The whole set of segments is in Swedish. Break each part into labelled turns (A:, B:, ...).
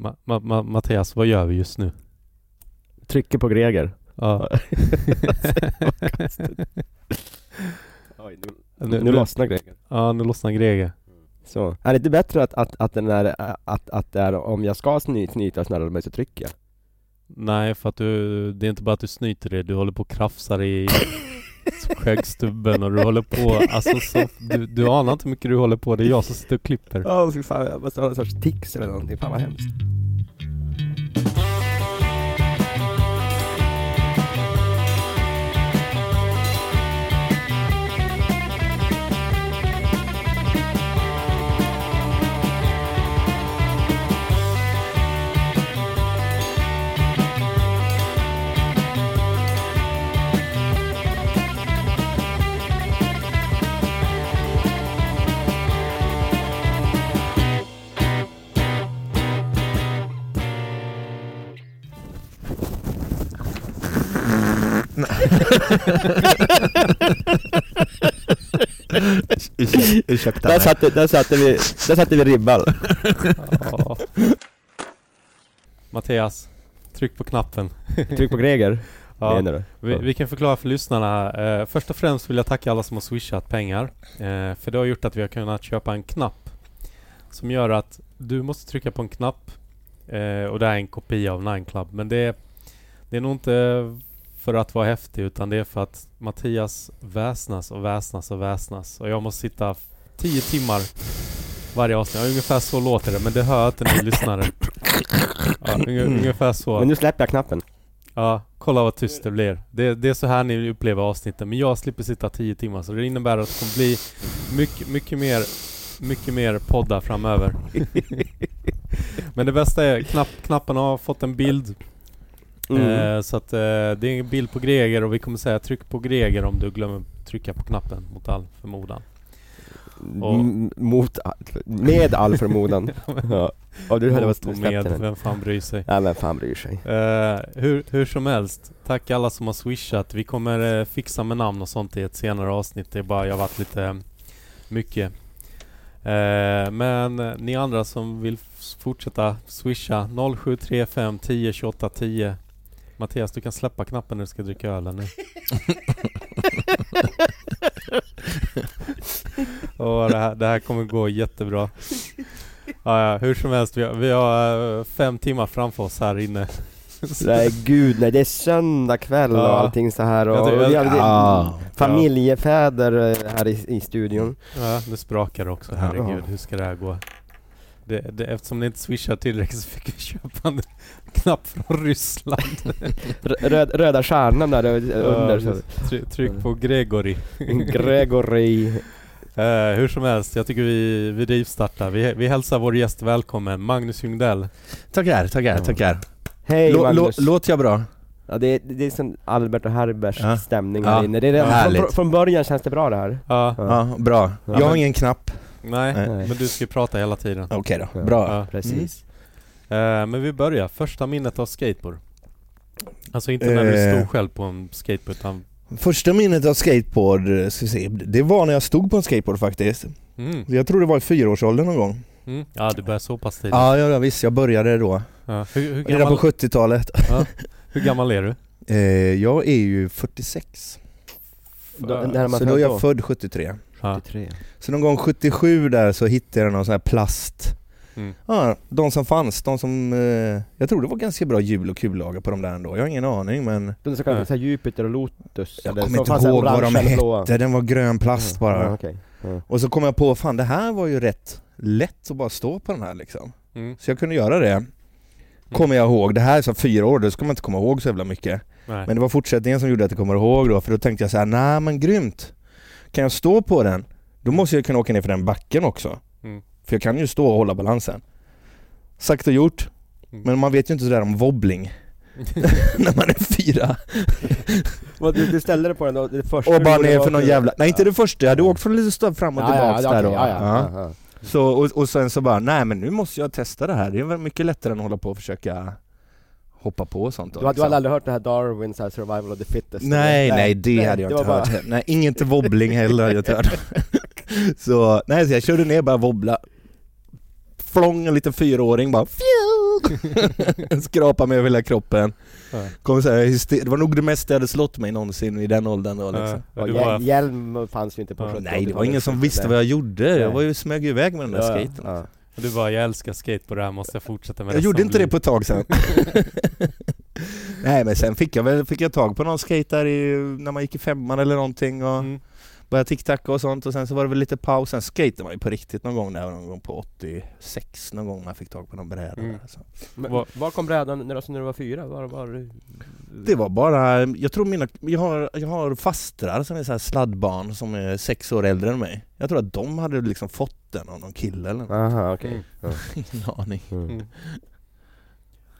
A: Ma- Ma- Ma- Mattias, vad gör vi just nu?
B: Trycker på Greger.
A: Ja.
B: Oj,
A: nu,
B: nu, nu lossnar Greger.
A: ja, nu lossnar Grege.
B: Så. Är det inte bättre att, att, att, den är, att, att det är om jag ska sny, snyta snarare mig så trycker jag?
A: Nej, för att du, det är inte bara att du snyter dig, du håller på och krafsar i skäggstubben och du håller på, alltså så, du, du anar inte hur mycket du håller på, det är jag som sitter och klipper.
B: Ja, oh, fan, jag måste ha någon sorts tics eller någonting. Fan vad hemskt. Där
C: Ursäkta mig.
B: satte, där satte vi, där satte vi ribban.
A: Ja. Mattias, tryck på knappen.
B: Tryck på Greger,
A: Ja.
B: menar du?
A: Vi, vi kan förklara för lyssnarna. Eh, först och främst vill jag tacka alla som har swishat pengar. Eh, för det har gjort att vi har kunnat köpa en knapp. Som gör att du måste trycka på en knapp. Eh, och det här är en kopia av Nine Club. Men det, det är nog inte för att vara häftig utan det är för att Mattias väsnas och väsnas och väsnas. Och jag måste sitta 10 timmar varje avsnitt. Ja, ungefär så låter det men det hör inte ni lyssnare. Ja, unge- ungefär så.
B: Men nu släpper jag knappen.
A: Ja, kolla vad tyst det blir. Det, det är så här ni upplever avsnitten, men jag slipper sitta 10 timmar så det innebär att det kommer bli mycket, mycket mer mycket mer poddar framöver. men det bästa är, knapp, knappen har fått en bild.
B: Mm.
A: Eh, så att eh, det är en bild på Greger och vi kommer säga tryck på Greger om du glömmer trycka på knappen mot all förmodan. och-
B: M- Mot, all- med all förmodan. ja. Och du hörde
A: Mot
B: vad
A: och
B: släppte
A: med,
B: den.
A: vem fan bryr sig?
B: Ja men fan bryr sig.
A: Eh, hur, hur som helst, tack alla som har swishat. Vi kommer eh, fixa med namn och sånt i ett senare avsnitt. Det är bara jag har varit lite eh, mycket. Eh, men eh, ni andra som vill f- fortsätta swisha 0735 10 28 10. Mattias, du kan släppa knappen när du ska dricka ölen nu. Åh, det, här, det här kommer gå jättebra. Ja, ja, hur som helst, vi har, vi har eh, fem timmar framför oss här inne.
B: Nej gud, nej det är söndag kväll och
A: Ja.
B: allting så här och,
A: Jag
B: och
A: tycker-
B: vi har,
C: Ja.
B: familjefäder eh, här i, i studion.
A: Ja, nu sprakar det också. Herregud,
B: Ja.
A: hur ska det här gå? Det, det, eftersom ni inte swishar tillräckligt så fick vi köpa en knapp från Ryssland.
B: R- röd, röda stjärnan där ö- under.
A: Ja,
B: Så.
A: try, tryck på Gregory.
B: Gregory.
A: Eh, hur som helst, jag tycker vi, vi rivstartar. Vi, vi hälsar vår gäst välkommen, Magnus Ljungdell.
C: Tackar, tackar, tackar.
B: Hej
C: Lå- lå-
B: Magnus.
C: Låter jag bra?
B: Ja, det, är, det är som Albert och Herbers
C: Ja.
B: stämning här
C: Ja.
B: inne. Det är redan,
C: Härligt.
B: från, från början känns det bra det här.
A: Ja,
C: Ja, bra.
B: Ja,
C: Jag har
B: men-
C: ingen knapp.
A: nej,
C: Nej.
A: men du ska ju prata hela tiden.
C: Okej
B: Ja.
C: då, bra.
A: Ja.
C: Mm.
B: Precis.
A: Eh, men vi börjar. Första minnet av skateboard. Alltså inte när du
C: Eh.
A: stod själv på en skateboard utan...
C: Första minnet av skateboard, eh, ska vi se, det var när jag stod på en skateboard faktiskt.
A: Mm,
C: Jag tror det var i fyraårsåldern någon gång.
A: mm. Ja, du började så pass tidigt.
C: Ja, ja, ja visst, jag började då.
A: Ja. Hur, hur,
C: Redan på
A: gammal,
C: 70-talet.
A: hur gammal är du?
C: Eh, jag är ju 46,
B: Då, när man
C: så då är jag
B: då?
C: född 73.
A: Ja.
B: 73.
C: Så någon gång 77 där så hittade jag någon sån här plast.
A: Mm.
C: Ja, de som fanns, de som... Eh, jag tror det var ganska bra hjul och kullager på de där ändå. Jag har ingen aning men...
B: De så kallade
A: Ja.
B: så här Jupiter och Lotus.
C: Jag
B: eller
C: kommer
B: som
C: inte
B: fanns här
C: ihåg vad
B: orange
C: de
B: eller blåa.
C: Det, den var grön
A: Mm.
C: plast bara.
B: Ja, okej.
C: Och så kom jag på, fan det här var ju rätt lätt att bara stå på den här liksom.
A: Mm.
C: Så jag kunde göra det. Kommer jag ihåg. Det här är så fyra år, då ska man inte komma ihåg så jävla mycket.
A: Nej.
C: Men det var fortsättningen som gjorde att jag kommer ihåg då, för då tänkte jag så här: nej men grymt. Kan jag stå på den, då måste jag kunna åka ner för den backen också.
A: Mm.
C: För jag kan ju stå och hålla balansen. Sagt och gjort.
A: Mm.
C: Men man vet ju inte sådär om wobbling när man är fyra.
B: Vad, Du, du ställde dig på den då, det första
C: Och
B: du
C: bara
B: gjorde
C: ner
B: var
C: för någon
B: att-
C: jävla... Nej inte
B: Ja.
C: det första, jag hade åkt från lite stå fram och tillbaks där då.
B: okej, ja, Mm. ja,
C: Ja.
B: ja, ja.
C: Så, och, och sen så bara, nej men nu måste jag testa det här. Det är väl mycket lättare än att hålla på och försöka hoppa på och sånt. då,
B: Du, har- du hade
C: liksom.
B: aldrig hört det här Darwins här survival of the fittest?
C: Nej, nej det hade jag
B: det
C: inte
B: var
C: hört. Nej, inget wobbling heller hade jag inte hört. så, nej så jag körde ner bara wobbla. Flång en liten fyraåring bara fju, Skrapa mig över hela kroppen.
A: Ja. liksom.
C: Kommer så här, hyster- det var nog det mesta jag hade slått mig någonsin i den åldern då liksom.
A: Ja,
D: Ja,
A: du
D: hjäl-
A: bara,
D: Hjälm fanns ju inte på
A: Ja.
D: 70
C: Nej det var ingen som visste vad jag gjorde. Jag var ju, smög ju iväg med den där skaten.
D: liksom Ja.
A: du bara, jag älskar skateboard, det här måste jag fortsätta med
C: Jag gjorde
A: resten av
C: inte det
A: livet."
C: på ett tag sen. Nej men sen fick jag väl fick jag tag på någon skate där i, när man gick i femman eller någonting och
A: Mm.
C: började tic-tacka och sånt och sen så var det väl lite paus. Sen skatade man ju på riktigt någon gång där någon gång på 86 någon gång man fick tag på någon bräda.
A: Mm.
C: där, så.
D: Men,
A: Vad-
D: var kom brädan när, alltså, när du var fyra? Var, var...
C: Det var bara, jag tror mina, jag har, jag har fastrar som är så här sladdbarn som är sex år äldre än mig. Jag tror att de hade liksom fått den av någon kille eller något.
D: Aha, okej.
C: Ingen aning.
D: Mm.
A: Mm.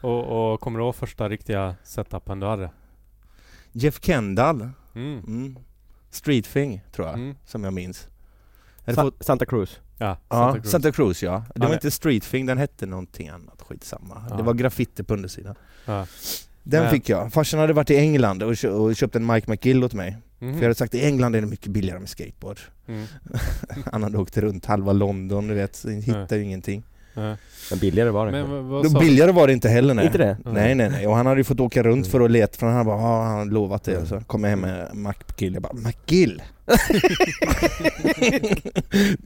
A: Och, och kommer du ihåg första riktiga setupen du hade?
C: Jeff Kendall,
A: Mm.
C: mm. Streetfing tror jag,
A: Mm.
C: som jag minns. Jag hade
D: Sa-
C: fått,
D: Santa Cruz.
A: Ja,
C: ja,
A: Santa Cruz.
C: Santa Cruz ja. Det
A: Ja,
C: var
A: men-
C: inte Streetfing, den hette någonting annat, skitsamma.
A: Ja.
C: Det var graffiti på undersidan.
A: Ja.
C: Den
A: Men-
C: fick jag. Farsan hade varit i England och, kö- och köpt en Mike McGill åt mig.
A: Mhm.
C: För jag hade sagt i England är det mycket billigare med skateboard.
A: Mm.
C: Han hade åkt runt halva London, du vet, så hittade ju ingenting.
A: Ja.
D: Men billigare var det.
A: Men
D: kanske.
A: vad- vad
C: Då
A: sa
C: billigare var det inte heller nej.
D: Inte det?
C: Nej nej nej, och han hade ju fått åka runt
D: Mm.
C: för att leta för han bara ah, han hade lovat det
D: Mm.
C: så kom jag hem med McGill, jag bara McGill!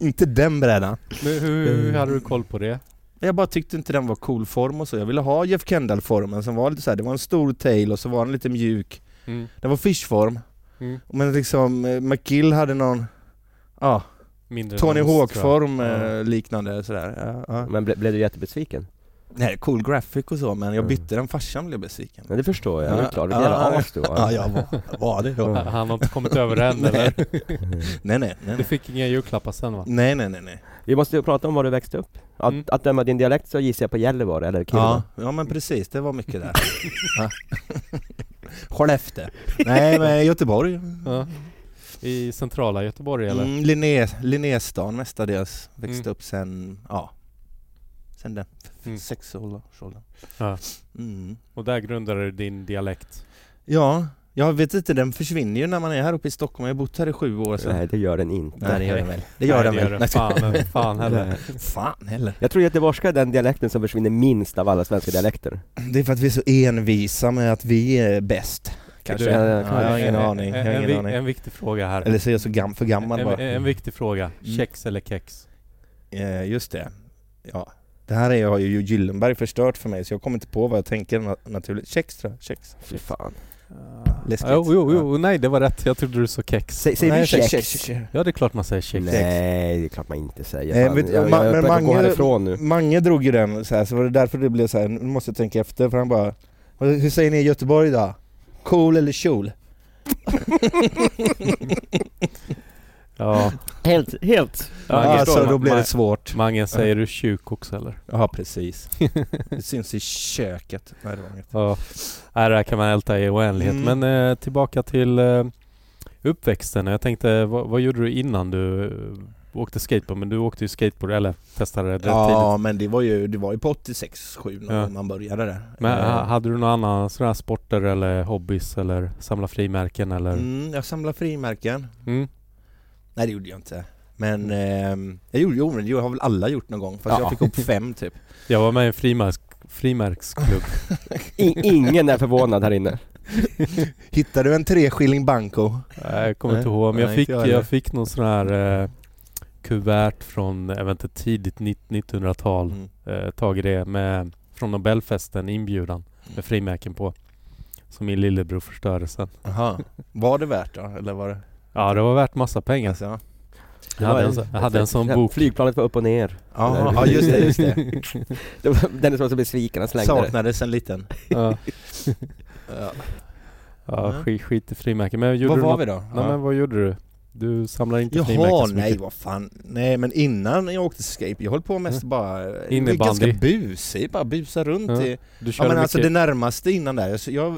C: inte den brädan.
A: Men hur, hur hade du koll på det?
C: Jag bara tyckte inte den var cool form och så, jag ville ha Jeff Kendall-formen som var lite så här, det var en stor tail och så var den lite mjuk.
A: Mm.
C: Den var fishform,
A: Mm.
C: men liksom eh, McGill hade någon, ja,
A: Mindre
C: Tony
A: än oss, tror
C: Hawk-form
A: jag.
C: eh, liknande sådär. Ja, ja.
D: Men ble, blev du jättebesviken?
C: Nej, cool graphic och så men jag
D: Mm.
C: bytte den, farsan blev besviken.
D: Men det förstår jag, det
C: Ja,
D: är klart.
C: ja,
D: Vilket jävla
C: ja.
D: as du var.
C: Ja, jag var, var det
A: jag.
C: då?
A: Ha- Han har inte kommit över det än eller?
C: Nej nej, nej
A: Du
C: nej.
A: fick inga julklappar sen va?
C: Nej nej nej nej.
D: Vi måste ju prata om var du växte upp. Att,
A: Mm.
D: att döma din dialekt så gissar jag på Gällivare eller Kiruna.
C: Ja, ja men precis, det var mycket där. Ja. Skellefteå. Nej men Göteborg.
A: Ja. I centrala Göteborg eller?
C: Mm, Linné, Linnéstan mestadels. Växte
A: Mm.
C: upp sen, ja. Sen den,
A: Mm.
C: mm. sexårsåldern.
A: Ja.
C: Mm.
A: Och där grundade du din dialekt?
C: Ja, jag vet inte, den försvinner ju när man är här uppe i Stockholm. Jag har bott här i sju år så.
D: Alltså, Nej, det gör den inte.
C: Nej det gör den väl. Det gör den
A: Nej,
C: väl.
A: det Fan, fan heller.
C: Fan heller.
D: Jag tror göteborgska är den dialekten som försvinner minst av alla svenska dialekter.
C: Det är för att vi är så envisa med att vi är bäst. Kanske.
A: Du,
C: ja,
D: ja,
C: jag har ingen
A: En-
C: aning. Jag
A: En,
C: har
A: en,
C: ingen
A: vi-
C: aning.
A: en viktig fråga här.
C: Eller så är jag så gam, för gammal
A: en,
C: bara. Mm.
A: en, en viktig fråga. Kex eller kex?
C: Eh, just det. Ja. Det här är, har ju Gyllenberg förstört för mig så jag kommer inte på vad jag tänker na- naturligt. Kex tror jag. Kex.
D: Fy fan.
C: Ah. Läskigt.
A: Jo, jo, jo, nej det var rätt. Jag trodde du sa kex.
D: Sä, säger
C: Nej,
D: vi
C: kex,
D: kex?
C: kex, kex.
A: Ja, det är klart man säger kex.
D: Nej, det är klart man inte säger.
C: Nej,
D: fan.
C: vet-
D: jag,
C: ma-
D: jag, jag
C: men
D: Mange... gå
C: Mange-
D: härifrån nu.
C: Mange drog ju den så här, så var det därför det blev så här. nu måste jag tänka efter för han bara Hur säger ni i Göteborg idag? Cool eller kjol?
A: Ja.
D: Helt, helt.
A: Mange,
C: Ja, Ah, så
A: Ma-
C: då blev
A: Ma-
C: det svårt.
A: Mange, säger du tjuk också eller?
C: Ja precis. Det syns i köket. Nej, det var inget.
A: Ja, Nej, det här kan man älta i oändlighet.
C: Mm.
A: Men eh, tillbaka till eh, uppväxten. Jag tänkte, vad, vad gjorde du innan du eh, åkte skateboard? Men du åkte ju skateboard, eller testade det
C: Ja
A: tidigt.
C: men det var ju, det var ju på 86-7 när
A: Ja.
C: man började där.
A: Men
C: Eh,
A: ha- hade du några andra sådana här sporter eller hobbys eller samla frimärken eller? Mm.
C: mm, jag samlade frimärken. Nej det gjorde jag inte. Men ehm, jag gjorde, jo men det har väl alla gjort någon gång fast
D: Ja.
C: jag fick upp fem typ.
A: Jag var med i en frimärks- frimärksklubb.
D: I, ingen är förvånad här inne.
C: Hittade du en treskilling banco?
A: Nej, jag kommer inte
C: Nej,
A: ihåg, men jag
C: nej,
A: fick,
C: inte jag heller.
A: jag fick någon sån här eh, kuvert från, jag vet inte, tidigt 1900-tal.
C: Mm.
A: eh, tag i det med, från Nobelfesten, inbjudan med frimärken på. Som min lillebror förstörde sen.
C: Aha. Var det värt då? Eller var det?
A: Ja, det var värt massa pengar.
C: Alltså, ja.
A: Jag hade en, så- jag hade en sån bok.
D: Flygplanet var upp och ner.
C: Aha, ja just det, just det.
D: det var, Dennis var så besviken, han slängde det.
C: Saknades en liten.
A: Ja,
C: Ja.
A: ja
C: Mm.
A: skit, skit i frimärken. Men gjorde
C: Vad
A: du
C: var
A: något?
C: vi då?
A: Nej,
C: Ja.
A: men vad gjorde du? Du samlade inte
C: Jaha,
A: frimärken så
C: nej
A: mycket.
C: vad fan. Nej men innan jag åkte skate, jag höll på mest bara... jag blev
A: Mm. Innebandy.
C: Ganska busig, bara busa runt
A: Ja.
C: i...
A: Du
C: Ja
A: körde
C: men alltså det
A: mycket
C: närmaste innan där, så jag...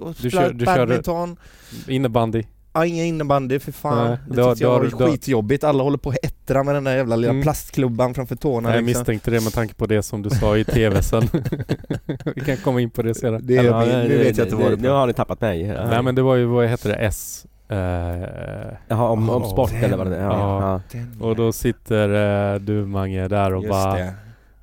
C: jag
A: Du
C: spelade
A: kör- du körde-
C: badminton,
A: innebandy.
C: ja, ingen innebandy för fan.
A: Nej,
C: det
A: då-
C: tyckte jag
A: då-
C: var ju
A: då-
C: skitjobbigt, alla håller på och ättra med den där jävla lilla
A: Mm.
C: plastklubban framför tårna
A: jag
C: liksom.
A: misstänkte det med tanke på det som du sa i tv sen. Vi kan komma in på det senare.
C: Det är
D: Ja,
C: min,
D: nej,
C: nu
D: det-
C: vet jag inte vad
D: det-
C: det
D: Nu
C: var.
D: har ni tappat mig. Ja.
A: Nej men det var ju, vad heter det, S? Eh,
D: Jaha, om, om
C: Ja,
D: sport
C: den-
D: eller vad det är. Ja.
A: ja.
D: Ja.
A: och då sitter eh, du Mange där och
C: Just
A: bara
C: det.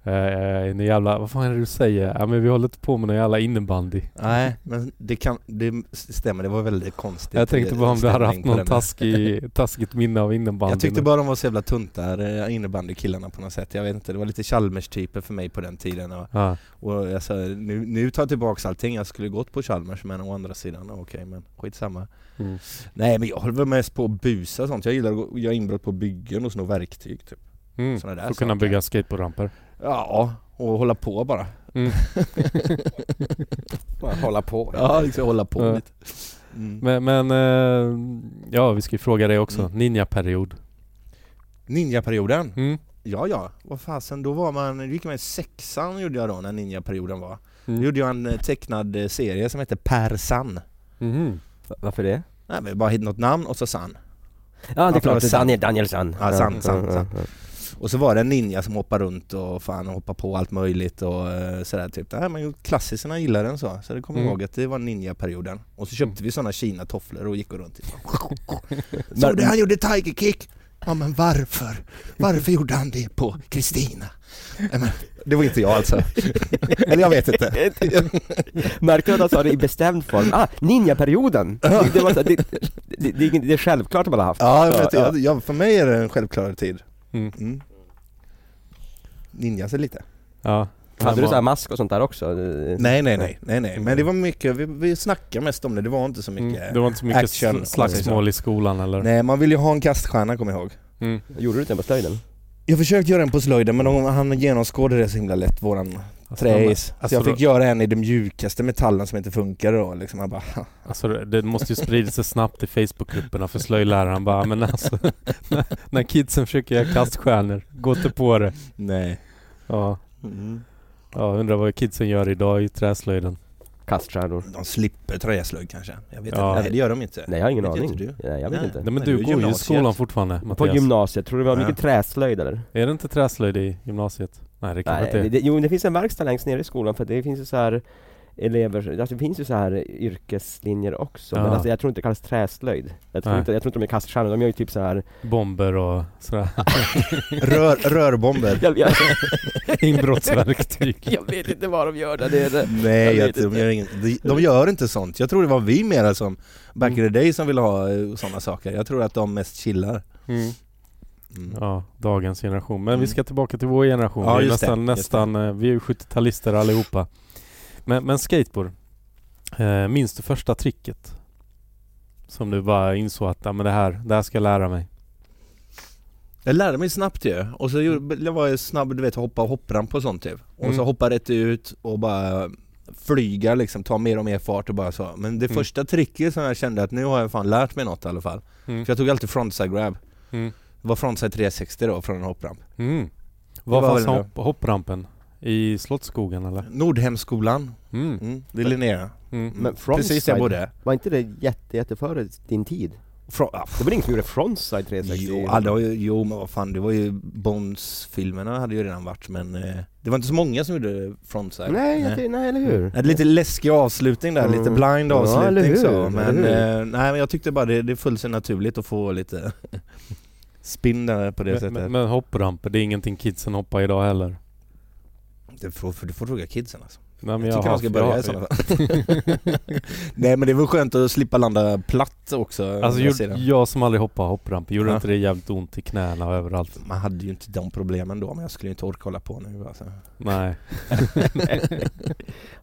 A: Eh, någon jävla, vad fan är det du säger? Ja men vi håller inte på med någon jävla innebandy.
C: Nej, men det kan, det stämmer, det var väldigt konstigt eh,
A: jag tänkte bara om du hade haft
C: stämning
A: någon
C: på den.
A: taskig, taskigt minne av innebandy.
C: Jag tyckte
A: nu.
C: bara de var så jävla tuntar, eh, innebandykillarna på något sätt Jag vet inte, det var lite Chalmers-typer för mig på den tiden och,
A: Ja.
C: och jag sa, nu, nu tar jag tillbaks allting, jag skulle gått på Chalmers men å andra sidan, okej men skitsamma
A: Mm.
C: Nej men jag håller väl mest på att busa och sånt, jag gillar att gå- göra inbrott på byggen och sno verktyg typ
A: Mm.
C: Såna där
A: För att kunna
C: saker.
A: bygga skateboardramper.
C: Ja, och hålla på bara
A: Mm.
D: Bara hålla på.
C: Ja, liksom hålla på
A: Ja.
C: lite mm.
A: Men, men eh, ja, vi ska ju fråga dig också.
C: Mm.
A: Ninja-period.
C: Ninjaperioden
A: Mm.
C: Ja, ja. Vad fasen, då var man, då gick man i sexan gjorde jag då när ninjaperioden var.
A: Mm.
C: Då gjorde jag en eh, tecknad eh, serie som hette Per San.
A: Mhm.
D: Va- Varför det?
C: Nej men bara hitta något namn och så San.
D: Ja det
C: för
D: är klart,
C: det är
D: Daniel Danielsson.
C: Ja, sant, sant,
D: ja,
C: sant.
D: ja,
C: Och så var det en ninja som hoppade runt och fan hoppade på allt möjligt och eh, sådär typ. Nej men klassiserna gillade den så. Så det kommer jag
A: Mm.
C: ihåg att det var ninjaperioden. Och så köpte vi sådana Kina-tofflor och gick runt. i.
D: Men-
C: Såg du han gjorde tiger kick? Ja men varför? Varför gjorde han det på Kristina? Nej, men, Det var inte jag alltså. Eller jag vet inte.
D: ja. Märkte du att han sa det i bestämd form? Ah, ninjaperioden! Det, det, var så, det, det, det, det, är inget- det är självklart att man har haft.
C: Ja, jag vet,
D: Ja, ja.
C: Jag, jag, för mig är det en självklar tid.
A: Mm.
C: Mm. Ninjas är lite.
A: Ja.
D: Hade du
A: Hemma.
D: sån här mask och sånt där också?
C: Nej, nej, nej, nej, nej. Men det var mycket, vi, vi snackade mest om det, det var inte så mycket.
A: Mm. Det var inte så mycket
C: action,
A: sl- slagsmål i skolan eller?
C: Nej, man ville ju ha en kaststjärna kommer jag ihåg.
A: Mm.
D: Gjorde du inte den på slöjden?
C: Jag försökte göra en på slöjden men de, han genomskådade det så himla lätt, våran
A: Alltså, de-
C: träis. så
A: alltså,
C: jag fick
A: då-
C: göra en i den mjukaste metallen som inte funkade då liksom. Han bara, "Ha,
A: Alltså det det måste ju sprida sig snabbt i Facebookgrupperna för slöjdläraren bara men alltså när, när kidsen försöker göra kaststjärnor, gå inte på det.
C: nej.
A: Ja, ja undrar vad kidsen gör idag i träslöjden.
D: Kaststjärnor?
C: De slipper träslöjd kanske. Jag vet
A: Ja.
C: inte. Nej, det gör de inte.
D: Nej jag har ingen
C: Vet
D: aning.
C: inte du?
D: Nej, jag vet
C: Nej.
D: inte.
A: Nej men
C: Men
A: du
C: du är
A: går ju i
C: gymnasiet.
A: skolan fortfarande
D: På
A: Mattias.
D: gymnasiet, tror du det var
C: Ja.
D: mycket träslöjd eller?
A: Är det inte träslöjd i gymnasiet? Nej det kanske
D: Nej,
A: inte
D: det,
A: är.
D: det, jo det finns en verkstad längst ner i skolan för det finns ju så här elever, alltså det finns ju så här yrkeslinjer också men
A: Ja.
D: alltså jag tror inte det kallas träslöjd. Jag tror,
A: Nej.
D: inte, jag tror inte de är kaststjärnor, de gör ju typ så här
A: Bomber och sådär.
C: Rör, rörbomber.
D: jag, jag,
A: Inbrottsverktyg.
D: jag vet inte vad de gör där nere.
C: Nej,
D: Jag
C: jag
D: vet
C: tror de, gör ingen, de, de gör inte sånt. Jag tror det var vi mera som back in the day som ville ha eh, sådana saker. Jag tror att de mest chillar.
A: Mm.
C: Mm.
A: Ja, dagens generation. Men
C: Mm.
A: vi ska tillbaka till vår generation.
C: Ja,
A: vi är
C: just det,
A: nästan,
C: just
A: nästan, eh, vi är ju 70-talister allihopa. Men, men skateboard. Eh, minns du första tricket? Som du bara insåg att, ja men det här, det här ska jag lära mig.
C: Jag lärde mig snabbt ju. Och så gjorde, jag var jag snabb, du vet, hoppa hoppramp och sånt typ. Och så
A: Mm.
C: hoppa rätt ut och bara flyga liksom, ta mer och mer fart och bara så. Men det
A: Mm.
C: första tricket som jag kände att nu har jag fan lärt mig något i alla fall.
A: Mm.
C: För jag tog alltid frontside grab.
A: Mm.
C: Det var frontside 360 då från en hoppramp.
A: Mm.
C: var
A: Var fanns
C: väl
A: hopp, hopprampen? I Slottsskogen eller?
C: Nordhemskolan,
A: Mm.
C: mm. det är Linnea.
A: Mm.
D: Men
C: Precis där jag
D: frontside-
C: bodde.
D: Var inte det jätte, jätte före din tid?
C: Fro- ah,
D: Det var ingen som gjorde frontside 360?
C: Jo, ja, det var ju, jo men vad fan, det var ju Bonds-filmerna hade ju redan varit men eh, det var inte så många som gjorde Frontside
D: nej, jag tycker- nej eller hur?
C: Nej, Lite läskig avslutning där,
D: Mm.
C: lite blind
D: Ja, eller
C: avslutning
D: hur,
C: så
D: eller
C: men
D: hur?
C: eh, nej men jag tyckte bara det, det föll sig naturligt att få lite spinn där på det
A: Men,
C: sättet
A: men, men hoppramper, det är ingenting kidsen hoppar idag heller.
C: Du, får, för du får fråga kidsen alltså.
A: Nej, men
C: Jag tycker
A: har-
C: de ska börja
A: jag-
C: i sådana fall Nej men det var skönt att slippa landa platt också å
A: Alltså
C: andra
A: gjorde,
C: sidan.
A: jag som aldrig hoppar hoppramp, gjorde
C: Ja.
A: inte det jävligt ont i knäna och överallt?
C: Man hade ju inte de problemen då men jag skulle ju inte orka hålla på nu alltså.
A: Nej.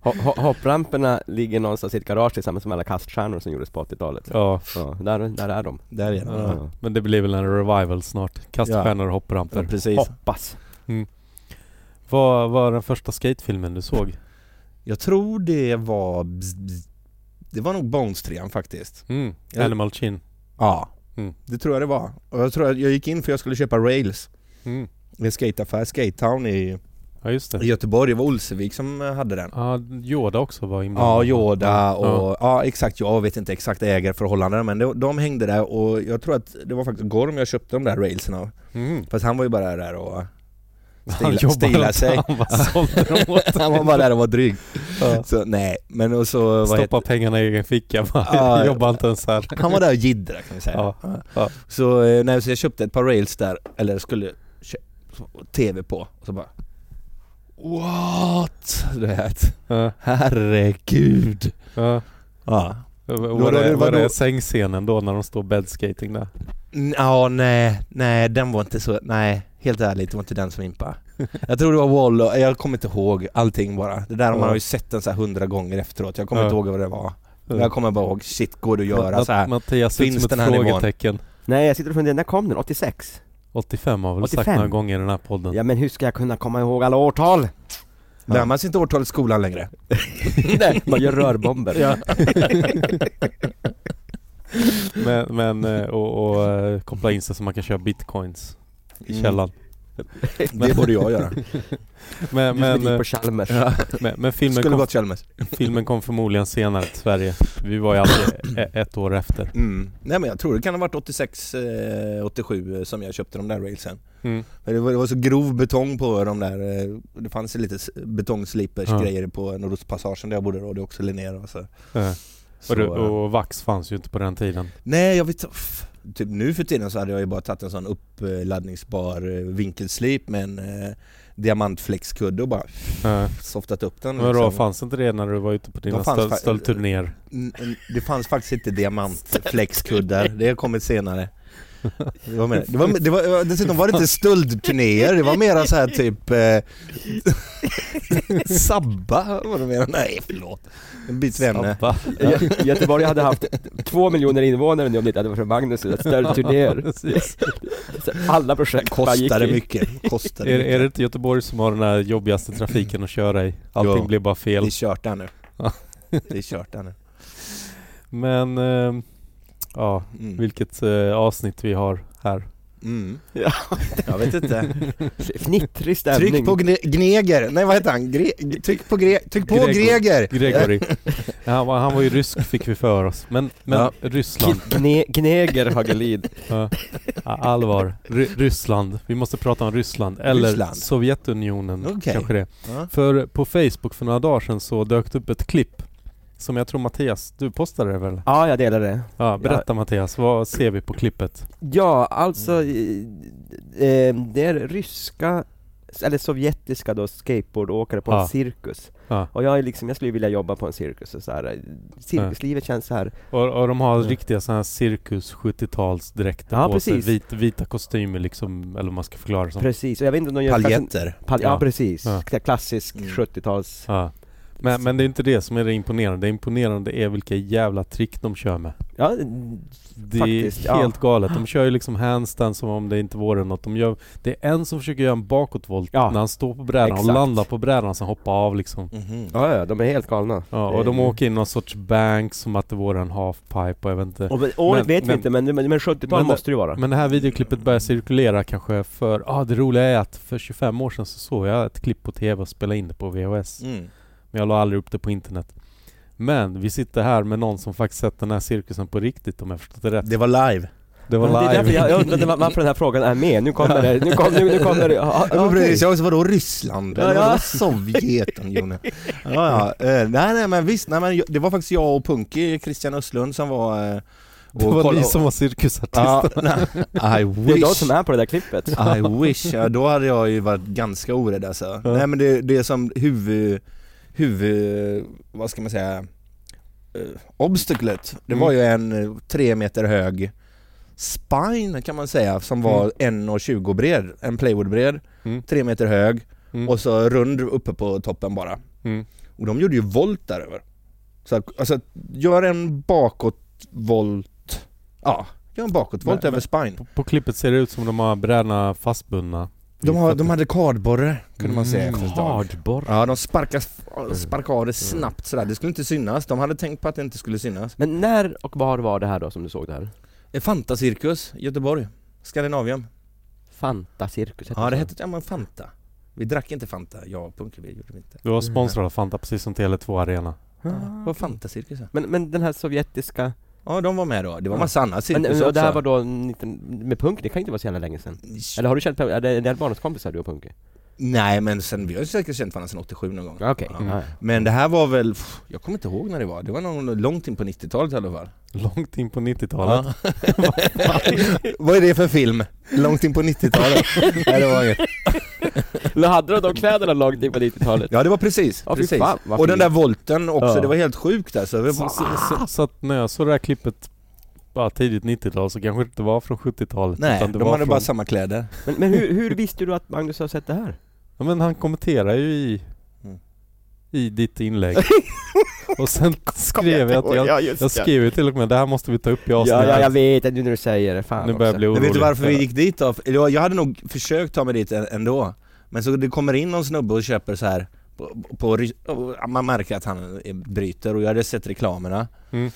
D: Ho- ho- Hoppramperna ligger någonstans i ett garage tillsammans med alla kaststjärnor som gjordes på 80-talet.
A: Ja.
D: Ja, där, där är de.
C: Där är de.
A: Ja.
D: Ja.
A: Men det blir väl en revival snart. Kaststjärnor och
C: Ja,
A: hoppramper.
B: Mm.
C: precis.
D: Hoppas.
A: Vad var den första skatefilmen du såg?
C: Jag tror det var bzz, bzz. Det var nog Bones 3 faktiskt
A: Mm.
C: Ja.
A: Animal Chin.
C: Ja
A: Mm.
C: Det tror jag det var Och jag tror att jag gick in för jag skulle köpa rails
A: Mm.
C: Det är en skateaffär, Skatetown i
A: Ja just
C: i
A: det.
C: Göteborg, det var Olsevik som eh, hade den
A: Ja, Yoda också var inblandad.
C: Ja, Yoda och...
A: Ja.
C: Mm. Ja. exakt, jag vet inte exakt ägarförhållanden men de, de hängde där och jag tror att det var faktiskt Gorm jag köpte de där railsen av
A: Mm.
C: Fast han var ju bara där och...
A: Han
C: Stila,
A: jobbade
C: stila
A: inte,
C: sig
A: han bara sålde dem åt
C: Han var bara där och var dryg
A: Ja.
C: Så nej, men och så... vad heter-
A: Stoppa pengarna i egen ficka bara.
C: Ja,
A: Jobba inte ens här.
C: Han var där och jiddrade kan vi säga.
A: Ja,
C: Ja.
A: ja.
C: Så, eh, nej, så jag köpte ett par rails där, eller skulle kö- tv på, och så bara What? Du vet.
A: Ja,
C: Herregud.
A: ja.
C: Ja.
A: Var
C: Vadå,
A: det, var
C: vadå?
A: det sängscenen då när de står bedskating där?
C: N- Ja, nej, nej, den var inte så, nej, helt ärligt, det var inte den som impade. Jag tror det var Wall, och- jag kommer inte ihåg allting bara. Det där, man
A: Ja.
C: har ju sett den så här hundra gånger efteråt, jag kommer
A: Ja.
C: inte ihåg vad det var. Jag kommer bara ihåg, shit, går det att göra
A: Matt-
C: så här?
A: Mattias ser ut
C: Finns
A: som
C: den
A: ett
C: här nivån?
A: frågetecken.
B: Nej jag sitter och funderar, när kom den? 86?
A: 85 har väl sagt
B: 85?
A: några gånger i den här podden.
B: Ja men hur ska jag kunna komma ihåg alla årtal?
C: Lär Mm. man sig inte årtalet i skolan längre?
B: Nej, man gör rörbomber.
C: Ja.
A: Men, men eh, och, och eh, koppla in sig så man kan köra bitcoins i
C: Mm.
A: källan.
C: Det borde jag göra.
A: Men,
B: Du som
A: men,
B: gick
A: eh,
B: på Chalmers.
A: men, men filmen,
C: Skulle
A: kom,
C: gått Chalmers.
A: filmen kom förmodligen senare till Sverige. Vi var ju alltid e- ett år efter.
C: Mm. Nej men jag tror det kan ha varit 86, eh, 87 eh, som jag köpte de där railsen.
A: Mm.
C: Men det var, det var så grov betong på de där, eh, det fanns ju lite s- betongslipers
A: Ja.
C: grejer på Nordostpassagen där jag bodde då, det är också Linnéer och så.
A: Eh,
C: så
A: Och, du,
C: eh,
A: och vax fanns ju inte på den tiden.
C: Nej jag vet pff, Typ nu för tiden så hade jag ju bara tagit en sån uppladdningsbar eh, vinkelslip med en eh, diamantflexkudde och bara pff,
A: Eh,
C: softat upp den
A: Men då
C: liksom.
A: fanns inte det när du var ute på dina
C: De fanns
A: stöld,
C: fa-
A: stöldturnéer?
C: N- n- Det fanns faktiskt inte diamantflexkuddar, det har kommit senare. Det var, mer, det var, det var, dessutom var det inte stöldturnéer, det var mera så här typ eh, Sabba var det mera, nej förlåt. En bit vänner.
A: Sabba.
B: Gö- Göteborg hade haft två miljoner invånare nu om det inte hade varit för Magnus, och större turnéer.
A: Precis.
B: Så Alla projekt bara gick
C: Kostade
B: i.
C: mycket, kostade
A: Är, är det
C: mycket.
A: inte Göteborg som har den här jobbigaste trafiken att köra i? Allting
C: Ja.
A: blir bara
C: Det
A: fel.
C: är kört där nu.
A: Ja.
C: Det är kört där nu.
A: Men, ehm, ja,
C: Mm.
A: vilket eh, avsnitt vi har här.
C: Mm.
B: Ja.
C: Jag vet inte.
B: Fnittrig stämning.
C: Tryck på gre- Gneger, nej vad heter han? Gre- g- tryck på, gre- tryck på
A: Gregor.
C: Greger!
A: Gregory. han, var, han var ju rysk fick vi för oss. Men, men
C: Ja.
A: Ryssland.
B: Gn- gne- Gneger Hagelid.
A: Ja. Ja, Allvar. Ry- Ryssland. Vi måste prata om Ryssland. Eller
C: Ryssland.
A: Sovjetunionen.
C: Okej.
A: Kanske det.
C: Ja.
A: För på Facebook för några dagar sedan så dök det upp ett klipp. Som jag tror Mattias, du postade det väl?
B: Ja, jag delar det.
A: Ja, berätta Mattias, vad ser vi på klippet?
B: Ja,
A: Mm.
B: alltså, eh, eh, det är ryska, eller sovjetiska då, skateboardåkare på
A: Ja.
B: en cirkus.
A: Ja.
B: Och jag är liksom, jag skulle vilja jobba på en cirkus och så här. eh, cirkuslivet känns så här.
A: Och, och de har
B: Ja.
A: riktiga sådana här cirkus 70-talsdräkter
B: Ja,
A: på
B: precis.
A: sig. Vit, vita kostymer liksom, eller vad man ska förklara det som.
B: Precis, och jag vet inte om de gör... kanske-
C: Paljetter.
B: Pal- ja,
A: Ja.
B: precis.
A: Ja.
B: Klassisk
C: Mm.
B: 70-tals...
A: Ja. Men, men det är inte det som är det imponerande. Det imponerande är vilka jävla trick de kör med.
B: Ja,
A: Det
B: Faktiskt,
A: är
B: ja.
A: helt galet. De kör ju liksom handstand som om det inte vore något. De gör, det är en som försöker göra en bakåtvolt
B: Ja,
A: när han står på brädan och
B: exakt.
A: landar på brädan sen hoppar av liksom.
C: Mhm.
B: ja, ja, de är helt galna.
A: Ja, och de åker in någon sorts bank som att det vore en halfpipe och jag vet inte.
B: Och, året
A: Men-
B: vet vi
A: men-
B: inte, men, men, men 70-tal
A: men-
B: måste det ju vara.
A: Men det här videoklippet börjar cirkulera kanske för, ah det roliga är att för 25 år sedan så såg jag ett klipp på TV och spelade in det på VHS.
C: Mm.
A: Men jag la aldrig upp det på internet. Men vi sitter här med någon som faktiskt sett den här cirkusen på riktigt om jag förstått det rätt.
C: Det var live.
A: Det var
B: Men Det är
A: live.
B: därför jag, jag undrade var- varför den här frågan är med, nu kommer det, nu kommer, nu, nu kommer det, ja,
C: Ja,
B: okej.
C: precis. Jag också, vadå Ryssland?
B: Ja,
C: Eller
B: ja.
C: vadå Sovjetunionen? Ja, ja. Eh, nej, nej, men visst. Nej, men jag- det var faktiskt jag och Punky, Christian Östlund, som var... eh,
A: Det
C: och
A: var
C: kolla-
A: ni som var cirkusartister.
C: Ja, nej. I
B: Det är
C: wish.
B: de som är på det där klippet.
C: I wish. Ja, då hade jag ju varit ganska orädd alltså.
A: Ja.
C: Nej, men det, det är som huvud... Huvud... Vad ska man säga? Eh, obstaclet. Det var ju en eh, tre meter hög spine kan man säga, som var 1,20 bred. En playwoodbred.
A: Mm.
C: Tre meter hög.
A: Mm.
C: Och så rund uppe på toppen bara.
A: Mm.
C: Och de gjorde ju volt däröver. Så att- alltså, gör en bakåtvolt, ja, gör en bakåtvolt
A: Men-
C: över spine.
A: På, på klippet ser det ut som de har brädorna fastbundna. Mm.
C: De, har, de hade kardborre, kunde man säga efter ett tag.
A: Kardborr.
C: Mm, Ja, de sparkade, sparkade av det snabbt sådär. Det skulle inte synas. De hade tänkt på att det inte skulle synas.
B: Men när och var var det här då som du såg det här?
C: Eh, Fanta-cirkus, Göteborg. Skandinavium.
B: Fanta-cirkus
C: Ja, det
B: så.
C: hette ja, men Fanta. Vi drack inte Fanta, jag och Punkerby gjorde vi inte.
A: Du var sponsrad av Fanta precis som Tele2 Arena.
B: Ah,
C: Det var Fanta-cirkusen.
B: Men, men den här sovjetiska,
C: Ja, de var med då. Det var
B: Ja.
C: massa andra
B: men,
C: cirkus
B: och det här var
C: också.
B: då 19, med punk, det kan inte vara så jävla länge sedan. Eller har du känt, är det, är det barndomskompisar du och punk?
C: Nej men sen, vi har ju säkert känt varandra sen 87 någon gång
B: Ja, Okej.
C: Ja. Mm.
B: Ja, ja.
C: Men det här var väl, pff, jag kommer inte ihåg när det var, det var någon långt in på 90-talet i alla fall
A: Långt in på 90-talet.
C: Vad är det för film? Långt in på 90-talet? Nej det var inget
D: Eller hade de de kläderna långt in på 90-talet?
C: Ja det var precis,
D: Ja, fy
C: precis.
D: fan, vad
C: och den
D: fint.
C: där volten också,
D: Ja.
C: det var helt sjukt alltså. Det
A: Så,
C: var-
A: så, så, så att när jag såg det här klippet bara tidigt 90-tal så kanske det inte var från 70-talet
C: Nej,
A: utan det
C: de
A: var
C: hade
A: från...
C: bara samma kläder.
D: Men, men hur, hur visste du att Magnus har sett det här?
A: Ja, men han kommenterar ju i,
C: Mm.
A: i ditt inlägg. och sen skrev jag att jag,
D: just
A: jag skrev ju till och med det här måste vi ta upp i
D: Ja,
A: avsnittet.
D: ja, jag vet det nu när du säger det, fan
A: nu börjar
D: också.
A: jag
D: Mm,
A: bli
C: Men
A: orolig.
C: vet du varför vi gick dit då? Eller Jag, jag hade nog försökt ta mig dit ä- ändå. Men så det kommer in någon snubbe och köper så här på, på, ry- och man märker att han är- bryter och jag hade sett reklamerna.
A: Mm.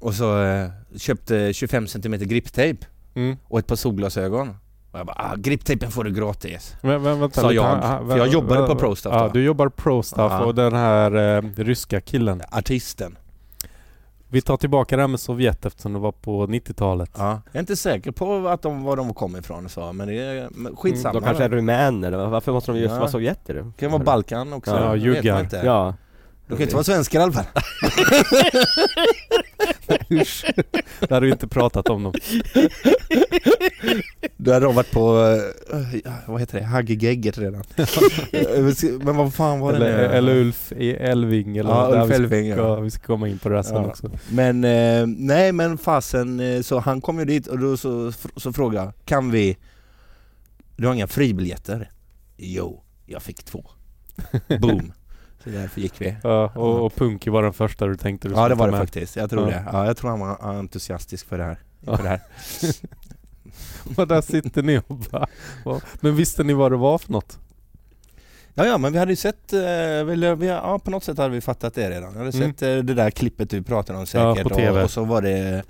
C: Och så eh, köpte 25 cm griptejp
A: Mm.
C: och ett par solglasögon. Och jag bara ah, griptejpen får du gratis.
A: Men, men, vänta,
C: Sa
A: lite,
C: jag,
A: han- han-
C: för
A: vä-
C: jag jobbade
A: vä-
C: på ProStuff
A: Ja,
C: då.
A: du jobbar på ProStuff
C: Ja.
A: och den här eh, ryska killen.
C: Artisten.
A: Vi tar tillbaka det här med Sovjet eftersom det var på 90-talet.
C: Ja. Jag är inte säker på att de, var de kom ifrån så, men det är men skitsamma.
D: De kanske är rumäner, va? varför måste de just
C: Ja.
D: vara sovjeter?
C: det kan vara Balkan också.
A: Ja,
C: Det vet
A: juggar.
C: man inte.
D: Ja
C: De kan inte vara svenskar i alla fall.
A: Usch. Där har vi inte pratat om dem.
C: Du hade de varit på, eh, ja, vad heter det, Hagge Geggert redan Eh, Men vad fan var det
A: Eller,
C: nu?
A: eller Ulf i Elving eller
C: Ja,
A: där
C: Ulf
A: vi
C: Elving
A: ska,
C: ja.
A: vi ska komma in på det här sen
C: Ja.
A: också.
C: Men, eh, nej men fasen, eh, så han kom ju dit och då så, så frågade jag, kan vi, du har inga fribiljetter? Jo, jag fick två. Boom. Så därför gick vi.
A: Ja, och, och Punky var den första du tänkte du
C: Ja
A: skulle
C: det var
A: ta
C: det
A: med.
C: faktiskt, jag tror
A: Ja.
C: det. Ja, jag tror han var entusiastisk för det här.
A: Ja.
C: För det här.
A: Och där sitter ni och bara... och- Men visste ni vad det var för något?
C: Ja, ja men vi hade ju sett, eh, väl, vi, ja på något sätt hade vi fattat det redan. Vi hade
A: Mm.
C: sett eh, det där klippet du pratade om
A: Ja,
C: säkert
A: på TV.
C: och, och så var det,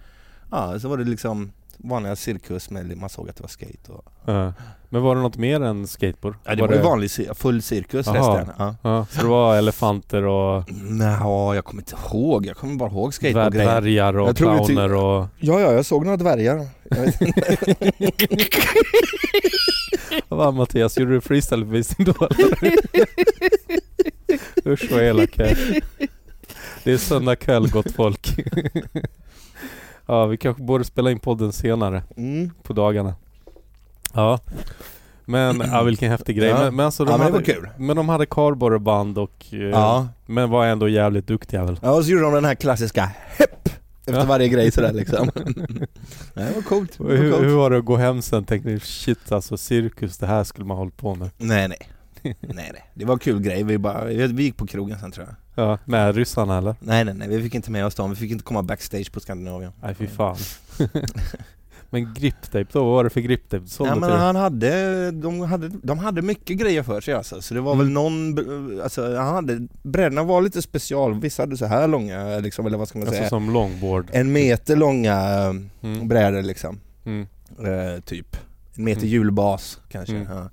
C: ja så var det liksom vanliga cirkus med, man såg att det var skate och,
A: Ja. Men var det något mer än skateboard?
C: ja, det var, ju vanlig, cir- full cirkus
A: Jaha.
C: resten. Ja.
A: Ja, så det var elefanter och
C: Nja, jag kommer inte ihåg, jag kommer bara ihåg skate
A: dvär-
C: och grejer.
A: dvärgar och
C: Jag tror vi ty-
A: clowner och...
C: Ja, ja, jag såg några dvärgar. Jag vet inte.
A: Vad Mattias, gjorde du freestylebevisning då eller? Usch vad elak jag är. Det är söndag kväll gott folk. ja, vi kanske borde spela in podden senare
C: mm.
A: på dagarna. Ja. Men, ja, vilken häftig grej.
C: Ja.
A: Men, men alltså de
C: Ja, men det
A: hade,
C: var kul.
A: Men de hade kardborreband och... eh,
C: Ja.
A: Men var ändå jävligt duktiga väl?
C: ja, och så gjorde de den här klassiska hepp efter
A: Ja.
C: varje grej sådär liksom. Nej, det var coolt. Det var
A: Hur,
C: coolt.
A: hur var det att gå hem sen? Tänkte ni shit alltså cirkus, det här skulle man hålla på med.
C: Nej nej. nej nej, det var en kul grej, vi, bara, vi gick på krogen sen tror jag
A: Ja, med ryssarna eller?
C: Nej nej nej, vi fick inte med oss dem, vi fick inte komma backstage på Skandinavien
A: Nej fy fan. men griptape då, vad var det för griptape du sålde
C: Nej
A: till?
C: men han hade de, hade, de hade mycket grejer för sig alltså, så det var
A: Mm.
C: väl någon, br- alltså han hade, brädorna var lite special, vissa hade så här långa liksom, eller vad ska man
A: Alltså
C: säga?
A: som longboard.
C: En meter långa eh,
A: Mm.
C: brädor liksom,
A: Mm.
C: eh, typ En meter
A: Mm.
C: hjulbas kanske,
A: Mm.
C: ja.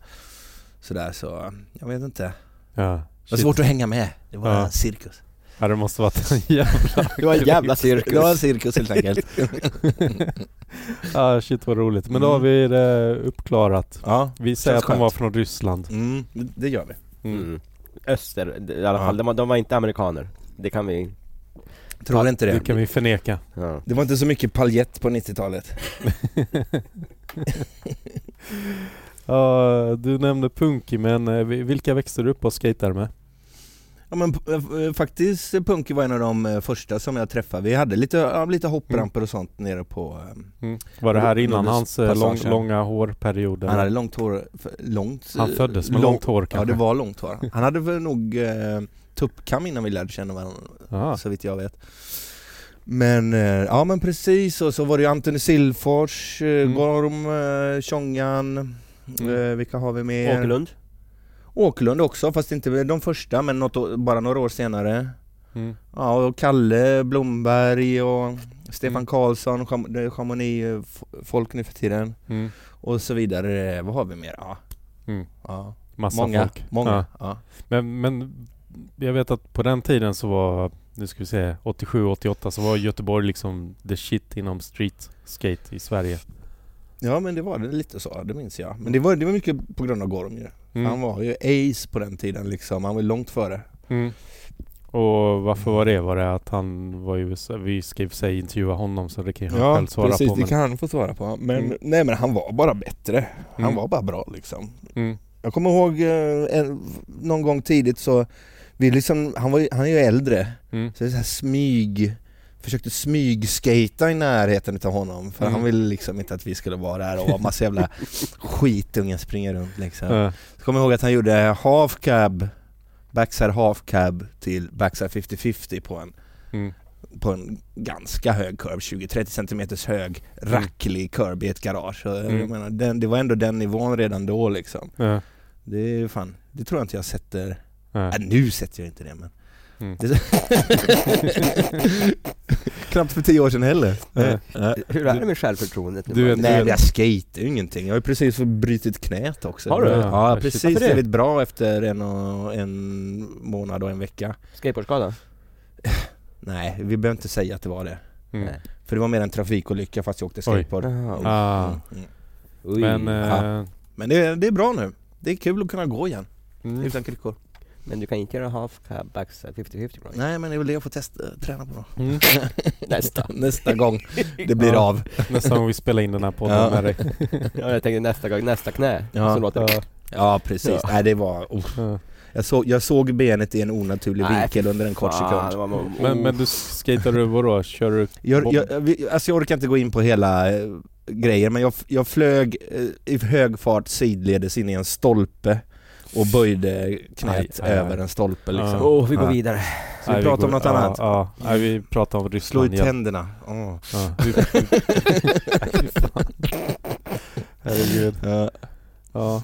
C: Sådär så, eh, jag vet inte
A: Ja.
C: Det var
A: Shit.
C: svårt att hänga med, det var
A: Ja.
C: en cirkus
A: ja, det måste varit en jävla...
D: Det var en jävla cirkus
C: Det var en cirkus helt enkelt
A: ah, shit vad roligt. Men
C: Mm.
A: då har vi det uppklarat.
C: Ja,
A: Vi säger
C: Känns
A: att de var
C: skönt.
A: från Ryssland.
C: mm, det gör vi.
A: Mm.
D: mm. Öster, d- i alla
C: Ja.
D: fall, de, var- de var inte amerikaner Det kan vi,
C: Tror inte
A: Det
C: det.
A: kan vi förneka.
D: ja.
C: Det var inte så mycket paljett på 90-talet.
A: Ja, du nämnde punky, men eh, vi- vilka växte du upp och skejtade med?
C: Ja men p- eh, faktiskt, eh, Punky var en av de eh, första som jag träffade. Vi hade lite, ja, lite hoppramper och sånt nere på... eh,
A: Var det här innan
C: Nordens
A: hans eh, lång,
C: passagen.
A: långa hårperiod?
C: Han
A: eller?
C: hade långt hår, för- långt... eh,
A: Han föddes med
C: lång-
A: långt hår
C: Ja
A: kanske?
C: det var långt hår. Han hade väl nog eh, tuppkam innan vi lärde känna varandra,
A: Ah.
C: så vitt jag vet. Men, eh, ja men precis, och så var det ju Antoni Silfors, eh,
A: Mm.
C: Gorm, eh, Tjongan, eh, vilka har vi mer?
D: Åkerlund?
C: Åkerlund också, fast inte de första men något, å- bara några år senare.
A: Mm.
C: Ja, och Kalle Blomberg och Stefan
A: Mm.
C: Karlsson, Cham- det är Chamonix-folk nu för tiden.
A: Mm.
C: Och så vidare, vad har vi mer? Ja,
A: Mm.
C: ja.
A: Massa
C: många,
A: folk.
C: många.
A: Ja.
C: Ja.
A: Men, men jag vet att på den tiden så var, nu ska vi se, 87-88 så var Göteborg liksom the shit inom street skate i Sverige.
C: Ja, men det var det lite så, det minns jag. Men det var, det var mycket på grund av Gorm ju.
A: Mm.
C: Han var ju ace på den tiden liksom, han var långt före.
A: Mm. Och varför var det? Var det att han var i USA? Vi ska i och för sig intervjua honom så det kan ju han själv svara på. men-
C: han få svara på. Men
A: Mm.
C: nej men han var bara bättre. Han
A: Mm.
C: var bara bra liksom.
A: Mm.
C: Jag kommer ihåg eh, en, någon gång tidigt så, vi liksom, han, var, ju- han är ju äldre,
A: Mm.
C: så det är så här smyg, försökte smygskata i närheten utav honom för
A: Mm.
C: han ville liksom inte att vi skulle vara där och ha massa jävla skitungar springer runt liksom.
A: Eh,
C: Så kommer jag ihåg att han gjorde half cab, backside half cab till backside 50-50 på en,
A: Mm.
C: på en ganska hög kurv, 20-30 cm hög, racklig kurv i ett garage. Så Jag
A: Mm.
C: menar, den, det var ändå den nivån redan då liksom.
A: eh,
C: Det är ju fan, det tror jag inte jag sätter,
A: eh.
C: äh, nu sätter jag inte det men
A: Mm.
C: det... Knappt för tio år sedan heller.
A: Nej.
C: Nej.
D: Hur är det med självförtroendet nu?
A: Du vet-
C: Nej men jag skejtar ju ingenting. Jag har ju precis brutit knät också.
A: Har du?
C: Ja, jag har
A: Shit.
C: precis
A: Varför det?
C: blivit bra efter en, och en månad och en vecka.
D: Skateboardskada?
C: Nej, vi behöver inte säga att det var det.
A: Mm.
D: Nej.
C: För det var mer en trafikolycka fast jag åkte
A: Oj.
C: skateboard.
D: Jaha.
A: Ah,
C: Mm, mm.
D: Oj.
A: men...
C: Ja.
A: eh,
C: Men det, är- det är bra nu. Det är kul att kunna gå igen,
A: mm.
C: utan kryckor.
D: Men du kan inte göra half eh, cab backside 50-50 bra.
C: Nej men det är väl det jag får testa, träna på då.
A: Mm.
D: Nästa.
C: Nästa gång det blir
A: Ja.
C: av.
A: Nästa gång vi spelar in den här podden
C: Ja.
A: med dig.
D: Ja, jag tänkte nästa gång, nästa knä.
C: Ja.
D: Så låter det.
C: Ja precis,
D: Ja.
C: nej det var... uff.
A: Eh.
C: Jag, såg, jag såg benet i en onaturlig
D: Nej,
C: vinkel under en kort sekund.
D: Fan, det var-
A: Men, men du skater du vadå? Kör du...
C: Jag, jag, vi- alltså jag orkar inte gå in på hela eh, grejen men jag, jag flög eh, i hög fart sidledes in i en stolpe och böjde knät
A: Aj, aj, aj.
C: över en stolpe liksom.
A: Ja.
D: Åh, vi går
C: Ja.
D: vidare.
C: Ska vi
A: Nej,
C: prata om
A: går-
C: något
A: ja,
C: annat?
A: Ja, Nej, vi pratar om
C: Slå
A: Ryssland
C: ut tänderna. Åh.
A: Ja, vi- Nej, fy fan. Herregud.
C: Ja.
A: Ja.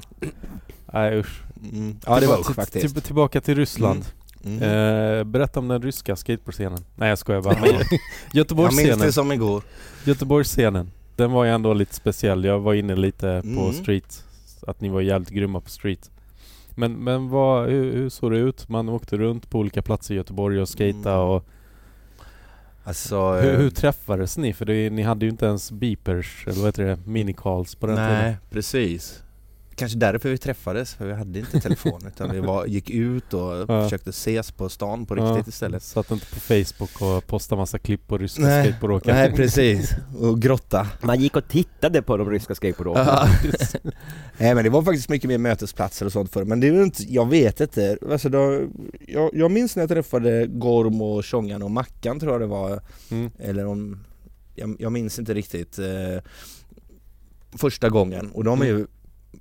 A: Nej usch.
C: Mm. ja det var usch
A: Till-
C: faktiskt.
A: till- Tillbaka till Ryssland.
C: Mm.
A: Typ, Eh, berätta om den ryska skateboardscenen. Nej jag skojar bara. Men
C: Jag minns
A: Göteborgsscenen.
C: det som igår.
A: Göteborgsscenen. Den var ju ändå lite speciell. Jag var inne lite på
C: Mm.
A: street. Att ni var jävligt grymma på street. Men, men vad, hur, hur såg det ut? Man åkte runt på olika platser i Göteborg och skata
C: Mm.
A: och
C: Alltså,
A: Hur,
C: eh,
A: hur träffades ni? För det, ni hade ju inte ens beepers, eller vad heter det, minicalls på den tiden.
C: nej precis. Kanske därför vi träffades, för vi hade inte telefon utan vi var, gick ut och försökte ses på stan på
A: Ja,
C: riktigt istället.
A: Satt inte på Facebook och postade massa klipp på ryska
C: Nej.
A: skateboardåkare.
C: Nej precis, och grotta.
D: Man gick och tittade på de ryska skateboardåkarna.
C: Ja. Nej men det var faktiskt mycket mer mötesplatser och sånt förr, men det är ju inte, jag vet inte. Alltså, då, jag, jag minns när jag träffade Gorm och Tjongan och Mackan tror jag det var,
A: Mm.
C: eller om, jag, jag minns inte riktigt eh, första gången och de är ju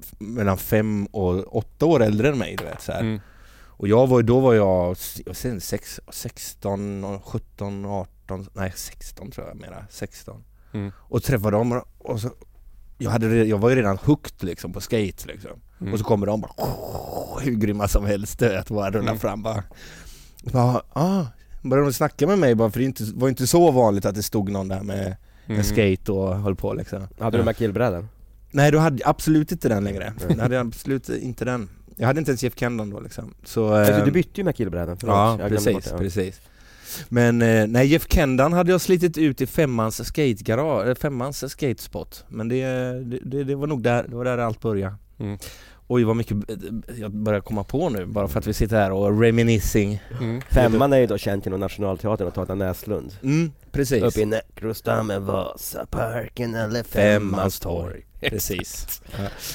C: f- mellan fem och åtta år äldre än mig du vet så här.
A: Mm.
C: Och jag var, ju- då var jag, s- jag sen, sex, 16, och 17, 18, nej 16 tror jag mera, 16
A: Mm.
C: Och träffade dem och- och så jag, hade, re- jag var ju redan hooked liksom på skate liksom
A: Mm.
C: Och så kommer de bara hur grymma som helst du vet, bara rullar
A: Mm.
C: fram bara Och bara, ah, började de snacka med mig bara för det är inte, var inte så vanligt att det stod någon där med
A: Mm.
C: en skate och höll på liksom
D: Hade du de här killbrädan?
C: Nej då hade jag absolut inte den längre, jag hade absolut inte den Jag hade inte ens Jeff Kendon då liksom så,
D: Alltså, du
C: ehm,
D: bytte ju med killbrädan, förlåt.
C: Ja,
D: Jag glömde bort
C: precis,
D: det, ja.
C: precis. Men eh, nej, Jeff Kendan hade jag slitit ut i femmans skategarage, eh, femmans skatespot. Men det, det, det var nog där, det var där allt började.
A: Mm.
C: Oj vad mycket eh, jag börjar komma på nu bara för att vi sitter här och reminiscing.
A: Mm.
D: Femman är ju då känd genom Nationalteatern och Tata Näslund.
C: Mm, precis.
D: Upp i Näckrostammen, Vasaparken eller
C: Femmans
D: Femmans torg.
C: torg. Precis.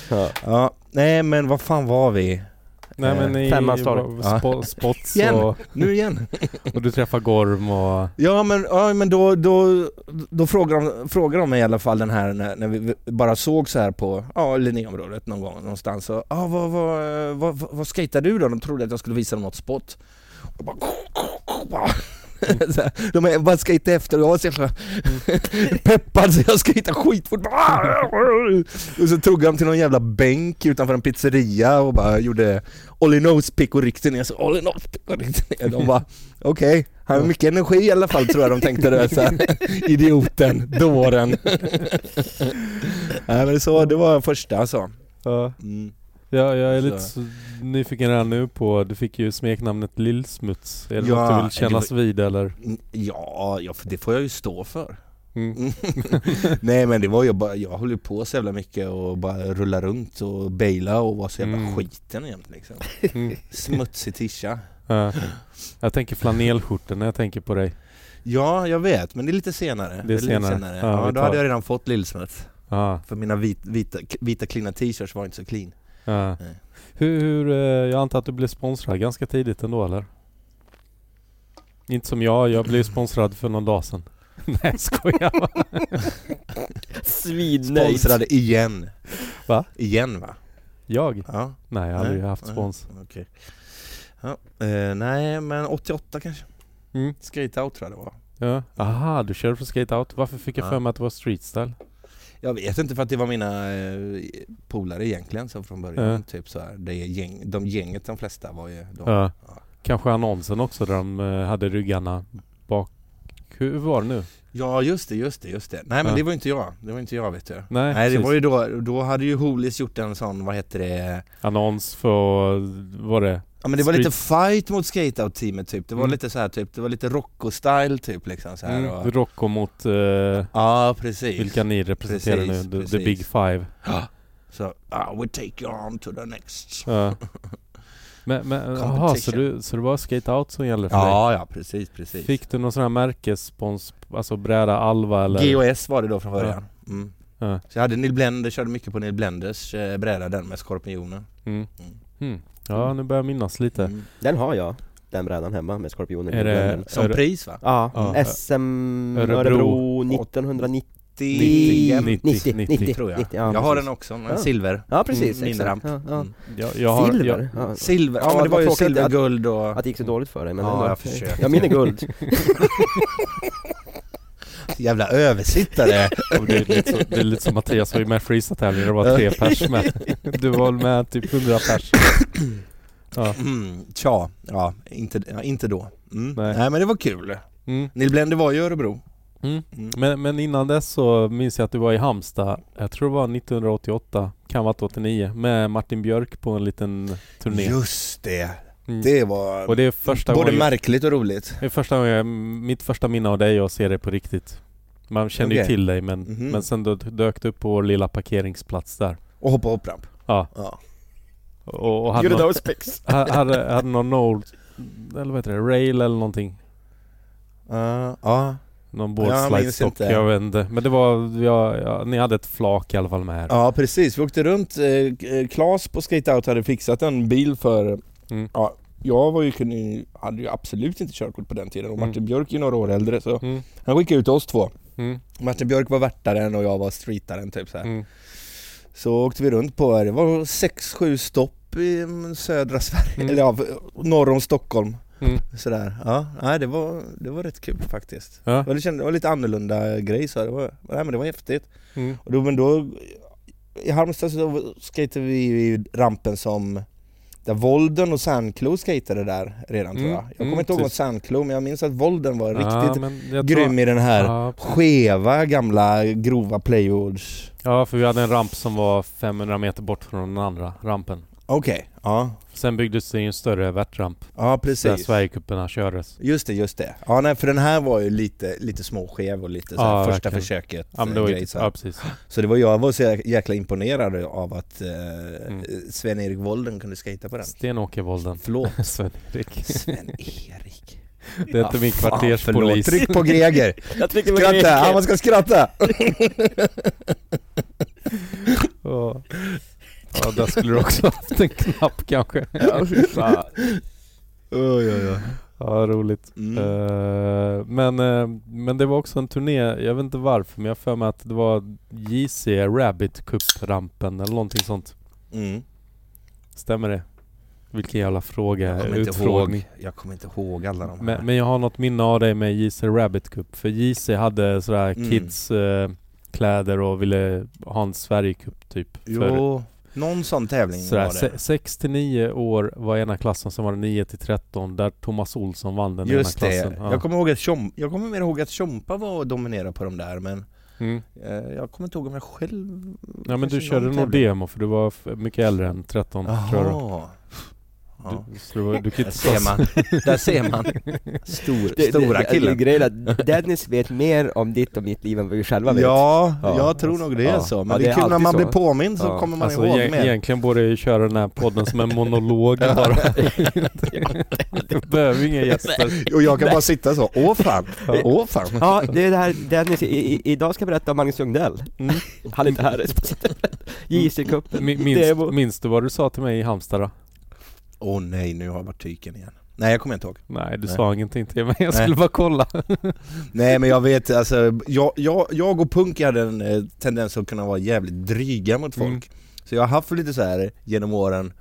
D: Ja.
C: Ja, nej men vad fan var vi?
A: Nej men
C: Eh,
A: i
D: femmans torg.
A: var- spo, spots
C: Igen.
A: och,
C: Nu igen.
A: och du träffar Gorm och...
C: Ja men, ja, men då, då, då frågar, de, frågar de mig i alla fall den här när, när vi bara såg så här på ja, Linnéområdet någon gång någonstans så, ja vad, vad, eh, vad, vad, vad skejtar du då? De trodde att jag skulle visa dem något spot. Och bara, så här, de är bara skejtade efter och jag var så jävla peppad så jag skejtade skitfort. Och så tog de till någon jävla bänk utanför en pizzeria och bara gjorde Olly Nose pick och ryckte ner så Olly Nose pick och ryckte ner. De bara okej, han har mycket energi i alla fall tror jag de tänkte. Det, så här. Idioten, dåren. Nej men så, det var första alltså.
A: Ja,
C: Mm.
A: jag, jag är lite
C: Så.
A: så nyfiken redan nu på, du fick ju smeknamnet Lillsmuts. Är det
C: Ja,
A: något du
C: det
A: vill kännas vid eller?
C: Ja, ja, för det får jag ju stå för.
A: Mm.
C: Nej men det var ju bara, jag höll ju på så jävla mycket och bara rulla runt och baila och var så jävla
A: Mm.
C: skiten jämt liksom.
A: Mm.
C: Smutsig tisha.
A: Ja. jag tänker flanellskjortor när jag tänker på dig.
C: Ja, jag vet, men det är lite senare.
A: Det är
C: lite
A: senare. Ja,
C: Ja,
A: vi
C: då
A: tar-
C: hade jag redan fått lillsmuts.
A: Ja.
C: För mina vit, vita, vita klina t-shirts var inte så clean.
A: Ja.
C: Nej.
A: Hur, hur, eh, jag antar att du blev sponsrad ganska tidigt ändå eller? Inte som jag, jag blev sponsrad för någon dag sedan. Nej jag skojar bara.
D: Svinnöjd!
C: Sponsrade igen.
A: Va?
C: Igen va?
A: Jag?
C: Ja,
A: Nej jag har aldrig
C: Nej.
A: haft
C: Nej.
A: spons.
C: okej. Ja, eh, nej men 88 kanske?
A: Mm.
C: Skateout tror jag det var.
A: Ja. Aha, du körde för Skate Out. Varför fick jag
C: Ja.
A: för mig att det var Street Style?
C: Jag vet inte för att det var mina eh, polare egentligen så från början.
A: Ja.
C: Typ så här, det gäng, de gänget de flesta var ju de.
A: Ja.
C: Ja.
A: Kanske annonsen också där de eh, hade ryggarna bak. Hur var det nu?
C: Ja just det, just det, just det. Nej men
A: Ja.
C: det var inte jag, det var inte jag vet du.
A: Nej,
C: Nej det
A: precis.
C: var ju då, då hade ju Holis gjort en sån, vad heter det?
A: Annons för, var det?
C: Ja men det var
A: Street-
C: lite fight mot skateout teamet typ, det var
A: Mm.
C: lite så här typ, det var lite Rocco-style typ liksom så här och...
A: Mm. Rocco mot eh,
C: Ja precis.
A: vilka ni representerar
C: Precis,
A: nu, the, the
C: precis.
A: Big Five.
C: Så, ah, we take you on to the next.
A: Ja. Men, men eh, aha, så,
C: Competition.
A: du, så det var Skate Out som gällde för
C: Ja, ja precis,
A: dig?
C: precis.
A: Fick du någon sån här märkesspons, alltså bräda Alva eller?
C: GOS var det då från början. Mm.
A: Ja.
C: Så jag hade Neil Blender, körde mycket på Neil Blenders eh, bräda den med skorpioner.
A: Mm. Mm. Ja, nu börjar jag minnas lite.
C: Mm.
D: Den har jag, den brädan hemma med skorpioner
A: Är
D: i
A: det-
D: bränden.
C: Som
A: Är det-
C: pris va?
D: Ja,
A: Ja.
D: SM
A: Örebro.
D: Örebro, 1990 90,
A: 90.
D: 90,
A: 90,
D: 90,
C: tror jag.
D: 90 ja,
C: Jag har
D: precis.
C: den också, en
D: Ja.
C: silver.
D: Ja precis,
C: Mm, min
D: exakt.
C: ramp.
D: Ja, ja.
C: Mm.
A: Jag, jag har,
D: Silver?
A: Jag, Mm.
D: Ja.
C: Silver, ja,
D: Ja,
C: men det
D: vad
C: var ju
D: tråkigt
C: silver,
D: att-
C: guld och...
D: Att det gick så dåligt för dig men
C: Ja,
D: ändå.
C: jag försökte.
D: Ja min är guld.
C: Jävla översittare!
A: och det, är lite så, det är lite som Mattias var ju med i freestyle-tävlingen, det var tre pers med. Du var väl med typ 100 pers? Ja.
C: Mm, tja, ja, inte, ja, inte då. Mm.
A: Nej.
C: Nej. men det var kul.
A: Mm.
C: Neil Blender var ju i Örebro.
A: Mm.
C: Mm.
A: Men, men innan dess så minns jag att du var i Halmstad, jag tror det var 1988, kan vara 89, med Martin Björk på en liten turné.
C: Just det!
A: Mm.
C: Det var
A: Och det är första
C: både
A: gången,
C: märkligt och roligt.
A: det är första gången jag, mitt första minne av dig är att se dig på riktigt. Man kände ju
C: Okej.
A: till dig men,
C: Mhm.
A: men sen då dök du upp på vår lilla parkeringsplats där.
C: Och hoppa hoppramp.
A: Ja,
C: Ja.
A: och, och hade, någon,
D: those specs?
A: ha- hade, hade någon old, eller vad heter det, rail eller någonting.
C: Uh, ja.
A: Någon
C: Jag minns
A: boardslide-stock,
C: inte.
A: jag vet inte. Men det var, ja, ja, ni hade ett flak i alla fall med er.
C: ja, precis. Vi åkte runt. Eh, K- Klas på Skateout hade fixat en bil för...
A: Mm.
C: Ja, jag var ju, kunde, ju- hade ju absolut inte körkort på den tiden och
A: Mm.
C: Martin Björk är ju några år äldre så
A: Mm,
C: han skickade ut oss två.
A: mm,
C: Martin Björk var värtaren och jag var streetaren typ så här.
A: mm.
C: Så åkte vi runt på, det var 6-7 stopp i mm, södra Sverige,
A: Mm.
C: eller ja, norr om Stockholm.
A: Mm.
C: Sådär. Ja, nej, det, var, det var rätt kul faktiskt.
A: Ja.
C: Och Det, kändes, det var lite annorlunda grej så det var, nej, men det var häftigt.
A: Mm.
C: Och då, men då, I Halmstad så skatade vi ju rampen som där Volden och Sandklo skatade där redan tror
A: Mm,
C: jag. Jag
A: mm,
C: kommer inte ihåg
A: precis.
C: något Sandklo men jag minns att Volden var
A: Ja,
C: riktigt
A: men jag tror-
C: grym i den här
A: Ja,
C: skeva gamla grova playwords
A: Ja, för vi hade en ramp som var 500 meter bort från den andra rampen.
C: Okej, ja.
A: Sen byggdes det ju en större värtramp
C: Ja
A: där
C: precis.
A: Sverigecuperna kördes.
C: Just det, just det. Ja nej, för den här var ju lite, lite småskev och lite så här
A: Ja,
C: första
A: verkligen.
C: försöket eh,
A: Ja, men det var ju
C: grej,
A: typ,
C: så.
A: ja, precis.
C: så det var jag var så jä- jäkla imponerad av att eh,
A: Mm.
C: Sven-Erik Wolden kunde skata på den.
A: Stenåkervolden.
C: Förlåt.
A: Sven-Erik.
C: Sven-Erik.
A: Det är inte min kvarterspolis.
C: Tryck på Greger.
D: Jag trycker på
C: Skratta, ja, man
D: greker.
C: ska skratta.
A: Ja. ja, där skulle du också haft en knapp kanske.
D: Ja, fy fan.
C: Oj, oj, oj.
A: Ja, roligt.
C: Mm.
A: Eh, men, eh, men det var också en turné, jag vet inte varför, men jag har för mig att det var JC Rabbit Cup-rampen eller någonting sånt.
C: Mm.
A: Stämmer det? Vilken jävla fråga,
C: Jag kommer inte
A: utfrågning.
C: ihåg, jag kommer inte ihåg alla de här.
A: Men, men jag har något minne av dig med JC Rabbit Cup, för JC hade sådär
C: Mm.
A: kids eh, kläder och ville ha en Sverigecup typ. För
C: jo, någon sån tävling
A: sådär,
C: var det.
A: 6 till 9 år var ena klassen, som var det 9 till 13 där Thomas Olsson vann den
C: Just
A: ena
C: det.
A: klassen. Ja.
C: Jag kommer ihåg att Tjom- jag kommer mer ihåg att Tjompa var och dominerade på de där men
A: mm.
C: eh, jag kommer inte ihåg om jag själv
A: ja men
C: kanske
A: du körde
C: någon
A: nog
C: tävling.
A: demo för du var f- mycket äldre än 13 tror jag.
C: Jaha. Ja.
A: Du, så du, du kan
C: Där
A: inte
C: ser man, där ser man. Stor, stora
D: Det,
C: killen.
D: det, grejen är att Dennis vet mer om ditt och mitt liv än vad vi själva vet.
C: Ja,
D: Ja,
C: jag tror nog det är
D: ja.
C: så. Men
D: Ja,
C: det,
D: det
C: är
D: är
C: kul när
D: alltid
C: man
D: så.
C: blir påmind så
D: Ja.
C: kommer man
A: Alltså
C: ihåg
A: e-
C: mer.
A: egentligen borde jag ju köra den här podden som en monolog bara. Jag behöver inga gäster.
C: Och jag kan bara sitta så, åh fan, åh fan.
D: Ja, det är det här Dennis, i, i, idag ska jag berätta om Magnus Ljungdell.
A: Mm.
D: Han är inte här. JC-cupen,
A: Min-
D: demo.
A: Minns, minns du vad du sa till mig i Halmstad då?
C: Åh nej, nu har jag varit tyken igen. Nej, jag kommer inte ihåg.
A: Nej, du
C: Nej.
A: sa ingenting till mig. Jag
C: Nej.
A: skulle bara kolla.
C: Nej men jag vet, alltså, jag, jag, jag och Punky hade en eh, tendens att kunna vara jävligt dryga mot folk.
A: Mm.
C: Så jag har haft lite så här genom åren,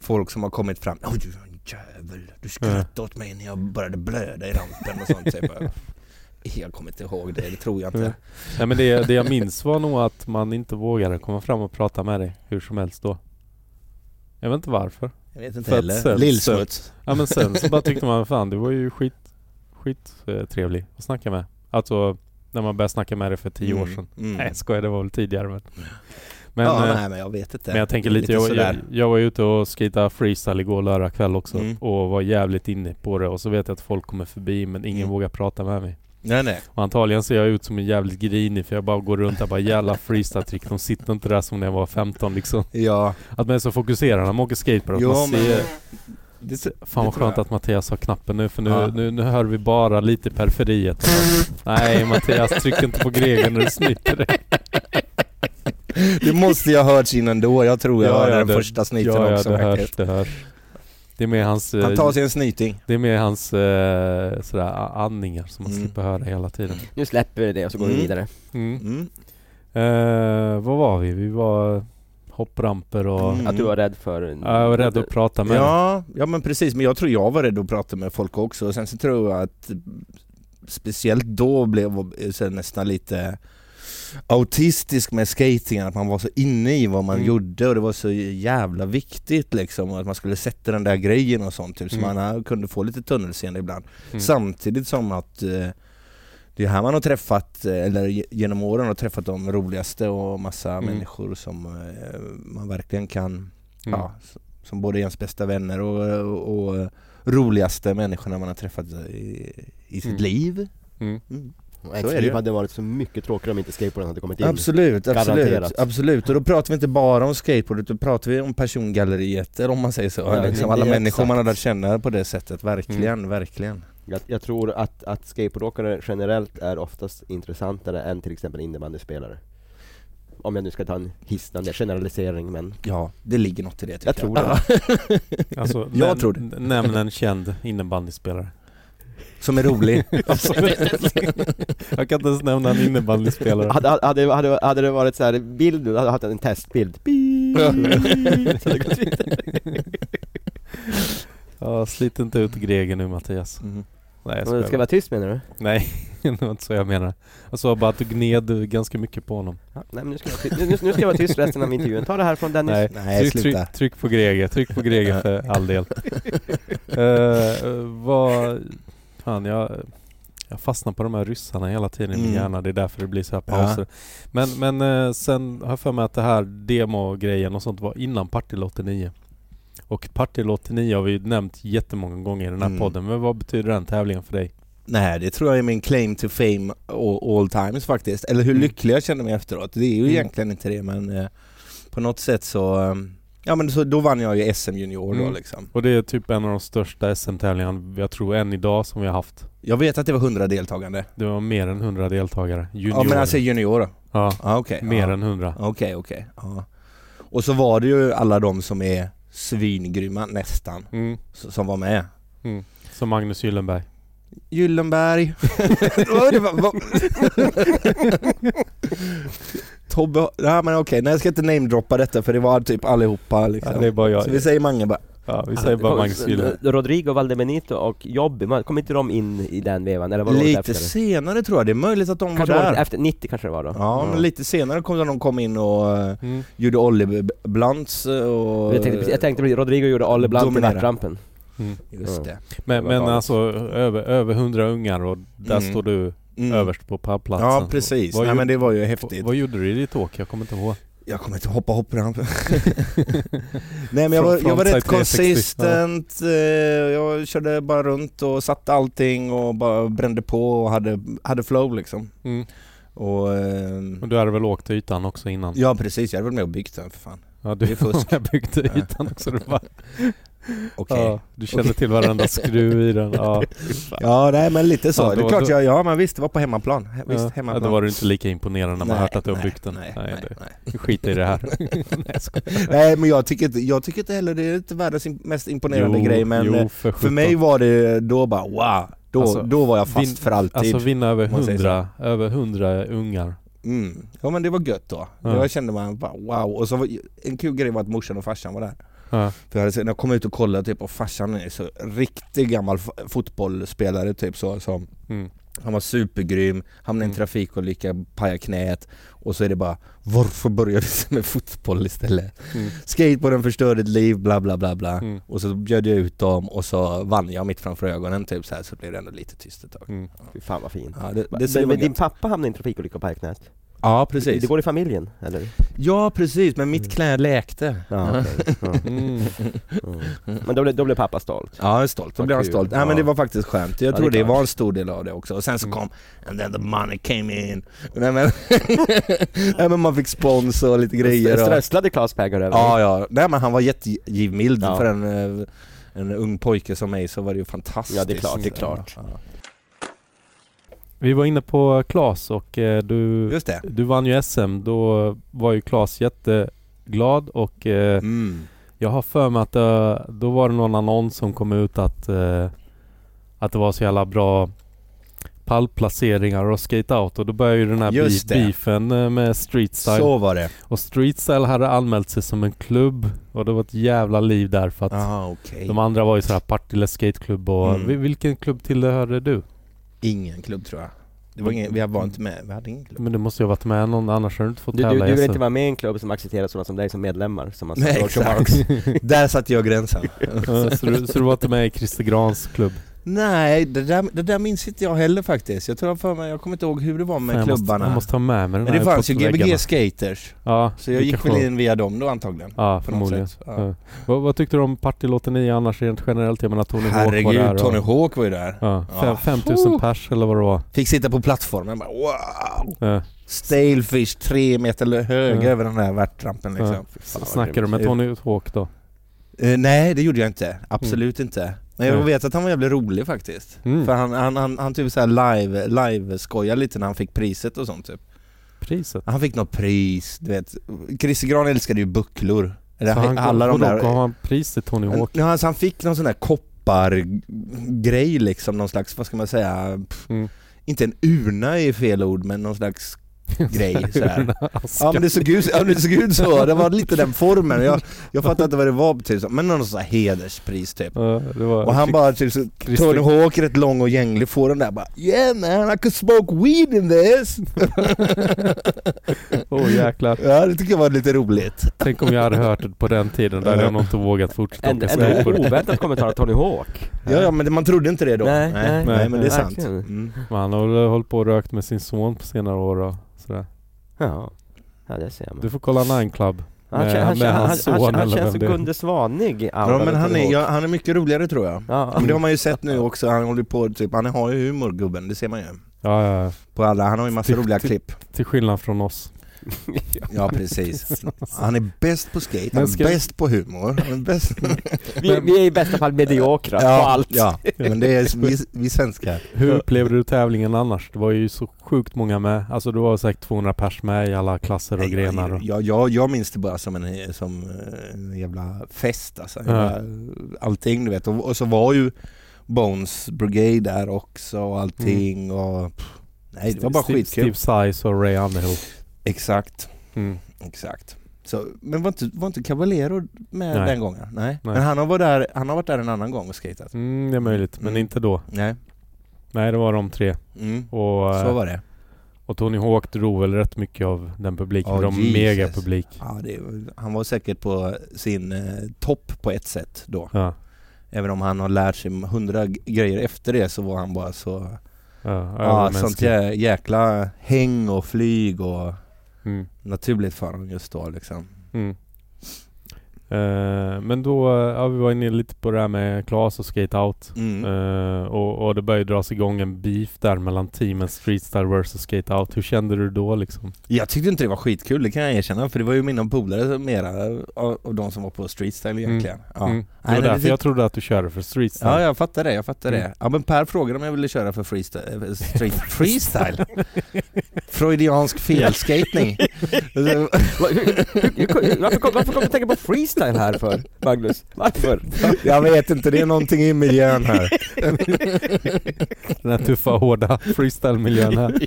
C: folk som har kommit fram, Åh du är en jävel, du skrattade åt mig när jag började blöda i rampen och sånt. Så jag, bara, jag kommer inte ihåg det, det tror jag inte.
A: Mm. Nej men det, det jag minns var nog att man inte vågade komma fram och prata med dig hur som helst då. Jag vet inte varför.
C: Jag vet inte
A: För att
C: heller.
A: sen-
C: Lillsmuts.
A: Ja men sen så bara tyckte man fan du var ju skit, skit eh, trevlig att snacka med. Alltså när man började snacka med dig för tio år
C: Mm,
A: sedan.
C: Mm.
A: Nej jag skojar, det var väl tidigare men. Men,
C: ja,
A: eh,
C: nej, men jag vet inte.
A: men jag tänker lite, jag, jag,
C: sådär.
A: jag var ute och skejtade freestyle igår lördag kväll också
C: Mm.
A: och var jävligt inne på det och så vet jag att folk kommer förbi men ingen
C: Mm.
A: vågar prata med mig.
C: Nej, nej.
A: Och antagligen ser jag ut som en jävligt grinig för jag bara går runt och bara jävla freestyle-trick. De sitter inte där som när jag var 15 liksom.
C: Ja,
A: Att man är så fokuserad när man åker skateboard. Att
C: Jo,
A: man
C: men-
A: ser...
C: det,
A: Fan vad
C: tror
A: skönt
C: jag.
A: att Mattias har knappen nu för nu,
C: Ja.
A: nu, nu hör vi bara lite i periferiet. Nej Mattias, tryck inte på gregen när du snyter dig.
C: det måste jag ha hört innan då. Jag tror jag
A: Ja,
C: hörde
A: ja,
C: den
A: det-
C: första snyten
A: ja,
C: också
A: ja, det hörs,
C: faktiskt.
A: det hörs. Det är med hans, eh,
C: Han tar sig en snyting.
A: det är med hans eh, sådär, a- andningar som man
C: Mm.
A: slipper höra hela tiden.
D: Nu släpper vi det och så går vi
C: Mm.
D: vidare.
A: Mm.
C: Mm.
A: Eh, vad var vi? Vi var hoppramper och...
C: Mm.
D: Att du var rädd för... en-
A: Ja, jag var rädd att prata med dig.
C: Ja, ja men precis, men jag tror jag var rädd att prata med folk också och sen så tror jag att eh, Speciellt då blev jag eh, så här nästan lite autistisk med skatingen, att man var så inne i vad man
A: Mm.
C: gjorde och det var så jävla viktigt liksom och att man skulle sätta den där grejen och sånt typ, så
A: Mm.
C: man eh, kunde få lite tunnelseende ibland.
A: Mm.
C: Samtidigt som att eh, det är här man har träffat, eh, eller ge- genom åren har träffat de roligaste och massa
A: Mm.
C: människor som eh, man verkligen kan
A: Mm.
C: ja, s- som både är ens bästa vänner och, och, och roligaste människorna man har träffat i, i sitt
A: Mm.
C: liv.
A: Mm.
B: Och
C: är
B: ens
C: det ju.
B: liv hade varit så mycket tråkigare om inte skateboarden hade kommit in.
C: Absolut,
B: Garanterat.
C: absolut, absolut. Och då pratar vi inte bara om skateboard utan pratar vi om persongalleriet, eller om man säger så.
B: Ja,
C: liksom
B: det är
C: alla människor man har
B: exakt.
C: lärt känna på det sättet, verkligen, verkligen.
B: Jag, jag tror att, att skateboardåkare generellt är oftast intressantare än till exempel innebandyspelare. Om jag nu ska ta en hisnande generalisering men...
C: Ja, det ligger något i det tycker
B: Jag tror det.
A: Alltså,
C: Jag
A: näm-
C: tror det.
A: n- Nämn en känd innebandyspelare.
C: Som är rolig.
A: Alltså, jag kan inte ens nämna en innebandyspelare.
B: Hade, hade, hade, hade det varit så här bild nu, hade jag haft en testbild. Beep. Så hade det gått vidare.
A: Ja, slit inte ut gregen nu Mattias.
C: Mm.
A: Nej, jag
B: Ska
A: skojar.
B: jag vara tyst menar du?
A: Nej, det var inte så jag menade. Jag sa bara att du gned ganska mycket på honom.
B: Ja, nej, men nu, ska jag vara tyst. Nu, nu ska jag vara tyst resten av intervjun. Ta det här från Dennis.
A: Nej,
C: Nej,
A: tryck,
C: sluta.
A: tryck, tryck på grege, tryck på grege för all del. Eh, eh, vad... Fan, jag, jag fastnar på de här ryssarna hela tiden i min
C: Mm.
A: hjärna. Det är därför det blir så här
C: Ja.
A: pauser. Men, men eh, sen har jag för mig att det här demo-grejen och sånt var innan Partille 89. Och Partille 89 har vi ju nämnt jättemånga gånger i den här
C: Mm.
A: podden. Men vad betyder den tävlingen för dig?
C: Nej, det tror jag är min claim to fame all, all times faktiskt. Eller hur
A: Mm.
C: lycklig jag kände mig efteråt. Det är ju
A: Mm.
C: egentligen inte det men eh, på något sätt så... eh, Ja men så, då vann jag ju SM junior då
A: Mm.
C: liksom.
A: Och det är typ en av de största SM-tävlingarna jag tror än idag som vi har haft.
C: Jag vet att det var 100 deltagande.
A: Det var mer än 100 deltagare. Junior.
C: Ja men alltså junior då?
A: ja,
C: Ja okej.
A: mer
C: ja.
A: än 100.
C: Okej okej. Ja. Och så var det ju alla de som är svingrymma nästan,
A: Mm.
C: s- som var med.
A: Som Magnus Gyllenberg.
C: Gyllenberg. Vad är det, va- va- Tobbe, nej men okej, nej jag ska inte namedroppa detta för det var typ allihopa liksom.
A: Ja, det är bara jag.
C: Så vi säger Mange bara.
A: Ja, vi säger bara Magnus Gyllenberg.
D: Rodrigo Valdebenito och Jobby, man- kom inte de in i den vevan? Eller var det året
C: Lite
D: efter?
C: senare tror jag, det är möjligt att de
D: Kanske
C: var
D: året
C: där.
D: efter, 90 kanske det var då?
C: Ja,
B: Mm.
C: men lite senare kom de kom in och eh,
A: Mm.
C: gjorde oljeblunts och...
D: Jag tänkte, jag tänkte precis, Rodrigo gjorde Olle Blunt i
C: Dominera.
D: värtrampen.
A: Mm.
C: Just det.
A: Men, men
D: Övertaget.
A: alltså över, över 100 ungar och där
C: Mm.
A: står du
C: Mm.
A: överst på pallplatsen.
C: Ja precis,
A: Vad
C: nej
A: gjorde-
C: men det var ju
A: Och-
C: häftigt. Mm.
A: Vad gjorde du i ditt åk? Jag kommer inte ihåg.
C: Jag kommer inte hoppa hoppramp. Nej men jag var,
A: Från-
C: jag var
A: frontside
C: rätt
A: 360,
C: konsistent, eh, jag körde bara runt och satte allting och bara brände på och hade, hade flow liksom.
A: Mm.
C: Och, eh,
A: Och du hade väl åkt ytan också innan?
C: ja precis, jag hade varit med och byggt den för fan.
A: Ja, du
C: det är fusk.
A: Jag byggde ytan också. Du, bara,
C: Okej.
A: ja, du kände till varenda skruv i den. Ja,
C: Ja nej men lite så,
A: Ja,
C: det
A: då-
C: är klart
A: då-
C: jag, ja men visst det var på hemmaplan. He- Visst,
A: ja. ja,
C: hemmaplan.
A: då var du inte lika imponerad när man
C: Nej,
A: hört att du har
C: nej,
A: byggt den.
C: Nej,
A: Nej,
C: nej, nej,
A: det- Skit i det här. nej, jag skojar.
C: Nej, men jag tycker, inte, jag tycker inte heller det är inte världens im- mest imponerande
A: Jo,
C: grej men
A: jo,
C: eh, för
A: sjutton.
C: mig var det då bara wow, då,
A: Alltså,
C: då var jag fast
A: vin-
C: för alltid.
A: Alltså vinna över
C: om man säger så.
A: hundra, över hundra ungar.
C: Mm. Ja men det var gött då.
A: Ja.
C: Jag kände man bara wow. Och så var, en kul grej var att morsan och farsan var där.
A: Ja.
C: För jag, hade, sett- när jag kom ut och kollade typ och farsan är så riktigt gammal f- fotbollsspelare typ så som
A: Mm.
C: han var supergrym, hamnade i en
A: Mm.
C: trafikolycka, pajade knät och så är det bara Varför började vi med fotboll istället?
A: Mm.
C: Skateboarden förstörde ett liv, bla bla bla bla
A: Mm.
C: Och så bjöd jag ut dem och så vann jag mitt framför ögonen typ så här så blev det ändå lite tyst ett tag
A: Mm.
B: Fy fan vad fin.
C: Ja, det, det,
B: Men, men
C: var
B: din
C: gött.
B: pappa hamnade i en trafikolycka på Parknäs?
C: ja precis
B: Det går i familjen, eller?
C: Ja precis, men
B: Mm.
C: mitt knä läkte
B: Ja, okej. ja.
A: Mm.
B: Mm. Men då blev, då blev pappa stolt.
C: Ja, jag är stolt. Då
B: Vad
C: blev han
B: kul.
C: stolt. Nej men
B: Ja.
C: det var faktiskt skönt. Jag
B: det
C: tror
B: är
C: det,
B: klart. Mm.
C: var en stor del av det också. Och sen så kom And then the money came in. Nej men, Nej, men man fick spons och lite grejer. Och...
B: Strösslade Claes pengar över
C: Ja, ja. Nej men han var jättegivmild
B: Ja.
C: för en, eh, en ung pojke som mig så var det ju fantastiskt.
B: Ja, det är klart, det är klart.
C: Ja.
A: Vi var inne på Klas och eh, du,
C: Just det.
A: du vann ju SM. Då var ju Klas jätteglad och eh,
C: Mm.
A: Jag har för mig att eh, då var det någon annons som kom ut att eh, Att det var så jävla bra pallplaceringar och skate-out och då började ju den här
C: Just
A: be-
C: det.
A: beefen eh, med streetstyle
C: Så var det.
A: Och streetstyle hade anmält sig som en klubb och det var ett jävla liv där för att
C: Ah, okej.
A: De andra var ju så här Partille skateklubb och
C: Mm.
A: Vi- Vilken klubb tillhörde du?
C: Ingen klubb tror jag. Det var ingen, vi var inte med, vi hade ingen klubb.
A: Men du måste ju ha varit med någon annars har du inte fått
B: Du, du,
A: tävla i
B: du vill
A: SM.
B: inte vara med i en klubb som accepterar sådana som dig som medlemmar? Som man sa,
C: Nej,
B: Roger
C: exakt.
B: Marks.
C: Där satte jag gränsen.
A: Ja, så, du, så du var inte med i Christer Grans klubb?
C: Nej, det där, det där minns inte jag heller faktiskt. Jag tror jag för mig, jag kommer inte ihåg hur det var med
A: Fan, jag måste,
C: klubbarna.
A: jag måste ha med mig den
C: Men det
A: här
C: fanns ju
A: på väggarna.
C: Gbg Skaters,
A: Ja,
C: så jag gick
A: vilka
C: väl
A: show.
C: in via dem då antagligen.
A: Ja,
C: På något
A: förmodligen.
C: sätt.
A: Ja.
C: Ja.
A: Vad, vad tyckte du om partylåten 9 annars rent generellt? Jag menar Tony Hawk var där
C: Herregud,
A: och,
C: Tony Hawk var ju där.
A: Ja,
C: Ja.
A: fem- 5000 pers eller vad det var.
C: Fick sitta på plattformen bara wow!
A: Ja.
C: Stalefish tre meter lö- hög
A: Ja.
C: över den där värtrampen liksom.
A: Ja.
B: Fy fan, vad
A: Snackade du
B: grymt.
A: med Tony Hawk då?
C: Eh, nej, det gjorde jag inte. Absolut inte. Men jag
A: Mm. Nej.
C: vet att han var jävligt rolig faktiskt.
A: Mm.
C: För han, han, han, han typ såhär live, live skojade lite när han fick priset och sånt typ.
A: Priset?
C: Han fick något pris, du vet. Christer Gran älskade ju bucklor. Eller
A: Så han,
C: alla de
A: vadå,
C: där...
A: gav han pris till Tony Hawk?
C: Ja, alltså han fick någon sån där koppargrej liksom, någon slags, vad ska man säga, pff,
A: Mm.
C: inte en urna är fel ord men någon slags grej så här.
A: Aska.
C: Ja men det såg ut, ja, men det såg ut så, det var lite den formen, jag, jag fattade inte vad det var typ, men någon sån här hederspris typ.
A: Ja, det var,
C: Och han bara typ så,
A: Christer-
C: Tony Hawk rätt lång och gänglig får den där bara Yeah man I could smoke weed in this!
A: Åh jäklar.
C: Ja det tycker jag var lite roligt.
A: Tänk om jag hade hört det på den tiden, då hade jag nog inte vågat fortsätta
B: En,
A: åka
B: en
A: skateboard.
B: oväntad kommentar av Tony Hawk.
C: Ja, ja men det- man trodde inte det då.
B: Nej, nej,
C: nej, nej men det
B: nej,
C: är sant.
B: verkligen.
C: Mm.
A: Men Han har väl hållit på och rökt med sin son på senare år och sådär.
B: Ja. ja, det ser man.
A: Du får kolla Nine Club.
B: Han,
A: med-
B: kän- han,
A: med
B: kän- han,
A: hans
B: han,
A: son
B: han,
A: eller
B: känns
A: vem
B: som
A: det är.
B: Gunde Svanig
C: Ja men han är, ja, han är mycket roligare tror jag.
B: ja.
C: Men det har man ju sett nu också, han håller på typ, han har ju humor gubben, det ser man ju.
A: Ja, ja, ja.
C: På alla, han har ju massa
A: Typ-
C: roliga
A: typ-
C: klipp.
A: Till skillnad från oss.
C: Ja precis. Han är bäst på skate, han
A: Men
C: är
A: ska-
C: bäst på humor, han är bäst...
B: vi, vi är i bästa fall mediokra på allt.
C: ja, men det är vi, vi svenskar.
A: Hur upplevde du tävlingen annars? Det var ju så sjukt många med. Alltså det var säkert 200 pers med i alla klasser och grenar. Och...
C: Jag, jag, jag minns det bara som en, eh, som en jävla fest alltså.
A: Ja.
C: Jävla- Allting du vet, och, och så var ju Bones Brigade där också och allting och... Pff, nej det var bara
A: Mm. Steve- Steve
C: skitkul.
A: Size och Ray Underhill.
C: Exakt.
A: Mm.
C: Exakt. Så, men var inte, var inte Caballero med
A: Nej.
C: den gången? Nej.
A: Nej.
C: Men han har, varit där, han har varit där en annan gång och skatat.
A: Mm, det är möjligt, men
C: Mm.
A: inte då.
C: Nej.
A: Nej, det var de tre.
C: Mm.
A: Och,
C: Så
A: eh,
C: var det.
A: och Tony Hawk drog väl rätt mycket av den publiken.
C: Ja,
A: de
C: Jesus.
A: mega publik.
C: Ja, det. Han var säkert på sin eh, topp på ett sätt då.
A: Ja,
C: Även om han har lärt sig hundra g- grejer efter det så var han bara så...
A: ja,
C: Ja, Ah, sånt
A: övermänsklig.
C: jä, jäkla häng och flyg och...
A: Mm.
C: naturligt för honom just då liksom.
A: Mm. Eh, men då, ja, vi var inne lite på det här med Klas och Skate Out.
C: Mm.
A: Eh, och, och det började dras igång en beef där mellan teamen Streetstyle vs Skate Out. Hur kände du då liksom?
C: Jag tyckte inte det var skitkul, det kan jag erkänna, för det var ju mina polare mera av, av de som var på streetstyle egentligen. Ja.
A: Mm. Det
C: Nej,
A: var
C: nej,
A: därför
C: det-
A: jag trodde att du körde för Streetstyle.
C: Ja, jag fattar det, jag fattar
A: Mm.
C: det. Ja men Per frågade om jag ville köra för freestyle, eh, street, freestyle? Freudiansk felskatning. Så-
D: Varför kom, varför kom du att tänka på freestyle här för, Magnus? Varför?
C: jag vet inte, det är någonting i miljön här.
A: Den här tuffa, hårda freestyle-miljön här.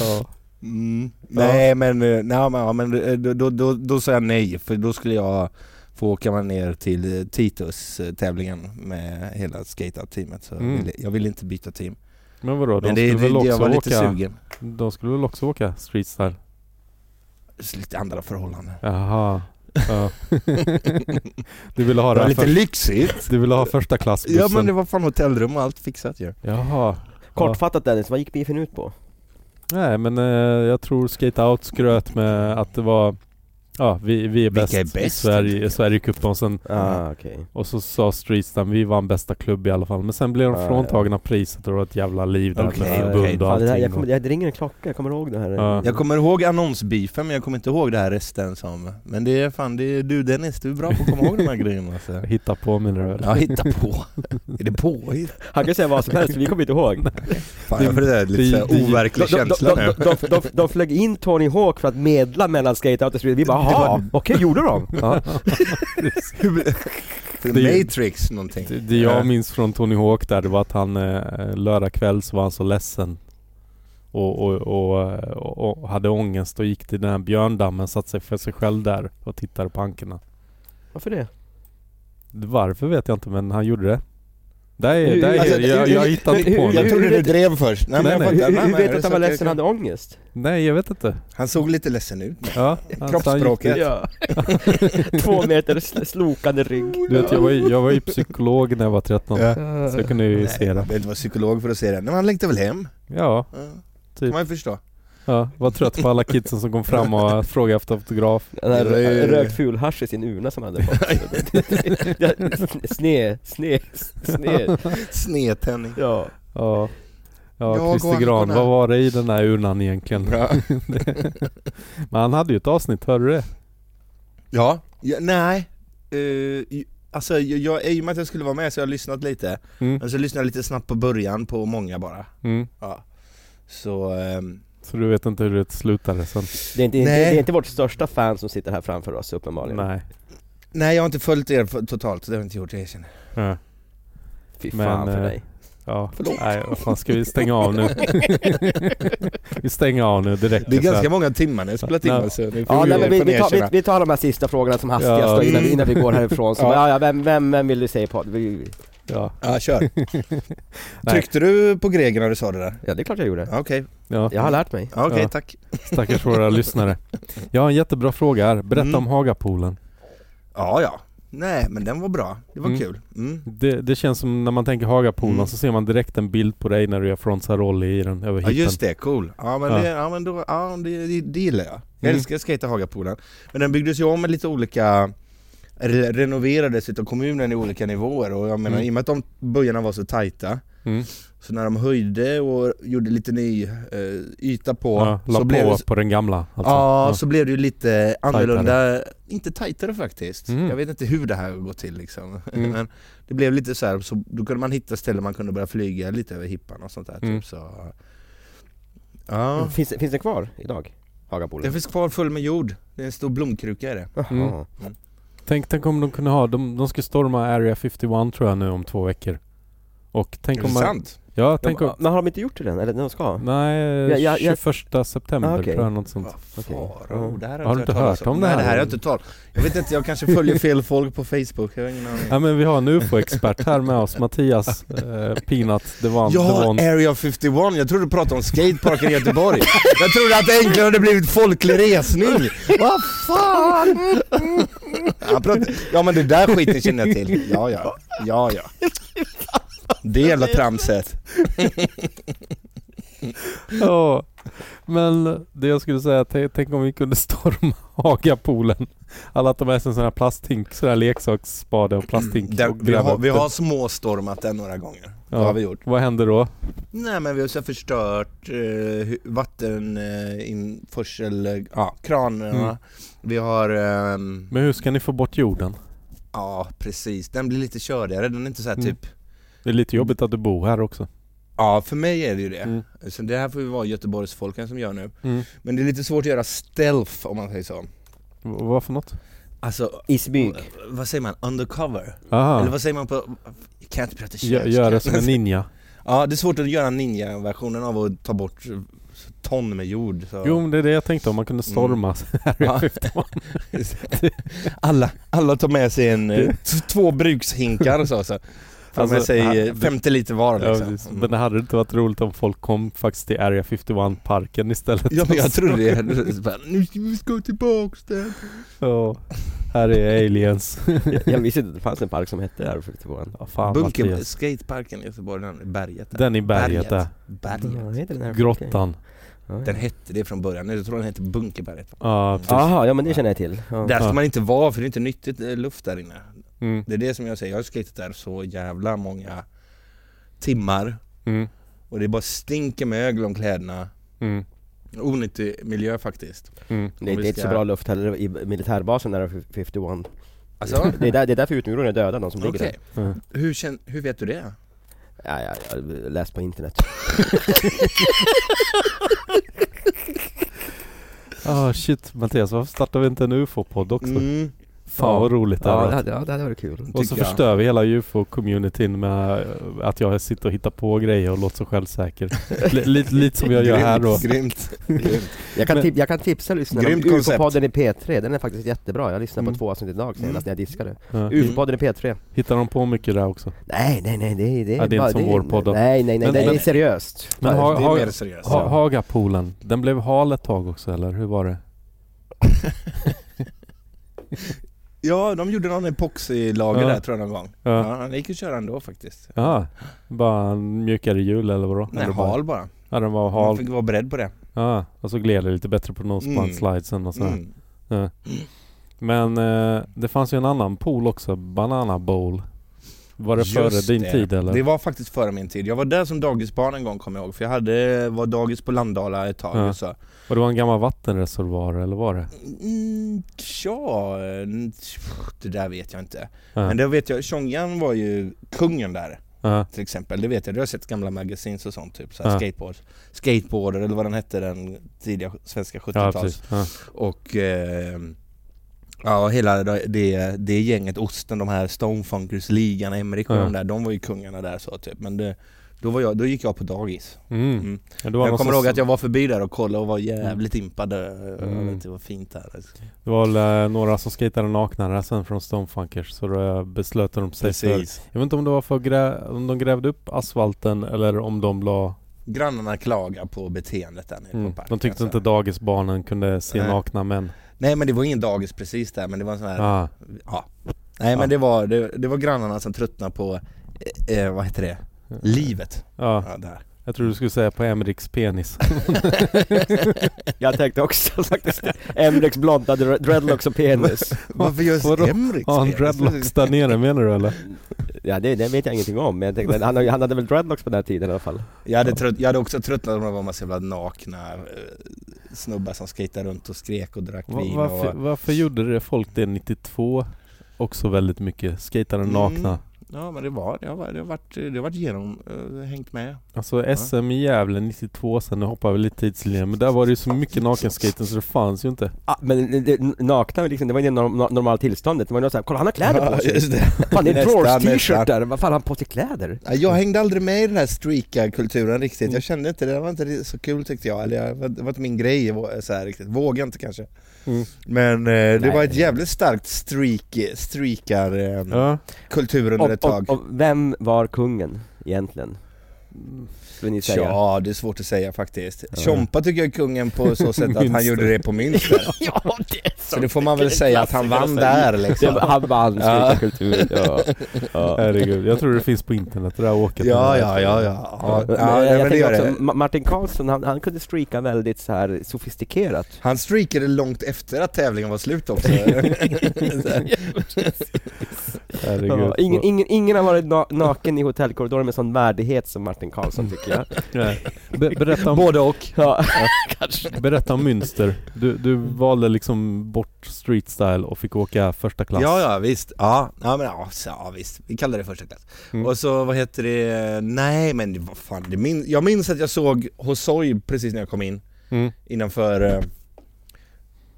A: ja.
C: Mm. Nej men, eh, nej, men, ja, men eh, då, då, då, då sa jag nej för då skulle jag få åka med ner till eh, Titus eh, tävlingen med hela skate-teamet så
A: Mm.
C: jag, ville, jag ville inte byta team.
A: Men vadå, de
C: Men det,
A: skulle väl
C: det, jag
A: också
C: var lite
A: åka...
C: sugen.
A: De skulle väl också åka Streetstyle?
C: Så Lite andra förhållanden.
A: Jaha. Ja. du ville ha
C: Det
A: det
C: var
A: här
C: lite
A: för...
C: lyxigt.
A: Du ville ha första klassbussen?
C: Ja men det var fan hotellrum och allt fixat ju.
A: Jaha.
B: Kortfattat Dennis, vad gick beefen ut på?
A: Nej men eh, jag tror Skate Out skröt med att det var Ja, vi, vi är bäst,
C: är bäst?
A: i Sverige, i Sverigecupen och sen
B: Ah, okej.
A: Och så sa Streetstam, vi vann bästa klubb i alla fall Men sen blev de
B: Ja,
A: fråntagna priset och det var ett jävla liv där
C: Okej,
A: med
C: okej.
A: förbund och
B: Fan, det, här,
A: allting
B: jag kommer, jag, det ringer en klocka, jag kommer ihåg det här.
A: Ja.
C: Jag kommer ihåg annonsbeefen men jag kommer inte ihåg det här resten som... Men det är fan, det är du Dennis, du är bra på att komma ihåg de här grejerna alltså.
A: och Hitta på menar du väl?
C: Ja, hitta på. är det påhitt?
D: Han kan säga vad som helst, vi kommer inte ihåg.
C: Fan, jag får det där lite
A: Det-
C: så här
A: det-
C: overklig
D: De, de,
C: känsla nu.
D: de, de, de, de flög in Tony Hawk för att medla mellan skateout och street. Vi bara ”Jaha, okej, gjorde de?” ja.
A: det är-
C: Matrix någonting.
A: Det, det jag minns från Tony Hawk där, det var att han eh, lördag kväll så var han så ledsen och, och, och, eh, och, och hade ångest och gick till den här björndammen, satte sig för sig själv där och tittade på ankorna
B: Varför det?
A: Varför vet jag inte men han gjorde det. Där är,
B: Hur-
A: där är,
C: alltså,
A: jag, jag
B: hur-
A: hittade inte
B: hur-
A: på
B: hur-
A: honom.
C: Jag trodde du drev först. Nej,
A: Nej,
C: men jag
A: nej.
B: Hur,
C: fattar. Nej,
B: hur
C: men
B: vet du att han var
C: jag-
B: ledsen och hade ångest?
A: Nej jag vet inte.
C: Han såg lite ledsen ut.
A: Ja, alltså, han gick-
C: Kroppsspråket.
B: Ja. Två meter sl- slokande rygg.
A: Du vet jag var, ju- jag var ju psykolog när jag var 13.
C: Ja.
A: Så jag kunde ju
C: Nej,
A: se
C: jag
A: det.
C: behöver inte vara psykolog för att se det. Men han längtar väl hem?
A: Ja,
C: Ja.
A: Typ.
C: Kan man ju förstå.
A: ja, var trött på alla kidsen som kom fram och frågade efter autograf.
B: Han hade
C: Det var ju-
B: rökt fulhasch i sin urna som han hade fått. sne, sne, sne.
C: Snedtändning.
B: Ja.
A: Ja, ja,
C: Ja, gå
A: Christer
C: an-
A: Gran,
C: gå an-
A: vad var det i den där urnan egentligen?
C: Bra.
A: Men han hade ju ett avsnitt, hörde du det?
C: Ja, ja nej. Uh, alltså jag, jag, i och med att jag skulle vara med så har jag lyssnat lite.
A: Mm.
C: Men så lyssnade jag lite snabbt på början på många bara.
A: Mm.
C: Ja. Så, ehm,
A: Så du vet inte hur det slutade sen?
B: Det är, inte, det,
C: Nej.
B: är inte vårt största fan som sitter här framför oss uppenbarligen.
A: Nej.
C: nej jag har inte följt er f- totalt, det har jag inte gjort, jag erkänner.
A: Ja.
B: Fy
A: Men,
B: fan för
A: eh,
B: dig.
A: Ja,
B: Förlåt.
A: nej vad fan ska vi stänga av nu? vi stänger av nu direkt.
C: Det är ganska många timmar ni har spelat in
A: Ja.
C: alltså, nu får
B: Ja,
C: vi-
B: nej, men vi,
C: får ni
B: vi, tar, vi,
C: erkänna.
B: vi tar de här sista frågorna som hastigast
A: Ja.
B: då, innan, vi- innan vi går härifrån. Så,
C: Ja.
B: ja. Ja, vem, vem, vem vill du säga på? Vi-
A: Ja,
C: Ja, kör. Tryckte du på greken när du sa det där?
B: Ja, det är klart jag gjorde.
C: Ja, Okej,
A: ja.
B: Jag har lärt mig.
C: ja, okej
A: Ja.
C: tack.
A: Stackars våra lyssnare. Jag har en jättebra fråga här. Berätta
C: Mm.
A: om Hagapoolen.
C: Ja, ja. Nej men den var bra, det var
A: Mm.
C: kul. Mm.
A: Det, det känns som när man tänker Hagapoolen
C: Mm.
A: så ser man direkt en bild på dig när du gör frontsarolli i den över
C: Ja
A: hippen.
C: just det, cool. Ja men,
A: Ja.
C: Det, ja, men då, ja, det, det, det gillar jag. Jag
A: Mm.
C: älskar skate Hagapolen. Men den byggdes ju om med lite olika re, renoverades utav kommunen i olika nivåer och jag menar
A: Mm.
C: i och med att de böjarna var så tajta
A: Mm.
C: så när de höjde och gjorde lite ny eh, yta på
A: Ja, la
C: så
A: på
C: blev det,
A: på den gamla alltså.
C: ja, så blev det ju lite annorlunda, inte tajtare faktiskt.
A: Mm.
C: Jag vet inte hur det här går till liksom.
A: Mm.
C: Men det blev lite så här, så då kunde man hitta ställen man kunde börja flyga lite över hippan och sånt där
A: Mm.
C: typ så. Ja.
B: Finns, finns det kvar idag?
C: Den
B: Hagapolen?
C: finns kvar full med jord, det är en stor blomkruka är det.
B: Jaha.
A: Mm. Tänk, tänk om de kunde ha, de, de ska storma Area 51 tror jag nu om två veckor. Och tänk om man...
C: Intressant.
A: Ja,
B: Ja,
A: tänk om...
B: Men har de inte gjort det än? Eller de ska?
A: Nej,
B: Ja, ja, ja.
A: 21 september
B: Ah, okej.
A: tror jag något sånt.
C: Farao, det här
A: Har du
C: jag
A: inte hört
C: talas
A: om det
C: Nej,
A: här?
C: det här har jag inte talat Jag vet inte, jag kanske följer fel folk på Facebook, jag har ingen aning.
A: Ja men vi har en UFO-expert här med oss, Mattias eh, Peanut Devan.
C: Ja, eh.
A: Devan.
C: Area 51, jag trodde du pratade om skateparken i Göteborg. Jag trodde att det äntligen hade blivit folklig resning. Vad fan! Jag pratar- Ja men det där skiten känner jag till. Ja ja, ja ja. Det jävla tramset.
A: Ja. Men det jag skulle säga, t- tänk om vi kunde storma Hagapoolen. Alla tar med sig en sån här plasthink, sån här leksaksspade och plasthink
C: Den,
A: och
C: Mm. vi,
A: gräva
C: har,
A: upp
C: vi
A: den.
C: har småstormat den några gånger. Det
A: Ja.
C: har vi gjort.
A: Vad händer då?
C: Nej men vi har så förstört eh, vatteninförsel, eh, ja, kranarna.
A: Mm.
C: Vi har, ehm,
A: Men hur ska ni få bort jorden?
C: ja precis, den blir lite körigare, den är inte så här
A: Mm.
C: typ
A: Det är lite jobbigt att du bor här också.
C: Ja, för mig är det ju det.
A: Mm.
C: Så det här får ju vara Göteborgsfolken som gör nu.
A: Mm.
C: Men det är lite svårt att göra stealth om man säger så.
A: V- Vad för något?
C: Alltså,
D: I smyg.
C: vad säger man? Undercover? Eller
A: Aha.
C: vad säger man på... Jag kan inte prata
A: Gö-
C: svenska.
A: Gör det som en ninja.
C: Ja, det är svårt att göra ninja-versionen av att ta bort eh, ton med jord. Så.
A: Jo, men det är det jag tänkte om man kunde storma Area
C: Mm. Ja.
A: 51.
C: alla, alla tar med sig en, eh, t- två brukshinkar så. så. Tar
A: Alltså,
C: med sig
A: här-
C: eh, 50 liter var
A: Ja,
C: liksom.
A: precis. men det hade inte varit roligt om folk kom faktiskt till Area 51-parken istället.
C: Ja men jag trodde det, Så bara, nu ska vi ska tillbaks där.
A: Ja. Här är aliens.
B: Jag, jag visste inte att det fanns en park som hette Air 42
A: Ja, fan
C: Bunker,
A: Mattias.
C: skateparken i Göteborg, den, berget där.
A: Den i berget där.
C: Berget.
A: Grottan.
C: Den hette det från början, jag tror den hette Bunkerberget.
A: Ja, precis.
B: Jaha, ja men det känner jag till. Ja.
C: Där ska
A: Ja.
C: man inte vara för det är inte nyttigt eh, luft där inne.
A: Mm.
C: Det är det som jag säger, jag har skejtat där så jävla många timmar
A: Mm.
C: och det bara stinker mögel om kläderna.
A: Mm.
C: Onyttig miljö faktiskt.
A: Mm.
B: Det, det är inte så bra luft heller i militärbasen Air 51.
C: Alltså,
B: Det är, där, det är därför utomjordingarna dödar de som ligger
C: okej.
B: där.
A: Mm.
C: Hur, kän- hur vet du det?
B: Ja, ja, jag har läst på internet.
A: Ah, shit Mattias, varför startar vi inte en UFO-podd också?
C: Mm,
A: Fan vad roligt det
B: Ja, det
A: hade varit.
B: hade, ja, det hade varit kul.
A: Och så
C: tycker jag.
A: förstör vi hela UFO-communityn med eh, att jag sitter och hittar på grejer och låter så självsäker. Li- lite, lite som jag gör här då.
C: Grymt. grymt.
B: Jag kan,
A: Men-
B: tip, jag kan tipsa lyssnarna om
C: Grymt koncept.
B: UFO-podden i P3, den är faktiskt jättebra. Jag lyssnade
A: Mm.
B: på två avsnitt idag senast när jag diskade.
A: Ja.
B: UFO-podden i P3.
A: Hittar de på mycket där också?
B: Nej, nej, nej, det, är- det,
A: Ja, det är inte som vår podd då.
B: Nej, nej, nej,
A: Men-
B: det
A: men-
B: är seriöst.
A: Men
B: Ja,
A: har-
C: Det är
A: har-
C: mer seriöst.
A: Ha, Hagapoolen, den blev hal ett tag också eller hur var det?
C: Ja, de gjorde någon epoxilager
A: Ja.
C: där tror jag någon gång.
A: Ja.
C: Ja, det gick att köra ändå faktiskt.
A: Ja, bara en mjukare hjul eller vadå?
C: Nej,
A: eller bara-
C: hal bara.
A: Ja den var
C: Man
A: hal.
C: fick vara beredd på det.
A: Ja, och så gled det lite bättre på noseband
C: Mm.
A: slidesen och sådär.
C: Mm.
A: Men eh, det fanns ju en annan pool också, Banana Bowl. Var det
C: Just
A: före din
C: det.
A: tid eller?
C: Det var faktiskt före min tid. Jag var där som dagisbarn en gång kommer jag ihåg, för jag hade, var dagis på Landala ett tag.
A: Ja.
C: Och så.
A: Och det var en gammal vattenreservoar eller var det?
C: Mm, tja, mm, pff, det där vet jag inte.
A: Ja.
C: Men det vet jag, Tjongan var ju kungen där
A: Ja.
C: till exempel. Det vet jag, du har sett gamla magasins och sånt typ. Så här
A: Ja.
C: skateboard, skateboarder eller vad den hette den tidiga svenska
A: Ja
C: 70-tals.
A: precis. Ja.
C: och eh, ja, hela det, det gänget, Osten, de här Stonefunkers, Ligan, Emmerich och
A: Ja.
C: de där, de var ju kungarna där så typ. Men det, då, var jag, då gick jag på dagis.
A: Mm.
C: Mm.
A: Men det var
C: Jag
A: någon
C: kommer
A: som-
C: ihåg att jag var förbi där och kollade och var jävligt impad eh, över
A: Mm.
C: att det var fint där. alltså.
A: Det var väl, eh, några som skejtade nakna där sen från Stonefunkers så då beslöt de sig för... Jag vet inte om det var för att grä... om de grävde upp asfalten eller om de la...
C: Grannarna klagar på beteendet där nere
A: Mm.
C: på
A: De
C: parken.
A: tyckte
C: så.
A: inte dagisbarnen kunde se
C: alltså. Nej.
A: nakna män.
C: Nej men det var ingen dagis precis där men det var en sån här, ja.
A: Ah.
C: Nej
A: Ja.
C: men det var, det, det var grannarna som tröttnade på, eh, eh, vad heter det, livet.
A: Mm. Ja.
C: Ja, där.
A: Jag tror du skulle säga på Emriks penis.
B: Jag tänkte också faktiskt, Emreks blonda dre- dreadlocks och penis.
C: Varför just
A: Vadå?
C: Emrix?
A: Har han dreadlocks där nere menar du eller?
B: Ja, det, det vet jag ingenting om, men jag tänkte, han, han hade väl dreadlocks på den här tiden i alla fall.
C: Jag hade, trött, jag hade också tröttnat om det var en massa jävla nakna eh, snubbar som skejtade runt och skrek och drack
A: Va-
C: vin
A: varför,
C: och...
A: varför gjorde det folk det 92? Också väldigt mycket. Skejtade
C: Mm.
A: nakna.
C: Ja men det var, det har, det har varit, det har varit genom, eh, hängt med.
A: Alltså SM i Gävle 92 sen, nu hoppar vi lite tidslinjen, men där var det ju så mycket nakenskating så det fanns ju inte.
B: Ah, men det- det, nakna, liksom, det var inte norm, normalt tillståndet, det var ju såhär, kolla han har kläder på
C: Ja,
B: sig!
C: just det.
B: Fan det är en
C: Nästan,
B: drawers t-shirt där,
C: nästan.
B: vad fan har han på sig kläder?
C: Ja, Jag hängde aldrig med i den här streaka-kulturen riktigt. Jag kände inte, det var inte så kul tyckte jag. Eller jag, det var inte min grej vå- eh, så här riktigt. Vågade inte kanske.
A: Mm.
C: Men eh, det
B: Nej.
C: var ett jävligt starkt streak, streakar-kultur
A: Ja.
C: under ett
B: Och,
C: tag.
B: och, och vem var kungen egentligen?
D: vill ni säga?
C: Ja, det är svårt att säga faktiskt.
D: Ja.
C: Tjompa tycker jag är kungen på så sätt att han
A: Münster.
C: gjorde det på Münster.
D: ja det är
C: Så det får man väl säga att han vann där
D: Det
C: liksom.
D: var, han vann
C: Ja.
D: skuta ja. ja.
A: Herregud, jag tror det finns på internet det där åket.
C: Ja, ja, ja, ja. ja,
D: Men
C: ja
D: jag
C: men det
D: tänker
C: gör
D: också,
C: det.
D: Ma- Martin Karlsson, han, han kunde streaka väldigt så här sofistikerat.
C: Han streakade långt efter att tävlingen var slut också.
A: Herregud.
D: Ja, ingen, ingen, ingen har varit na- naken i hotellkorridoren med sån värdighet som Martin Karlsson tycker jag.
A: Nej. Be- berätta, om,
C: Både och.
D: Ja.
A: berätta om Münster. Du, du valde liksom bort street style och fick åka första klass.
C: Ja, ja visst. Ja, ja, men, ja, så, ja visst. Vi kallar det första klass.
A: Mm.
C: Och så vad heter det, nej men det- vad fan, det min... jag minns att jag såg Hosoi precis när jag kom in
A: Mm,
C: innanför eh,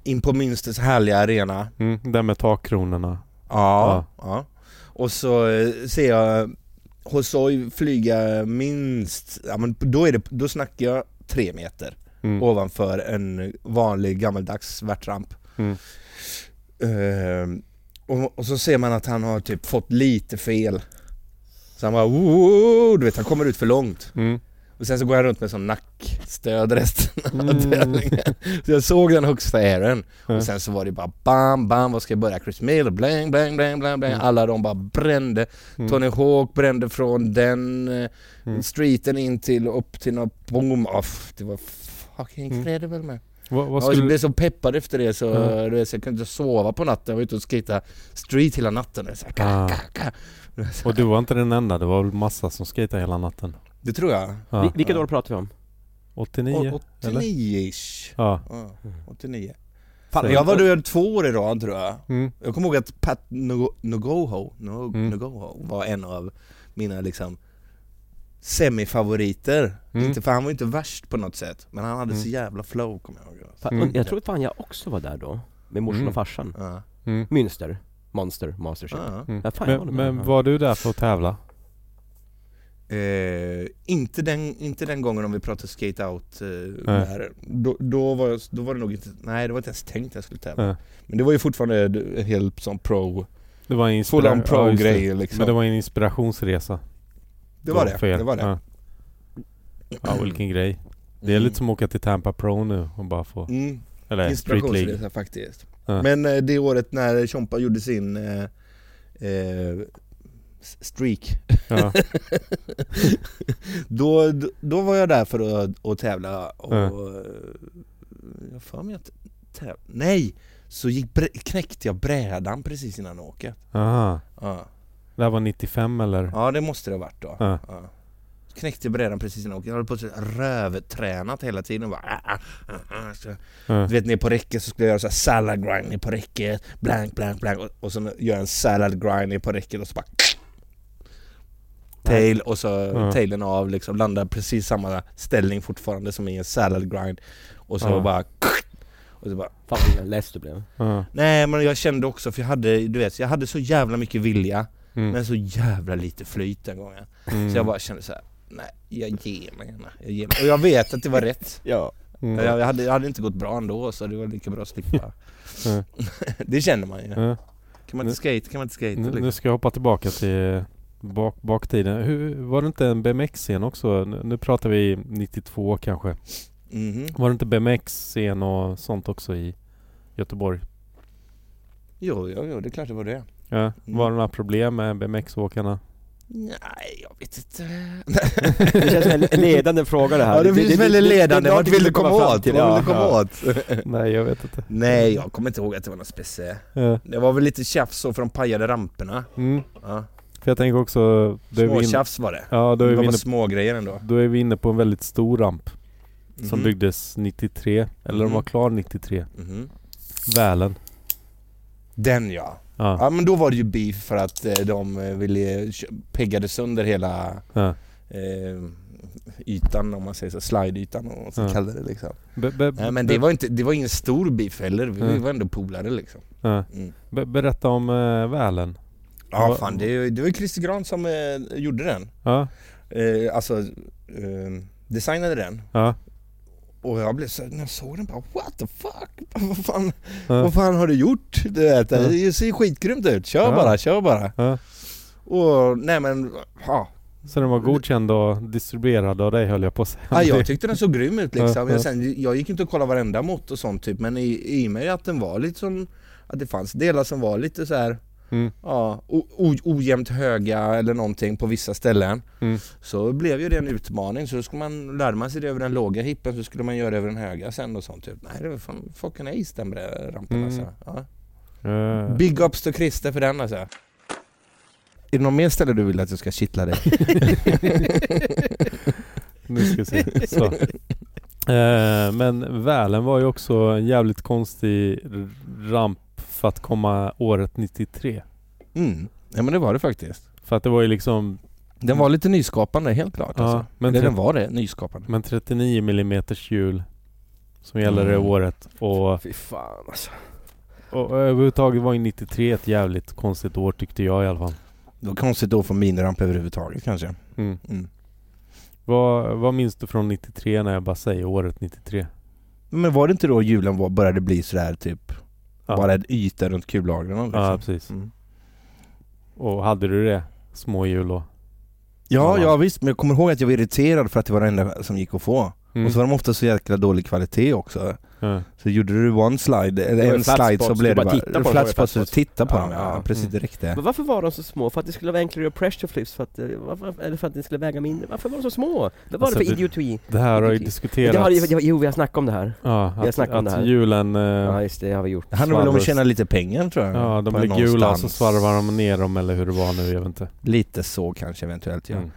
C: in på Münsters härliga arena.
A: mm, där med takkronorna.
C: Ja, ja. Och så eh, ser jag Hosoi flyga minst, ja men då är det, då snackar jag tre meter
A: Mm.
C: ovanför en vanlig gammaldags värtramp.
A: Mm.
C: Eh, och, och så ser man att han har typ fått lite fel. Så han bara "Woo!" du vet han kommer ut för långt.
A: Mm.
C: Och sen så går han runt med sån nackstöd resten av
A: Mm.
C: tävlingen. Så jag såg den högsta airen.
A: Ja.
C: Och sen så var det bara bam, bam, vad ska jag börja? Chris Miller, blang, blang, blang, blang, blang.
A: Mm.
C: Alla de bara brände.
A: Mm.
C: Tony Hawk brände från den eh,
A: Mm.
C: streeten in till upp till något boom off. Det var fucking
A: Mm.
C: incredible man.
A: Vad, vad
C: Ja, Jag
A: skulle...
C: blev så peppad efter det så,
A: Ja.
C: du vet, så jag kunde inte sova på natten. Jag var ute och skejtade street hela natten. Och Så här, ka,
A: Ah.
C: ka, ka.
A: Och du var inte den enda, det var väl massa som skejtade hela natten.
C: Det tror jag.
A: Ja.
D: Vil- Vilket år pratar vi om?
C: Å-
A: 89? eller?
C: 89-ish.
A: Ja.
C: Ja, 89.
A: Fan,
C: Jag var död två år i rad tror jag.
A: Mm.
C: Jag kommer ihåg att Pat Nogo- Nogoho, no,
A: Mm.
C: Nogoho var en av mina liksom semifavoriter.
A: Mm.
C: Inte, för han var ju inte värst på något sätt, men han hade
A: Mm.
C: så jävla flow kommer jag ihåg. Alltså.
D: Fan,
A: Mm.
D: Jag tror fan jag också var där då, med morsan
A: Mm.
D: och farsan.
C: Ja.
A: Mm.
D: Münster, Monster, Masterchef.
B: Ah.
C: Ja.
A: Mm.
D: Ja, fan, jag var
A: men
D: nog där.
A: men var du där för att tävla?
C: Eh, inte, den, inte den gången om vi pratade skate out eh, där. Då, då, var jag, då var det nog inte, nej det var inte ens tänkt att jag skulle tävla.
A: Nej.
C: Men det var ju fortfarande d- en hel sån pro,
A: Det var en
C: full on
A: inspira-
C: pro
A: ja, just det.
C: grej liksom.
A: Men det var en inspirationsresa.
C: det, var
A: då
C: det,
A: för er.
C: det Mm. var det.
A: Ja. ja, vilken grej. Det är lite som att åka till Tampa Pro nu och bara få...
C: Mm,
A: Eller Street League.
C: inspirationsresa faktiskt.
A: Ja.
C: Men eh, det året när Chompa gjorde sin eh, eh, s- streak,
A: Ja.
C: då, då- då var jag där för att, att tävla och...
A: Ja.
C: eh, Jag har för mig att tävla... Nej! Så gick, bre- knäckte jag brädan precis innan åket.
A: Aha.
C: Ja.
A: Det här var 95 eller?
C: ja, det måste det ha varit då.
A: Ja.
C: Ja. Knäckte brädan precis innan åket. Jag höll på att rövtränat hela tiden. Bara, ah, ah, ah, ah. Så,
A: Ja.
C: du vet, ner på räcket så skulle jag göra så här salad grind ner på räcket. Blank, blank, blank. Och, och så gör jag en salad grind ner på räcket och så bara... Tail och så
A: Ja.
C: tailen av liksom, landar precis samma ställning fortfarande som i en salad grind. Och så
A: Ja.
C: bara... Och så bara...
D: Fan vad less du blev.
A: Ja.
C: Nej men jag kände också, för jag hade, du vet, jag hade så jävla mycket vilja
A: Mm.
C: men så jävla lite flyt den gången.
A: Mm.
C: Så jag bara kände så här. nej jag ger mig gärna. Jag ger mig. Och jag vet att det var rätt.
B: Ja.
A: Mm.
C: Jag, jag, hade, jag hade inte gått bra ändå så det var lika bra att slippa.
A: Ja.
C: det känner man ju.
A: Ja.
C: Kan man inte skate, kan man inte skate.
A: Nu,
C: liksom.
A: nu ska jag hoppa tillbaka till eh, bak, baktiden. Hur, var det inte en BMX-scen också? Nu, nu pratar vi 92 kanske.
C: Mhm.
A: Var det inte BMX-scen och sånt också i Göteborg?
C: Jo, jo, jo, det är klart det var det.
A: Ja. Var det några problem med BMX-åkarna?
C: Nej, jag vet inte.
D: Det känns som en ledande fråga det här.
C: Ja, det finns väldigt ledande. Vart vill du komma åt? Vad vill
A: Ja,
C: du komma
A: ja.
C: åt?
A: Nej, jag vet inte.
C: Nej, jag kommer inte ihåg att det var något speciellt.
A: Ja.
C: Det var väl lite tjafs så för de pajade ramperna.
A: Mm.
C: Ja.
A: För jag tänker också... då är vi inne-
C: Småtjafs var det.
A: Ja, då är,
C: Det
A: vi
C: var
A: inne,
C: små grejer ändå.
A: då är vi inne på en väldigt stor ramp som
C: Mhm.
A: byggdes 93, eller den
C: Mhm.
A: var klar 93.
C: Mhm.
A: Välen.
C: Den ja.
A: Ja.
C: Ja men då var det ju beef för att eh, de eh, ville kö- peggade sönder hela
A: Ja.
C: eh, ytan om man säger så, slideytan och vad man
A: Ja.
C: kallar det liksom.
A: Be, be,
C: Nej men
A: be-
C: det var, inte, det var ingen stor beef heller, vi
A: Nej.
C: var ändå polare liksom.
A: ja.
C: Mm.
A: Be, berätta om eh, välen.
C: Ja
A: Vad-
C: fan det, är ju- det var ju Christer Gran som eh, gjorde den.
A: Ja,
C: Eh, alltså eh, designade den.
A: ja,
C: Och jag blev så när jag såg den bara what the fuck? vad, fan,
A: ja,
C: vad fan har du gjort? Du vet,
A: Ja.
C: Det ser skitgrymt ut, kör
A: Ja.
C: bara, kör bara.
A: ja.
C: Och nej men, ja,
A: Så den var godkänd och distribuerad av dig höll jag på att säga.
C: Ja, jag tyckte den såg grym ut
A: Ja,
C: liksom.
A: ja.
C: Jag, sen, jag gick inte och kollade varenda mått och sånt typ, men i, i och med att den var lite som, att det fanns delar som var lite så här,
A: Mm.
C: ja, o, o, ojämnt höga eller någonting på vissa ställen.
A: Mm.
C: Så blev ju det en utmaning, så då skulle man, lärde man sig det över den låga hippen så skulle man göra det över den höga sen och sånt typ. Nej, det var fan fucking ace den brä- rampen
A: Mm.
C: alltså. Ja.
A: Eh,
C: Big ups till Christer för den alltså. Är det någon mer ställe du vill att jag ska kittla dig?
A: nu ska vi se. Så. Eh, men Välen var ju också en jävligt konstig r- ramp för att komma året 93.
C: Mm. Ja men det var det faktiskt.
A: För att det var ju liksom...
C: Den var lite nyskapande helt klart
A: Ja,
C: alltså.
A: men
C: Eller
A: tre-
C: den var det, nyskapande.
A: Men 39 mm hjul som gäller det
C: Mm.
A: året och,
D: Fy fan alltså.
A: och, och överhuvudtaget var ju 93 ett jävligt konstigt år tyckte jag i alla fall.
C: Det var konstigt då för miniramp överhuvudtaget kanske.
A: Mm.
C: Mm.
A: Vad, vad minns du från 93 när jag bara säger året 93?
C: Men var det inte då hjulen var- började bli sådär typ,
A: Ja.
C: bara en yta runt kullagren liksom?
A: Ja precis.
C: Mm.
A: Och hade du det? Småhjul och...
C: Ja,
A: Ja.
C: ja visst, men jag kommer ihåg att jag var irriterad för att det var det enda som gick att få.
A: Mm.
C: Och så var de ofta så jäkla dålig kvalitet också.
A: Ja.
C: Så gjorde du one slide,
B: Det
C: eller
B: var
C: en
B: flat
C: slide så
B: spots,
C: blev
B: du
C: det
B: bara
C: bara...
B: tittar på dem,
C: flat
B: var det
C: spots,
B: flat
C: så titta på
B: Ja,
C: dem, ja,
B: ja.
C: precis
A: Mm.
C: direkt det.
B: Men varför var de så små? För att det skulle vara enklare att göra pressure flips, för att, eh, varför, eller för att det skulle väga mindre? Varför var de så små? Vad var
A: Alltså,
B: det för
A: det-
B: idioti?
A: Det här har ju
B: Okej. Det har,
A: diskuterats.
B: ju- jo, vi har snackat om det här.
A: Ja,
B: har
A: att,
B: snackat om det här.
A: att hjulen... eh,
B: Ja, just det, det har vi gjort.
C: Det handlar väl om att
A: Svarvas.
C: tjäna lite pengar tror jag.
A: Ja, de
C: På
A: blir gula och så
C: någonstans.
A: svarvar de ner dem eller hur det var nu, jag vet inte.
C: Lite så kanske eventuellt ja.
A: Mm.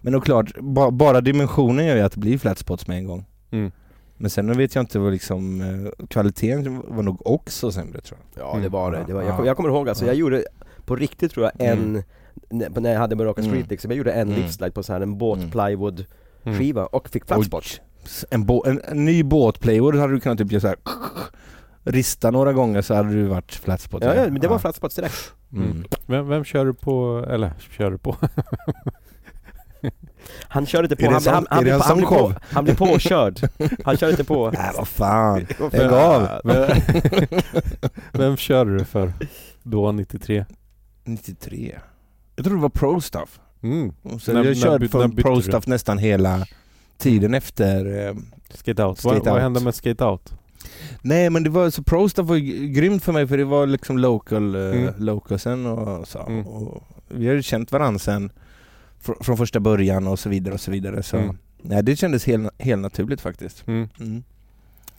C: Men då klart, ba bara dimensionen gör ju att det blir flat spots med en gång.
A: Mm.
C: Men sen vet jag inte vad liksom, eh, kvaliteten var nog också sämre tror jag.
B: Ja
A: Mm.
B: det var det, det var, jag,
C: Ja.
B: kom, jag kommer ihåg alltså,
C: Ja.
B: jag gjorde på riktigt tror jag en
C: Mm.
B: n- När jag hade Muraka Street
C: Mm.
B: liksom, jag gjorde en
C: Mm.
B: lipslide på så här en
C: Mm.
B: båt plywood
A: Mm.
B: skiva och fick
C: Oj.
B: flatspot
C: En, bå- en, en ny båtplaywood hade du kunnat typ göra så här, rista några gånger så hade du varit flat spot.
B: ja, ja, men det var flatspot direkt
C: Mm.
A: Vem, vem kör du på, eller kör du på?
B: Han körde inte på,
C: Är det
B: han,
C: en
B: han,
C: sån-
B: han,
C: är det
B: blev
C: en
B: på- han,
C: sån
B: blev på, han blev påkörd Han körde inte på
C: Nej Äh, vad fan,
A: Vem-
C: lägg av!
A: Vem, vem kör du för då, 93?
C: 93. Jag tror det var pro stuff.
A: Mm.
C: Så
A: När-
C: jag
A: när
C: har
A: by-
C: kört
A: när
C: för
A: bytte
C: pro
A: du?
C: stuff nästan hela
B: Mm.
C: tiden efter eh,
A: Skate out.
C: Skate
A: vad, vad
C: out.
A: hände med skate out?
C: Nej men det var så Prostaff var ju grymt för mig för det var liksom local, eh,
A: Mm.
C: localsen och så.
A: Mm.
C: Och vi har ju känt varandra sen fr- från första början och så vidare och så vidare. Så
A: Mm.
C: nej, det kändes helt, helt naturligt faktiskt.
A: Mm.
C: Mm.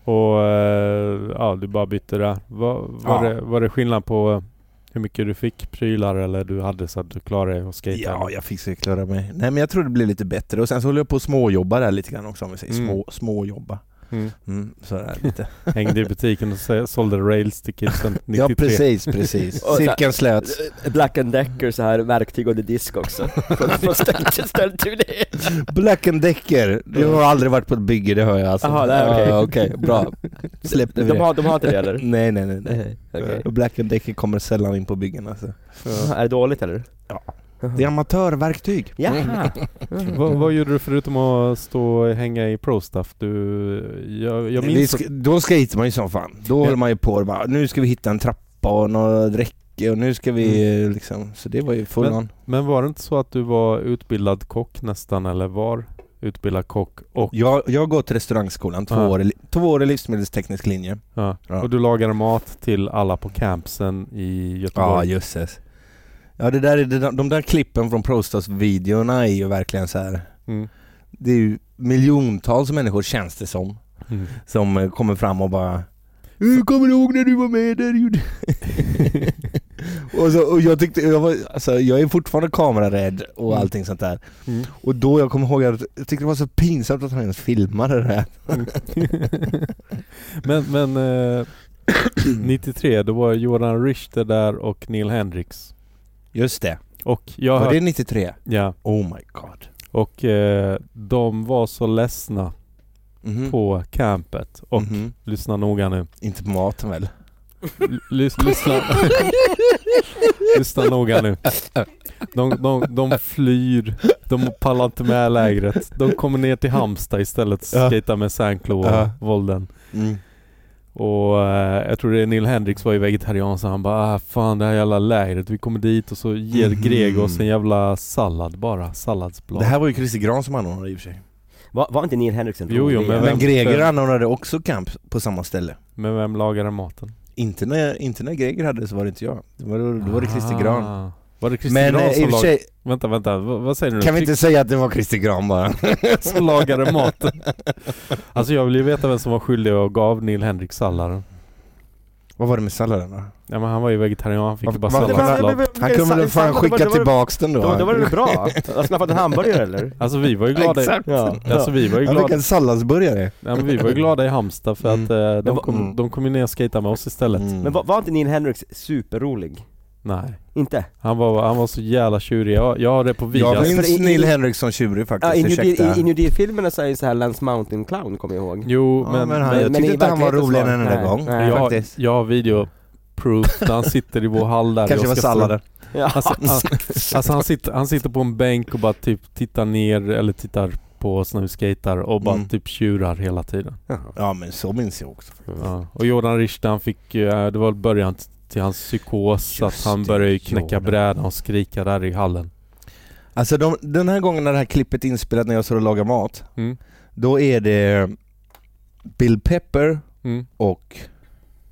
A: Och eh, ja, du bara bytte där. Var, var,
C: Ja.
A: det, var det skillnad på hur mycket du fick prylar eller du hade så att du klarade dig och skate?
C: Ja, jag fick säkert klara mig. Nej men jag tror det blev lite bättre och sen så håller jag på att småjobba där lite grann också om vi säger.
A: Mm.
C: Små, småjobba.
A: Mm.
C: Mm, sådär lite.
A: Hängde i butiken och så- sålde rails till kidsen 93.
C: ja precis, precis.
B: Och så-
C: Cirkeln slöts.
B: Black and Decker så här verktyg under disk också Från, från ställe till ställe till det
C: Black and Decker, du har aldrig varit på ett bygge det hör jag alltså.
B: Jaha, nej, okej.
C: Ja, okej, bra. Släppte vi
B: de
C: det.
B: har, de har inte det eller?
C: Nej nej nej. nej.
B: Nej, Okej.
C: Och Black and Decker kommer sällan in på byggen alltså.
B: Är det dåligt eller?
C: Ja. Det är amatörverktyg.
B: Jaha!
A: Vad, vad gjorde du förutom att stå och hänga i pro stuff? Du, jag, jag minns
C: Vi sk- då skater man ju som fan. Då
A: Ja.
C: håller man ju på och bara, nu ska vi hitta en trappa och några räcke och nu ska vi eh, liksom, så det var ju full
A: Men-
C: on.
A: Men var det inte så att du var utbildad kock nästan, eller var utbildad kock och,
C: Jag, jag har gått till restaurangskolan, två,
A: Ja.
C: år, i li- två år i livsmedelsteknisk linje.
A: ja,
C: Ja.
A: och du lagar mat till alla på campsen i
C: Ja,
A: Göteborg?
C: jösses. Ja, det där, är- det där, de där klippen från Prostas-videorna är ju verkligen så här.
A: Mm.
C: det är ju miljontals människor känns det som,
A: Mm.
C: som eh, kommer fram och bara "Eh, Kommer du ihåg när du var med där? du gjorde-" och, så, och jag tyckte, jag, var, alltså, jag är fortfarande kamerarädd och
A: Mm.
C: allting sånt där.
A: Mm.
C: Och då jag kommer ihåg att jag tyckte det var så pinsamt att han ens filmade det här.
A: Mm. men men eh, 93, då var Jordan Richter där och Neil Hendrix.
C: Just det.
A: Och jag
C: Var
A: hörde,
C: det 93?
A: ja,
C: Oh my god.
A: och eh, de var så ledsna
C: Mhm.
A: på campet. Och
C: Mhm.
A: lyssna noga nu.
C: Inte på maten väl?
A: L- lys, lyssna. lyssna noga nu. De, de, de flyr, de pallar inte med lägret. De kommer ner till Halmstad istället och
C: Ja.
A: skejtar med Sanklo och
C: Ja.
A: Volden.
C: Mm.
A: Och eh, jag tror det är Neil Hendrix var ju vegetarian så han bara ah, fan det här jävla lägret, vi kommer dit och så ger
C: Mhm.
A: Greg oss en jävla sallad bara, salladsblad.
C: Det här var ju Christer Gran som anordnade i och för sig.
B: Var, var inte Neil Henriksen från
A: Jo, jo,
B: det?
A: men-
C: Men
A: vem-
C: Greger
A: vem-
C: anordnade också kamp på samma ställe.
A: Men vem lagade maten?
C: Inte när, inte när Greger hade det så var det inte jag. Det var, då var det Christer Gran.
A: Ah. Var det Christer
C: Men
A: Gran
C: eh, i och
A: som Mm.
C: för
A: lagade...
C: sig,
A: Vänta, vänta, vad, vad säger du nu?
C: kan vi
A: Christer
C: inte säga att det var Christer Gran bara?
A: som lagade maten? Alltså jag vill ju veta vem som var skyldig och gav Neil Henrix salladen.
C: Vad var det med salladen då?
A: Ja men han var ju vegetarian, han fick ju bara
C: Vad- vad-
A: salladsblad.
C: Han kunde väl fan skicka tillbaks den då?
B: Då, då var det väl bra? Har skaffat en hamburgare eller?
A: Alltså vi var ju glada i,
C: Exakt!
B: Ja.
A: alltså, vi var ju
C: Han fick
A: glada,
C: en salladsburgare.
A: ja, men vi var ju glada i Halmstad för att eh, de,
B: vad-
A: kom,
C: mm.
A: de kom ju ner och skejtade med oss istället.
C: Mm.
B: Men var, var inte Neil Henriks superrolig?
A: Nej.
B: Inte?
A: Han var, han var så jävla tjurig, jag, jag har det på video
C: Jag
A: alltså.
C: minns
B: För i- i-
C: Neil Henrik som tjurig
B: Ja,
C: faktiskt,
B: i, New Deal,
C: ursäkta.
B: i, I New Deal-filmerna så är ju så här Lance Mountain Clown kommer jag ihåg.
A: Jo
C: Ja,
A: men,
C: men
A: men
C: han,
A: jag,
C: jag
B: men
C: tyckte
B: i
C: inte han var
B: verkligheten
C: roligare
B: så-
C: än en enda
B: nej,
C: gång.
B: nej.
A: jag, har,
C: faktiskt.
A: jag har video proof där han sitter i vår hall där
C: Kanske
A: i
C: var
A: Oskarström.
C: salladen.
B: Ja.
A: Alltså, han, alltså han, sitter, han sitter på en bänk och bara typ tittar ner eller tittar på oss när vi skejtar och bara
C: Mm.
A: typ tjurar hela tiden.
C: Ja men så minns jag också.
A: Ja. Och Jordan Richter han fick, eh, det var början t- till hans psykos
C: Just
A: att han
C: det,
A: började ju knäcka
C: Jordan.
A: brädan och skrika där i hallen.
C: Alltså de, den här gången när det här klippet är inspelat när jag står och lagar mat,
A: Mm.
C: då är det Bill Pepper
A: Mm.
C: och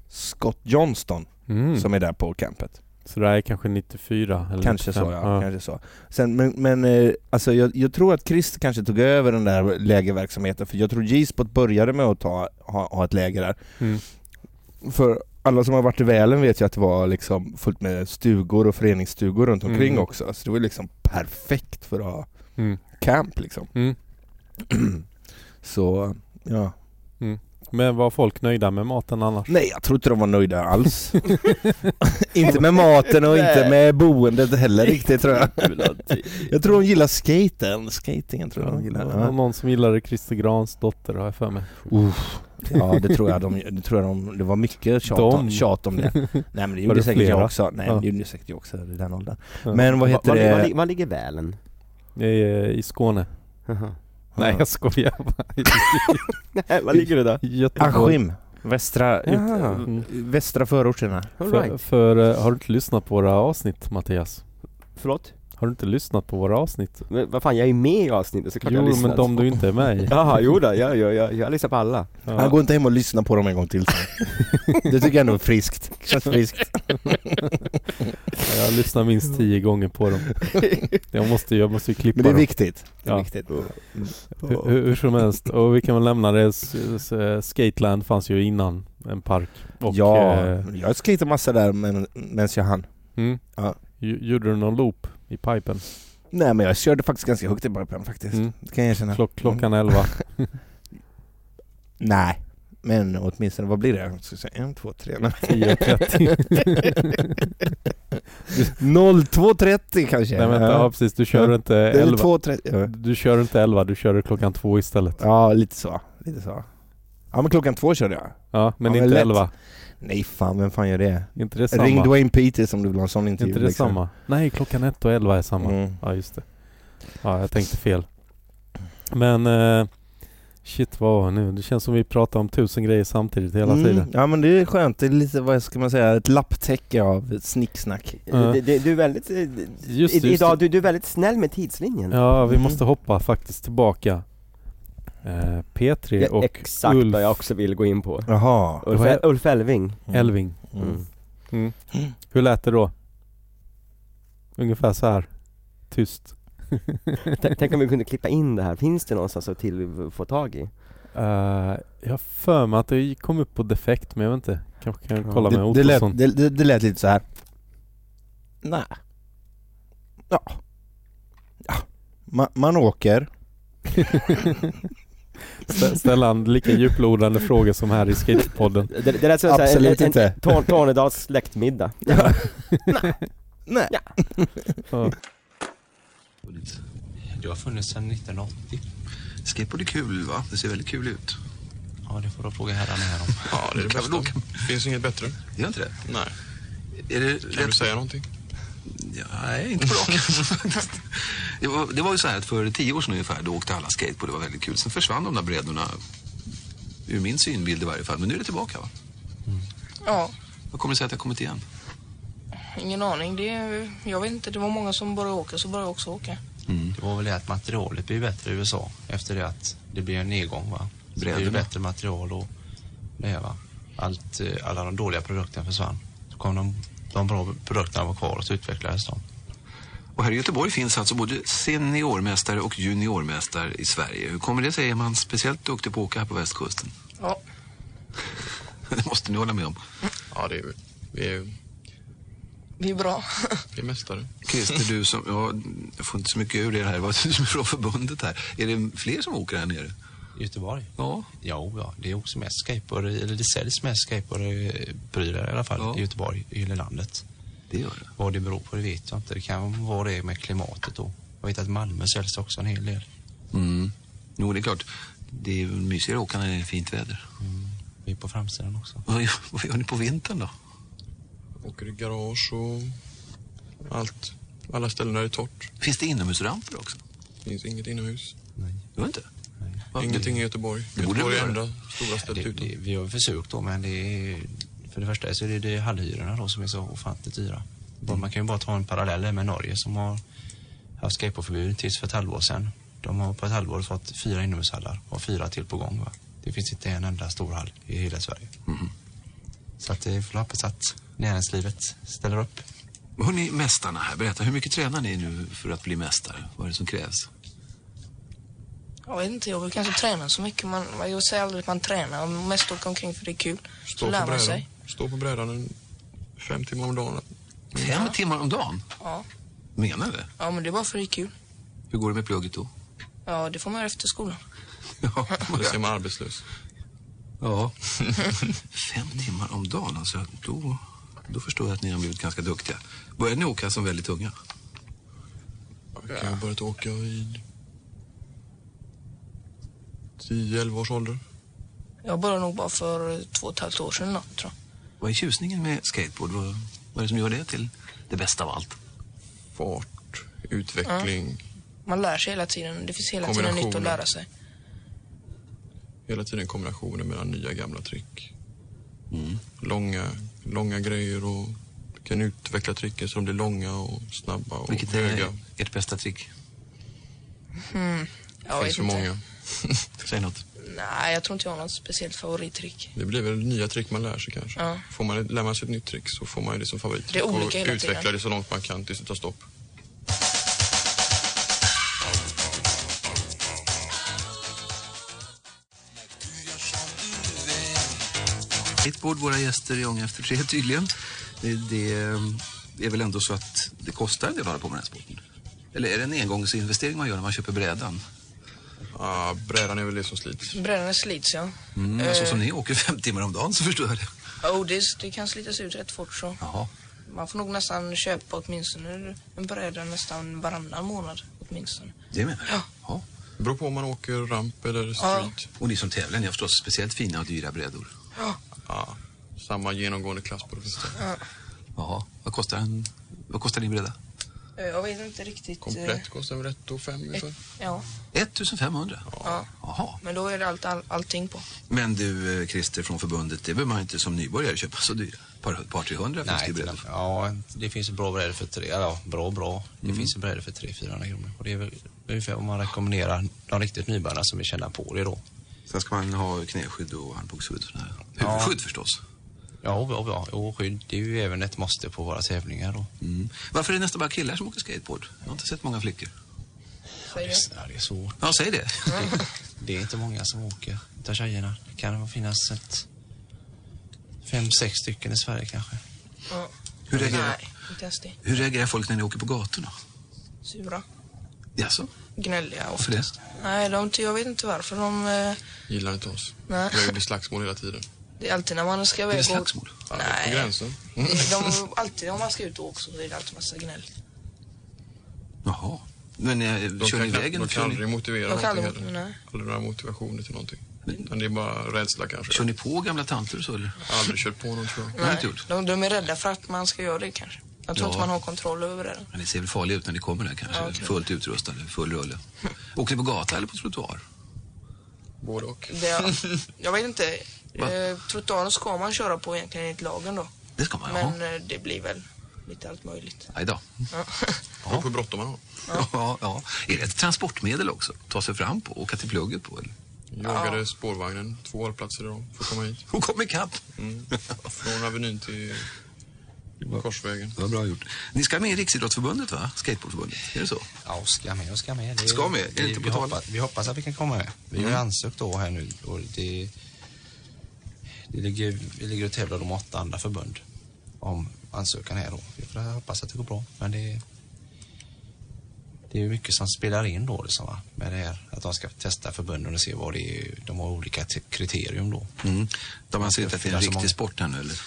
C: Scott Johnston
A: Mm.
C: som är där på campet.
A: Så det här är kanske 94 eller
C: Kanske
A: 95.
C: så ja, kanske så. Sen, men men eh, alltså jag, jag tror att Chris kanske tog över den där lägerverksamheten för jag tror G-spot började med att ta, ha, ha ett läger där.
A: Mm.
C: För alla som har varit i Välen vet ju att det var liksom fullt med stugor och föreningsstugor runt omkring
A: Mm.
C: också. Så det var liksom perfekt för att ha
A: Mm.
C: camp liksom.
A: Mm.
C: Så ja.
A: Men var folk nöjda med maten annars?
C: Nej jag tror inte de var nöjda alls. inte med maten och inte med boendet heller riktigt tror jag. Jag tror de gillar skaten, skatingen tror jag de
A: det
C: gillar.
A: var
C: Ja.
A: någon som gillade Christer Grans dotter har jag för mig.
C: Uff. Ja det tror jag de, det tror jag de, det var mycket tjat, om,
A: De.
C: tjat om det. Nej men det
A: Var
C: gjorde
A: det
C: säkert
A: flera?
C: jag också. Nej
A: Ja.
C: det gjorde säkert jag också i den åldern.
A: Ja.
C: Men vad heter
B: Var,
C: det?
B: var, var, var ligger Välen?
A: Eh, I Skåne.
B: Jaha.
A: Nej jag skojar bara.
B: Nej, var ligger det då?
A: I Göteborg.
C: Askim, västra, ut,
B: Jaha.
C: mm. västra förorten här.
B: All
A: För,
B: right.
A: för, eh, har du inte lyssnat på våra avsnitt Mattias?
B: Förlåt?
A: Har du inte lyssnat på våra avsnitt?
B: Men vad fan, jag är ju med i avsnittet såklart jag
A: Jo
B: har lyssnat.
A: men de du inte är med i.
B: Jaha, jo då, jag, jag, jag, jag lyssnar på alla.
C: Han
A: Ja.
C: går inte hem och lyssnar på dem en gång till sen. Det tycker jag ändå är friskt. Känns friskt.
A: Jag lyssnar minst tio gånger på dem. Jag måste ju jag måste ju klippa
C: Men det är
A: dem.
C: viktigt. Det
A: Ja.
C: är
A: Mm.
C: viktigt. Mm.
A: Hur, hur, hur som helst, och vi kan väl lämna det. S- s- eh, Skateland fanns ju innan, en park. Och,
C: ja,
A: eh,
C: jag skejtade massa där men, medan jag hann.
A: mm,
C: Ja.
A: Gj- Gjorde du någon loop i pipen?
C: Nej men jag körde faktiskt ganska högt i början faktiskt.
A: Mm.
C: Det kan jag erkänna.
A: Klock, klockan elva.
C: Nej, men åtminstone vad blir det? Jag ska säga en, två, tre. Nej.
A: 10.30.
C: 02.30 kanske?
A: Nej vänta, ja, precis. Du kör inte
C: Eller
A: 11.
C: 2.30.
A: Du kör inte 11, du kör klockan två istället.
C: Ja, lite så. Lite så. Ja men klockan två körde jag.
A: Ja, men
C: Ja, men
A: inte
C: lätt.
A: 11.
C: Nej fan, vem fan gör det?
A: Inte det samma?
C: Ring Dwayne Peters om du vill ha en sån
A: inte
C: intervju. liksom.
A: det samma? Nej, klockan ett och 11 är samma.
C: Mm.
A: Ja, just det. Ja, jag tänkte fel. Men eh, shit vad var jag nu? Det känns som vi pratar om tusen grejer samtidigt hela
C: Mm,
A: tiden.
C: Ja men det är skönt, det är lite vad ska man säga, ett lapptäcke av snicksnack.
A: Ja.
B: Du, du, du är väldigt... eh,
A: Just
B: i,
A: det, just
B: idag, du, du är väldigt snäll med tidslinjen.
A: Ja, vi
C: Mm.
A: måste hoppa faktiskt tillbaka. Eh,
B: Det
A: P3
B: är
A: och
B: exakt
A: Ulf
B: vad jag också vill gå in på.
C: Jaha.
B: Ulf,
A: Vad är-
B: Ulf Elving.
A: Elving.
B: Mm.
A: Mm. Hur lät det då? Ungefär så här. Tyst.
B: Mm. T- Tänk om vi kunde klippa in det här, finns det någonstans att till få tag i?
A: Eh, jag har för mig att det kom upp på defekt, men jag vet inte. Kanske kan jag
B: Ja,
A: kolla med
C: Det, det,
A: Ottosson.
C: lät, det, det, det lät lite så här. Nej. Ja. ja. Man, man åker.
A: Stä- Ställa en lika djuplodande fråga som här i Skatepodden.
B: Det, det lät som så här-
C: Absolut
B: en, en,
C: inte.
B: Torn- Tornedals släktmiddag.
C: Nej.
A: Ja.
E: Du har funnits sedan 1980.
F: Skateboard är kul va? Det ser väldigt kul ut.
E: Ja, det får du fråga herrarna här om.
F: Ja, det är det bästa. Då,
G: Finns inget bättre?
F: gör inte det?
G: Nej.
F: Är det
G: Kan du
F: rätt?
G: säga någonting?
F: Ja, nej, inte på rak arm, faktiskt. det, var, det var ju så här att för tio år sedan ungefär, då åkte alla skateboard. Det var väldigt kul. Sen försvann de där brädorna. Ur min synbild i varje fall. Men nu är det tillbaka va?
G: Ja,
F: Vad kommer det sig att det har kommit igen?
G: ingen aning. Det, är- jag vet inte, det var många som började åka så började jag också åka.
F: Mm.
E: Det var väl det att materialet blir bättre i USA efter det att det blir en nedgång va. Så det är ju
F: Bräderna.
E: bättre material och det här, va. Allt, eh, alla de dåliga produkterna försvann. Så kom de, de bra produkterna var kvar och så utvecklades de.
F: Och här i Göteborg finns alltså både seniormästare och juniormästare i Sverige. Hur kommer det sig? Är man speciellt duktig på att åka här på västkusten?
G: Ja,
F: Det måste ni hålla med om.
H: Ja, det är vi. Vi är,
G: vi är bra.
H: vi är mästare.
F: Christer, du som... Ja, jag får inte så mycket ur det här. Vad är det från förbundet här? Är det fler som åker här nere?
E: Göteborg?
F: Ja.
E: Jo, ja. det är också mest skateboard, eller det säljs mest skateboardprylar i alla fall
F: Ja.
E: i Göteborg, i hela landet.
F: Det gör det.
E: Vad det beror på det vet jag inte. Det kan vara det med klimatet då. Jag vet att Malmö säljs också en hel del.
F: Mm. Jo, det är klart. Det är ju mysigare att åka när det är fint väder.
E: Vi är på framsidan också.
F: Vad gör, vad gör ni på vintern då?
H: Åker i garage och allt. Alla ställen där det är torrt.
F: Finns det inomhusramper också?
H: Finns inget inomhus.
E: Nej.
F: Gör det inte? Va?
H: Ingenting i Göteborg.
F: Det borde
H: Göteborg är
F: det vara.
H: enda stora
E: Det,
H: stället utan.
E: det, vi har försökt då, men det är, för det första så är det, det är hallhyrorna då som är så ofantligt dyra. Bara- Man kan ju bara ta en parallell här med Norge som har haft skateboardförbud tills för ett halvår sedan. De har på ett halvår fått fyra inomhushallar och fyra till på gång. Va? Det finns inte en enda stor hall i hela Sverige. Så att det får hoppas att näringslivet ställer upp.
F: Hörrni, mästarna här, berätta. Hur mycket tränar ni nu för att bli mästare? Vad är det som krävs?
G: Jag vet inte, jag brukar inte träna så mycket. Man, man- jag säger aldrig att man tränar, man mest åker omkring för det är kul. Så
H: Stå på
G: lär man
H: brädan.
G: sig.
H: Stå på brädan en fem timmar om dagen. Mm.
F: Fem timmar om dagen?
G: Ja.
F: Menar du det?
G: ja, men det är bara för det är kul.
F: Hur går det med plugget då?
G: Ja, det får man göra efter skolan.
F: Ja,
H: Då ser man arbetslös.
F: ja. Fem timmar om dagen, alltså. Då, då förstår jag att ni har blivit ganska duktiga. Började ni åka som väldigt unga?
H: Jag har börjat åka i 10-11 års ålder.
G: Jag började nog bara för två och ett halvt år sedan eller något, tror jag.
F: Vad är tjusningen med skateboard? Vad, vad är det som gör det till det bästa av allt?
H: Fart, utveckling.
G: Man lär sig hela tiden, det finns hela tiden nytt att
H: Kombinationer.
G: lära sig.
H: Hela tiden kombinationer mellan nya gamla trick.
F: Mm.
H: Långa, långa grejer och du kan utveckla tricken så de blir långa och snabba och
F: Vilket
H: höga.
F: är ert bästa trick?
G: Jag
H: Det
G: vet
H: finns så
G: inte.
H: många.
F: Säg något.
G: Nej, jag tror inte jag har något speciellt favorittrick.
H: Det blir väl nya trick man lär sig kanske.
G: Ja.
H: Får man, lär man sig ett nytt trick så får man ju det som favorit.
G: Det är olika hela
H: och
G: tiden.
H: utveckla det så långt man kan tills det tar stopp.
F: Skateboard, våra gäster i Ånga efter tre tydligen. Det, det är väl ändå så att det kostar en del att hålla på med den här sporten? Eller är det en engångsinvestering man gör när man köper brädan?
H: Ah, brädan är väl det som slits.
G: Brädan slits ja.
F: Mm, men Så som ni åker fem timmar om dagen så förstår jag det.
G: Oh, det, det kan slitas ut rätt fort så.
F: Jaha.
G: Man får nog nästan köpa åtminstone en bräda nästan varannan månad. Åtminstone.
F: Det menar du?
G: Ja.
F: Ja.
H: Det beror på om man åker ramp eller street.
F: Och ni som tävlar, ni har förstås speciellt fina och dyra brädor.
H: Ah, samma genomgående klass på det mesta.
F: Jaha. Vad kostar en... Vad kostar din bräda?
G: Eh, Jag vet inte riktigt. eh,
H: Komplett kostar väl ett och fem ungefär.
G: Ja,
F: 1500?
G: ja.
F: Jaha.
G: Men då är det allt, all, allting på.
F: Men du, eh, Christer från förbundet, det behöver man inte som nybörjare köpa så dyra. Par, par 300 finns det ju brädor.
E: inte- Ja, det finns ju bra brädor för tre, ja, bra bra. Det
F: Mm.
E: finns ju brädor för 300-400 kronor. Och det är väl ungefär vad man rekommenderar de riktigt nybörjarna som vill känna på det då.
F: Sen ska man ha knäskydd och armbågsskydd och sådana här.
E: Ja.
F: Huvudskydd förstås.
E: Ja, ja, ja. Och skydd, det är ju även ett måste på våra tävlingar då.
F: Mm. Varför är det nästan bara killar som åker skateboard? Jag har inte sett många flickor.
G: Säger jag.
E: Ja, det är svårt.
F: Ja, säg det.
H: Mm.
E: Det är inte många som åker utav tjejerna. Det kan finnas ett fem, sex stycken i Sverige kanske.
G: Ja.
F: Hur reagerar,
G: Nej, inte ens det.
F: hur reagerar folk när ni åker på gatorna?
G: Sura.
F: Jaså?
G: Gnälliga
F: Varför
G: ofta.
F: det?
G: Nej, de, ty- jag vet inte varför. De, eh,
H: Gillar inte oss.
G: Nej.
H: Det blir slagsmål hela tiden.
G: det är alltid när man ska iväg
F: Blir det
G: och-
F: slagsmål?
H: Alldeles på
G: Nej.
H: gränsen.
G: Det- De, alltid om man ska ut och åka så är det alltid massa gnäll.
F: Jaha. Men eh,
H: De
F: kör ni
H: kan, knappt-
F: vägen?
H: de kan
F: Kör
H: aldrig
F: ni,
H: motivera
G: De kan
H: någonting
G: aldrig-
H: heller.
G: nej.
H: Aldrig några motivationer till någonting. Utan det är bara rädsla kanske.
F: kör ni på gamla tanter och så eller?
H: Jag har aldrig kört på någon tror jag.
F: Det har ni inte gjort?
G: de, de är rädda för att man ska göra det kanske. Jag tror
F: Ja.
G: inte man har kontroll över det.
F: Men ni ser väl farliga ut när ni kommer där kanske?
G: Ja, okej.
F: Fullt utrustade, full rulle. Åker ni på gata eller på trottoar?
H: Både och.
G: Det, jag vet inte.
F: Va?
G: Eh, trottoaren ska man köra på egentligen enligt lagen då.
F: Det ska man
G: Men
F: ha.
G: eh, det blir väl lite allt möjligt.
F: Aj då.
H: Det beror på hur bråttom man har.
F: Ja, ja. Är det ett transportmedel också? Ta sig fram på, åka till plugget på? Eller?
H: Jagade spårvagnen två hållplatser idag för att komma hit.
F: Och kom ikapp.
H: Från Avenyn till Korsvägen.
F: Det var bra gjort. Ni ska med i Riksidrottsförbundet va? Skateboardförbundet, är det så?
E: Ja, och ska med och ska med. Det,
F: Ska med? Är det
E: vi-
F: inte på
E: vi,
F: tal? Mm.
E: hoppas, vi hoppas att vi kan komma med. Vi har ju ansökt då här nu och det, det ligger, vi ligger och tävlar de åtta andra förbund om ansökan här då. Vi får hoppas att det går bra. Men det, det är ju mycket som spelar in då liksom va? med det här. Att de ska testa förbunden och se vad det är. De har olika t- kriterium då.
F: Mm. De anser inte att det är en
E: Alltså,
F: riktig
E: många-
F: sport här nu eller?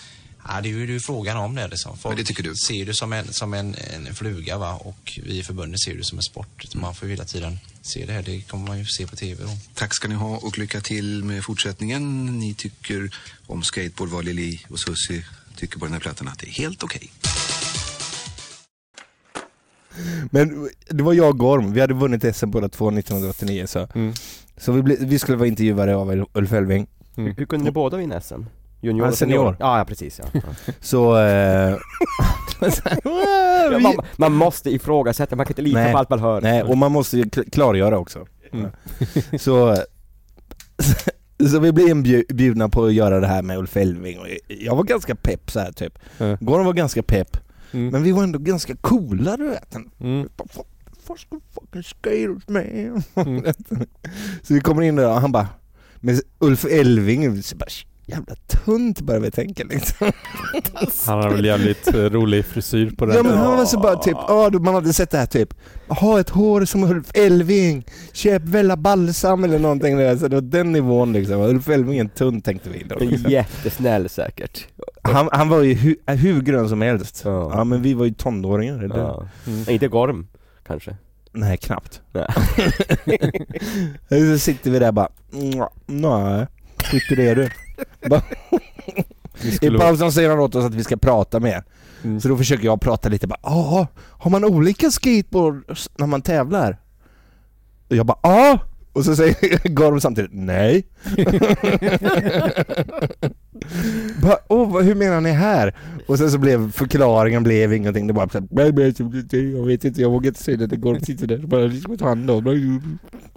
E: Ja, det är ju det är ju frågan om det. Liksom. Folk
F: Men det tycker du?
E: ser du som en, som en, en fluga va? och vi i förbundet ser det som en sport. Man får ju hela tiden se det här. Det kommer man ju se på tv då.
F: Tack ska ni ha och lycka till med fortsättningen. Ni tycker om skateboard vad Lili och Susie tycker på den här plattan att det är helt okej.
C: Men det var jag och Gorm, vi hade vunnit SM båda två 1989 så,
A: Mm.
C: så vi, ble, vi skulle vara intervjuade av Ul- Ulf Elfving.
D: Hur kunde ni båda vinna SM? Junior
C: Mm. Ja,
D: och senior?
C: senior.
D: Ja, ja precis ja. ja.
C: Så... Eh,
D: Ja, man, man måste ifrågasätta, man kan inte lita
C: Nej.
D: på allt man hör.
C: nej, och man måste ju kl- klargöra också.
A: Mm.
C: Så, så vi blev inbjudna på att göra det här med Ulf Elfving och jag var ganska pepp så här typ.
A: Ja.
C: Gorm var ganska pepp,
A: Mm.
C: men vi var ändå ganska coola du vet.
A: Mm.
C: Bara, "Fuck- fuck the fucking skaters man.
A: Mm.
C: så vi kommer in där och han bara, med Ulf Elving, så bara, jävla tunt börjar vi tänka liksom.
A: Han har väl jävligt eh, rolig frisyr på den.
C: Ja men han var så bara typ, ja du, man hade sett det här typ, ha ett hår som Ulf Elving, köp Vella Balsam eller någonting där. Så det var den nivån liksom, Ulf Elving är tunn tänkte vi då.
D: Men
C: Liksom.
D: Jättesnäll säkert.
C: Han, han var ju hu, hur grön som helst.
D: Ja.
C: Ja men vi var ju tonåringar. Eller?
D: Ja.
A: Mm.
D: Inte Gorm, kanske.
C: Nej knappt.
D: Nej.
C: så sitter vi där bara, "Nja, nej, tycker det är du.
A: Vi
C: I
A: skulle vara-
C: pausen säger han åt oss att vi ska prata mer.
A: Mm.
C: Så då försöker jag prata lite bara ja, har man olika skateboards när man tävlar? Och jag bara ja! Och så säger Gorm samtidigt nej. bara, Åh, vad- hur menar ni här? Och sen så blev förklaringen blev ingenting. Det bara så här, "Nej, men jag vet inte, jag vågar inte säga det. Gorm sitter där och bara liksom ett handlag.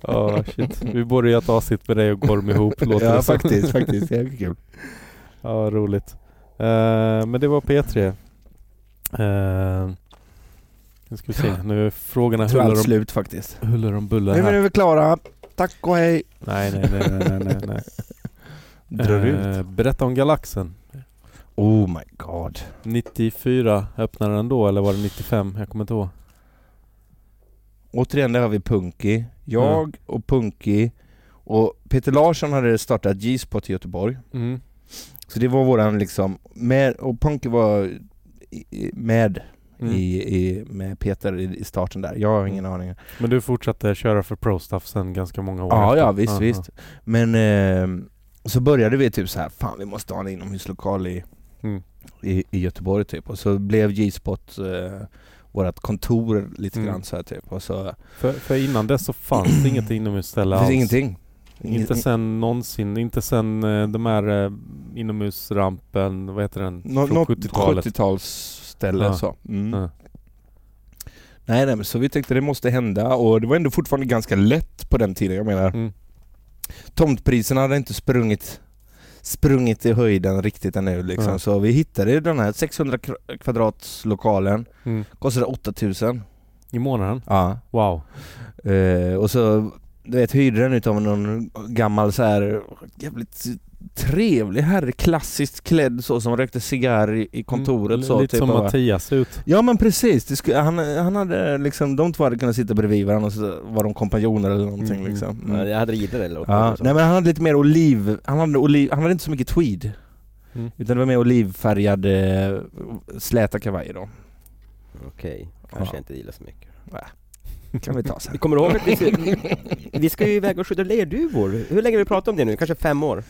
A: Ja, shit. Vi borde göra ett avsnitt med dig och Gorm ihop, låter
C: Ja
A: det som.
C: faktiskt, faktiskt. Det är kul.
A: Ja, vad roligt. Eh, men det var P3. Eh, nu ska vi se. Nu är frågorna
C: Tyvärr
A: huller om,
C: slut faktiskt.
A: huller om buller
C: Nu är
A: här.
C: vi klara. Tack och hej.
A: Nej, nej, nej, nej, nej, nej, nej.
C: Drar ut.
A: Eh, berätta om Galaxen.
C: Oh my god.
A: 94 öppnade den då, eller var det 95? Jag kommer inte ihåg.
C: Återigen, där har vi Punky. Jag och Punky och Peter Larsson hade startat G-spot i Göteborg.
A: Mm.
C: Så det var våran liksom, med, och Punky var i- i- med
A: Mm.
C: i, i, med Peter i, i starten där. Jag har ingen aning.
A: Men du fortsatte köra för Pro Stuff sen ganska många år
C: Ja,
A: efter.
C: ja visst,
A: Ah,
C: visst. Men eh, så började vi typ så här, fan vi måste ha en inomhuslokal i,
A: Mm.
C: i, i Göteborg typ. Och så blev G-spot eh, vårt kontor lite
A: Mm.
C: grann så här typ. Och så,
A: ah. För, för innan dess så fanns det inget inomhusställe
C: det finns
A: alls.
C: ingenting.
A: Inte sen någonsin, inte sen eh, de här eh, inomhusrampen, vad heter den?
C: Nå-
A: Från
C: något
A: 70-talet.
C: 70-talsställe
A: Ja.
C: så. Mm.
A: Ja.
C: Nej, nej, men så vi tänkte det måste hända och det var ändå fortfarande ganska lätt på den tiden. Jag menar,
A: Mm.
C: tomtpriserna hade inte sprungit sprungit i höjden riktigt ännu liksom.
A: Ja.
C: Så vi hittade den här 600 kra- kvadratslokalen,
A: Mm.
C: kostade 8000.
A: I månaden?
C: Ja.
A: Wow.
C: Eh, och så du vet, hyrde den utav någon gammal så här jävligt trevlig herre, klassiskt klädd så som rökte cigarr i, i kontoret typ
A: Mm,
C: så.
A: Lite som
C: och bara-
A: Mattias ser ut.
C: Ja men precis, det skulle, han, han hade liksom, de två hade kunnat sitta bredvid varandra och så var de kompanjoner eller någonting
A: Mm.
C: liksom. Mm.
D: Jag hade rider eller något.
C: Ja,
B: alltså.
C: nej men han hade lite mer oliv, han hade, oliv, han hade inte så mycket tweed.
A: Mm.
C: Utan det var mer olivfärgade eh, släta kavajer då.
D: Okej, kanske
C: Ja.
D: jag inte gillar så mycket.
C: Kan vi ta sen.
D: Vi kommer ihåg att vi ska, vi ska ju iväg och skydda lerduvor. Hur länge har vi pratat om det nu? Kanske fem år?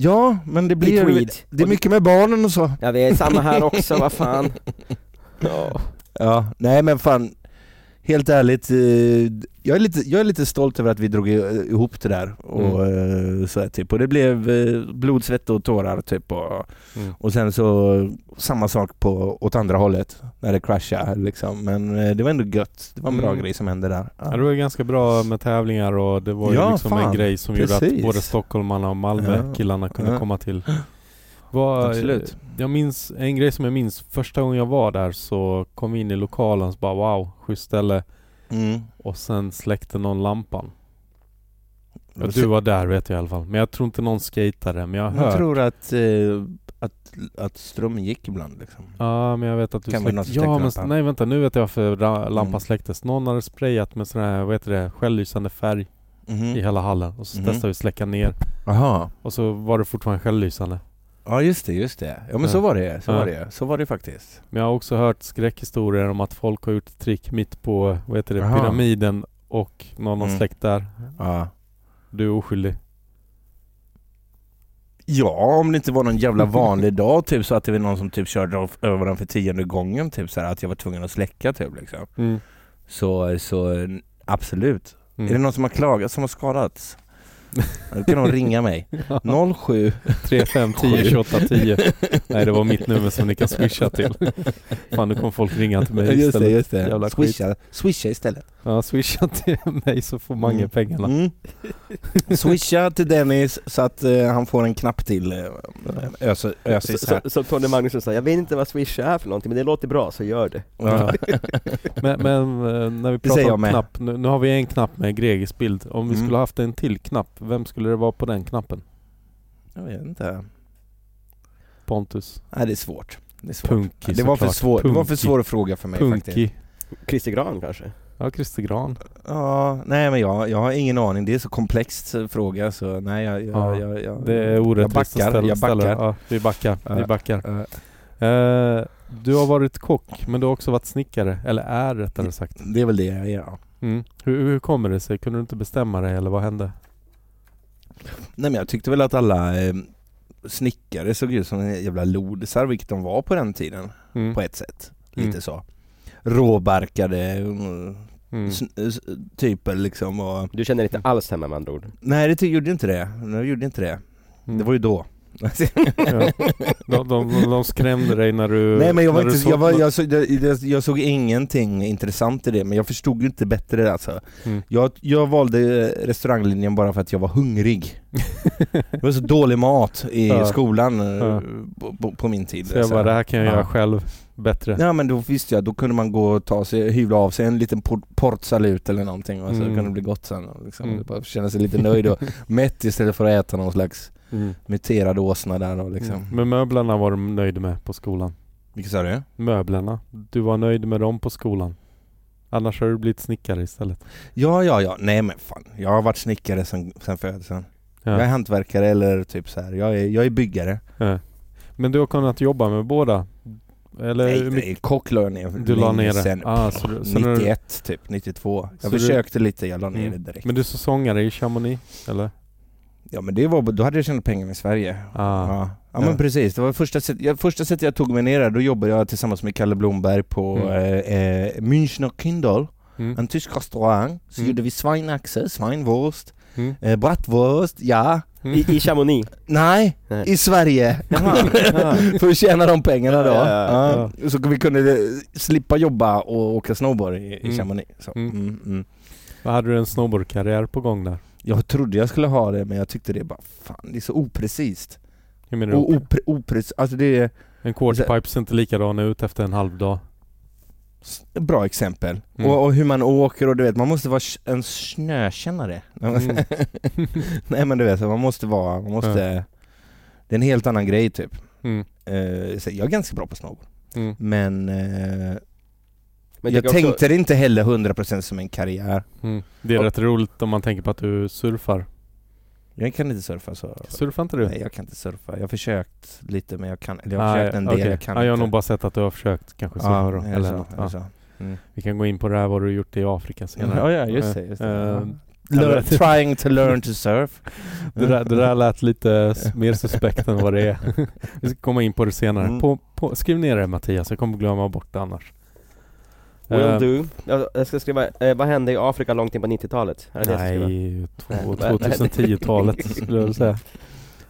C: Ja, men det
D: I
C: blir...
D: tweed.
C: Det är mycket med barnen och så.
D: Ja, vi är samma här också, vad fan. Ja.
C: Ja, nej men fan. Helt ärligt, eh, jag, är lite, jag är lite stolt över att vi drog i- eh, ihop det där och
A: Mm.
C: eh, så här, typ. Och det blev eh, blod, svett och tårar typ. Och,
A: Mm.
C: och sen så samma sak på, åt andra hållet när det kraschade liksom. Men eh, det var ändå gött. Det var en bra
A: Mm.
C: grej som hände där.
A: Ja, det var ju ganska bra med tävlingar och det var ju
C: Ja,
A: liksom
C: fan.
A: en grej som gjorde att
C: Precis.
A: både stockholmarna och Malmö
C: Ja.
A: killarna kunde
C: Ja.
A: komma till. Var,
C: Absolut.
A: Jag minns en grej som jag minns första gången jag var där så kom vi in i lokalen och så bara wow, schysst ställe
C: Mm.
A: och sen släckte någon lampan. Ja,
C: Och
A: du var där vet jag i alla fall, men jag tror inte någon skatade men jag har
C: Jag
A: hört.
C: tror att, eh, att, att strömmen gick ibland liksom.
A: Ja men jag vet att du
C: Kan vara någon
A: släckte...
C: som
A: Ja
C: släckte
A: men
C: lampan.
A: nej vänta nu vet jag varför ra- lampan
C: Mm.
A: släcktes. Någon hade sprayat med sån här, vad heter det, självlysande färg
C: Mhm.
A: i hela hallen och så
C: Mhm.
A: testade vi släcka ner
C: Aha.
A: och så var det fortfarande självlysande.
C: Ja just det, just det. Ja men
A: Ja.
C: så var det så
A: Ja.
C: var det så var det faktiskt.
A: Men jag har också hört skräckhistorier om att folk har gjort trick mitt på, vad heter det,
C: Aha.
A: pyramiden och någon har
C: Mm.
A: släckt där.
C: Ja.
A: Du är oskyldig.
C: Ja, om det inte var någon jävla vanlig dag typ så att det var någon som typ körde av- över den för tionde gången typ så här, att jag var tvungen att släcka typ liksom.
A: Mm.
C: Så, så n- absolut.
A: Mm.
C: Är det någon som har klagat, som har skadats? Då kan de ringa mig. 07.
A: 3, 5, 10, 28, 10. Nej det var mitt nummer som ni kan swisha till. Fan nu kommer folk ringa till mig
C: just det,
A: istället.
C: just
A: Jävla
C: det.
A: skit.
C: Swisha, swisha istället.
A: Ja swisha till mig så får Mange
C: Mm.
A: pengarna.
C: Mm. Swisha till Dennis så att eh, han får en knapp till eh, ös-
B: Så,
C: ösis här.
B: så, så Tony Magnusson sa, jag vet inte vad Swish är för någonting men det låter bra så gör det.
A: Ja. men, men eh, när vi
C: säger
A: pratar
C: jag
A: om
C: med.
A: knapp, nu, nu har vi en knapp med Gregis bild. Om vi
C: Mm.
A: skulle haft en till knapp, vem skulle det vara på den knappen?
C: Jag vet inte.
A: Pontus?
C: Nej det är svårt. Det, är svårt.
A: Punky
C: det, var, för
A: såklart.
C: svår, det var för
A: Punky.
C: svår fråga för mig faktiskt.
A: Punky?
B: Christer Gran kanske?
A: Ja, Christer Gran.
C: Ja, nej men jag, jag har ingen aning. Det är så komplext eh, fråga så nej jag... jag,
A: Ja,
C: jag, jag
A: Det är orättvist
C: Jag
A: att
C: backar,
A: ställa-
C: jag backar.
A: ställa- Ja, vi backar. Vi
C: Ja.
A: backar.
C: Eh,
A: Eh, du har varit kock, men du har också varit snickare. Eller är rättare sagt.
C: det är väl det jag är. ja.
A: Mm. Hur, hur kommer det sig? Kunde du inte bestämma dig eller vad hände?
C: Nej men jag tyckte väl att alla eh, snickare såg ut som jävla lodisar, vilket de var på den tiden
A: Mm.
C: på ett sätt.
A: Mm.
C: Lite så. Råbarkade mm,
A: Mm.
C: s- s- typer liksom och...
B: Du känner inte alls hemma med andra ord?
C: Nej det ty- gjorde inte det. Jag gjorde inte det.
A: Mm.
C: Det var ju då.
A: Ja. De, de, de, de skrämde dig när du...
C: Nej men jag, var
A: Eh, när du
C: inte,
A: såg
C: jag, var,
A: något.
C: jag, såg, jag, jag- jag såg ingenting intressant i det, men jag förstod ju inte bättre alltså.
A: Mm.
C: Jag, jag valde eh, restauranglinjen bara för att jag var hungrig. det var så dålig mat i
A: Ja.
C: skolan eh,
A: Ja.
C: på, på, på min tid.
A: Så jag
C: alltså.
A: bara, det här kan jag göra
C: Ja.
A: själv bättre.
C: Ja men då visste jag, då kunde man gå och ta sig, hyvla av sig en liten por- portsalut eller någonting och så
A: Mm.
C: kunde det bli gott sen. och Liksom.
A: Mm.
C: Bara känna sig lite nöjd och mätt istället för att äta någon slags
A: Mm.
C: muterad åsna där och liksom.
A: Mm. Men möblerna var du nöjd med på skolan?
C: Vilket sa du?
A: Möblerna? Du var nöjd med dem på skolan? Annars har du blivit snickare istället.
C: Ja ja ja, nej men fan. Jag har varit snickare sen, sen födseln. Jag är
A: Ja. Eh,
C: hantverkare eller typ så här. Jag, är, jag är byggare.
A: Men du har kunnat jobba med båda? Eller
C: Nej,
A: hur mycket-
C: nej, kock la jag ner
A: Du la
C: länge
A: ner det?
C: Sen,
A: ah, så, du- så när du,
C: 91 typ, 92.
A: Så
C: Jag
A: du-
C: försökte lite, jag la ner
A: Mm.
C: det direkt.
A: men du är säsongare i Chamonix, eller?
C: Ja men det var, då hade jag tjänat pengar i Sverige.
A: Ah.
C: Ja. ja
A: Ja.
C: men precis, det var första sättet jag, första sätt jag tog mig ner där, då jobbade jag tillsammans med Kalle Blomberg på
A: Mm.
C: eh, eh, München och Kindl,
A: Mm.
C: en tysk restaurang. Så
A: Mm.
C: gjorde vi Schweinaxe, Schweinwurst,
A: Mm.
C: eh, Bratwurst, ja.
B: I, i Chamonix?
C: Nej,
B: Nej.
C: i Sverige! För att tjäna de pengarna då.
B: Ja, ja,
A: ja.
C: Ja. Så vi kunde eh, slippa jobba och åka snowboard i,
A: Mm.
C: i Chamonix. Så.
A: Mm.
C: Mm. Mm,
A: Vad Hade du en snowboardkarriär på gång där?
C: Jag trodde jag skulle ha det men jag tyckte det bara, fan det är så oprecist.
A: Hur menar
C: Och
A: du?
C: opre, oprecist, alltså det är
A: En quarterpipe ser inte likadan ut efter en halv dag.
C: s- bra exempel.
A: Mm.
C: Och, och hur man åker och du vet, man måste vara s- en snökännare.
A: Mm.
C: Nej men du vet, så man måste vara, man måste... Det är en helt annan grej typ.
A: Mm.
C: Eh, så jag är ganska bra på snowboard.
A: Mm.
C: Men, eh,
B: Men
C: jag
B: tycker
C: tänkte
B: också,
C: det inte heller 100% som en karriär.
A: Mm. Det är rätt roligt om man tänker på att du surfar.
C: Jag kan inte surfa så.
A: Surfar inte du?
C: Nej jag kan inte surfa. Jag har försökt lite men jag kan, eller jag har försökt en del,
A: okej.
C: jag kan
A: ja, Jag har
C: inte.
A: nog bara sett att du har försökt kanske surfa
C: Ja,
A: då,
C: är det
A: eller
C: så?
A: något.
C: Är det
A: Ja.
C: så?
A: Vi kan gå in på det här vad du gjort i Afrika senare.
C: Ja, ja just det. Just det.
A: Eh,
C: Learn, trying to learn to surf.
A: Det där, det där lät lite s- mer suspekt än vad det är. Vi ska komma in på det senare.
C: Mm.
A: På, på, skriv ner det Mattias, jag kommer glömma bort det annars. Eh,
D: Will do. Jag, jag ska skriva, eh, vad hände i Afrika långt in på 90-talet? Är det det jag ska skriva?
A: Nej, två-
D: Nej.
A: 2010-talet skulle jag vilja säga.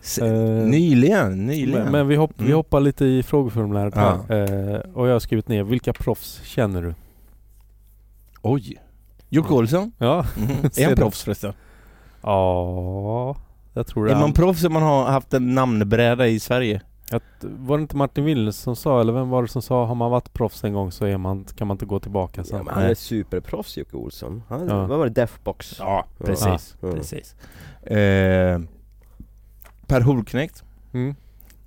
C: S-
A: Eh,
C: Nyligen, nyligen.
A: Men, men vi, hopp, vi
C: Mm.
A: hoppar lite i frågeformuläret
C: Ja.
A: här. Eh, och jag har skrivit ner, vilka proffs känner du?
C: Oj! Jocke Olsson? Mhm.
A: Ja,
C: Är
A: Ser
C: han
A: du?
C: proffs förresten?
A: ja jag tror det.
C: Är
A: är
C: man
A: han.
C: proffs om man har haft en namnbräda i Sverige?
A: Att- Var det inte Martin Wills som sa, eller vem var det som sa, har man varit proffs en gång så är man, kan man inte gå tillbaka
B: Ja,
A: sen?
B: men han är
C: alltså, Nej.
B: superproffs Jocke Olsson. Han,
A: Ja.
B: Vad var det? Deathbox?
C: Ja,
A: precis,
B: Ja. mm.
C: precis. Eh, per Holknekt?
A: Mm.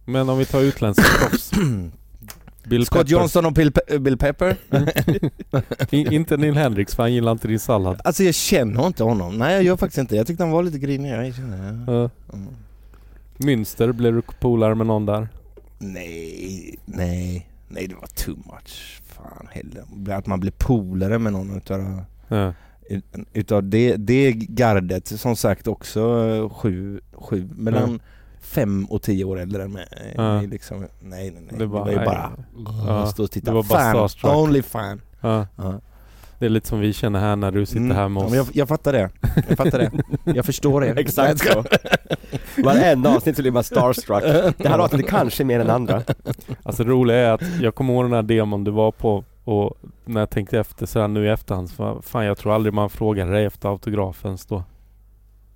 A: Men om vi tar utländska proffs. Bill
C: Scott
A: Peppers.
C: Johnson och Bill, Pe- Bill Pepper?
A: I, inte Neil Hendrix för han gillar inte din sallad.
C: Alltså jag känner inte honom. Nej jag gör faktiskt inte Jag tyckte han var lite grinig. Jag känner, ja.
A: Uh,
C: Mm.
A: Münster, blev du polare med någon där?
C: Nej, nej, nej det var too much. Fan heller. Att man blir polare med någon utav,
A: Ja.
C: utav det, det gardet. Som sagt också eh, sju, sju mellan
A: Mm.
C: fem och tio år äldre än mig.
A: Ja.
C: Liksom, nej, nej, nej.
A: Det
C: Det
A: var-
C: var ju
A: nej.
C: bara...
A: Ja,
C: stå och titta.
A: det var bara
C: fan,
A: starstruck.
C: only fan.
A: Ja.
C: Ja.
A: Det är lite som vi känner här när du sitter här med
C: Mm. Ja,
A: oss.
C: men jag, jag fattar det. Jag fattar det. Jag förstår det.
B: Exakt så. Varenda avsnitt så blir man starstruck. Det här avsnittet kanske mer än andra.
A: Alltså det roliga är att jag kommer ihåg den här demon du var på och när jag tänkte efter så här nu i efterhand så var- fan jag tror aldrig man frågade dig efter autografen då.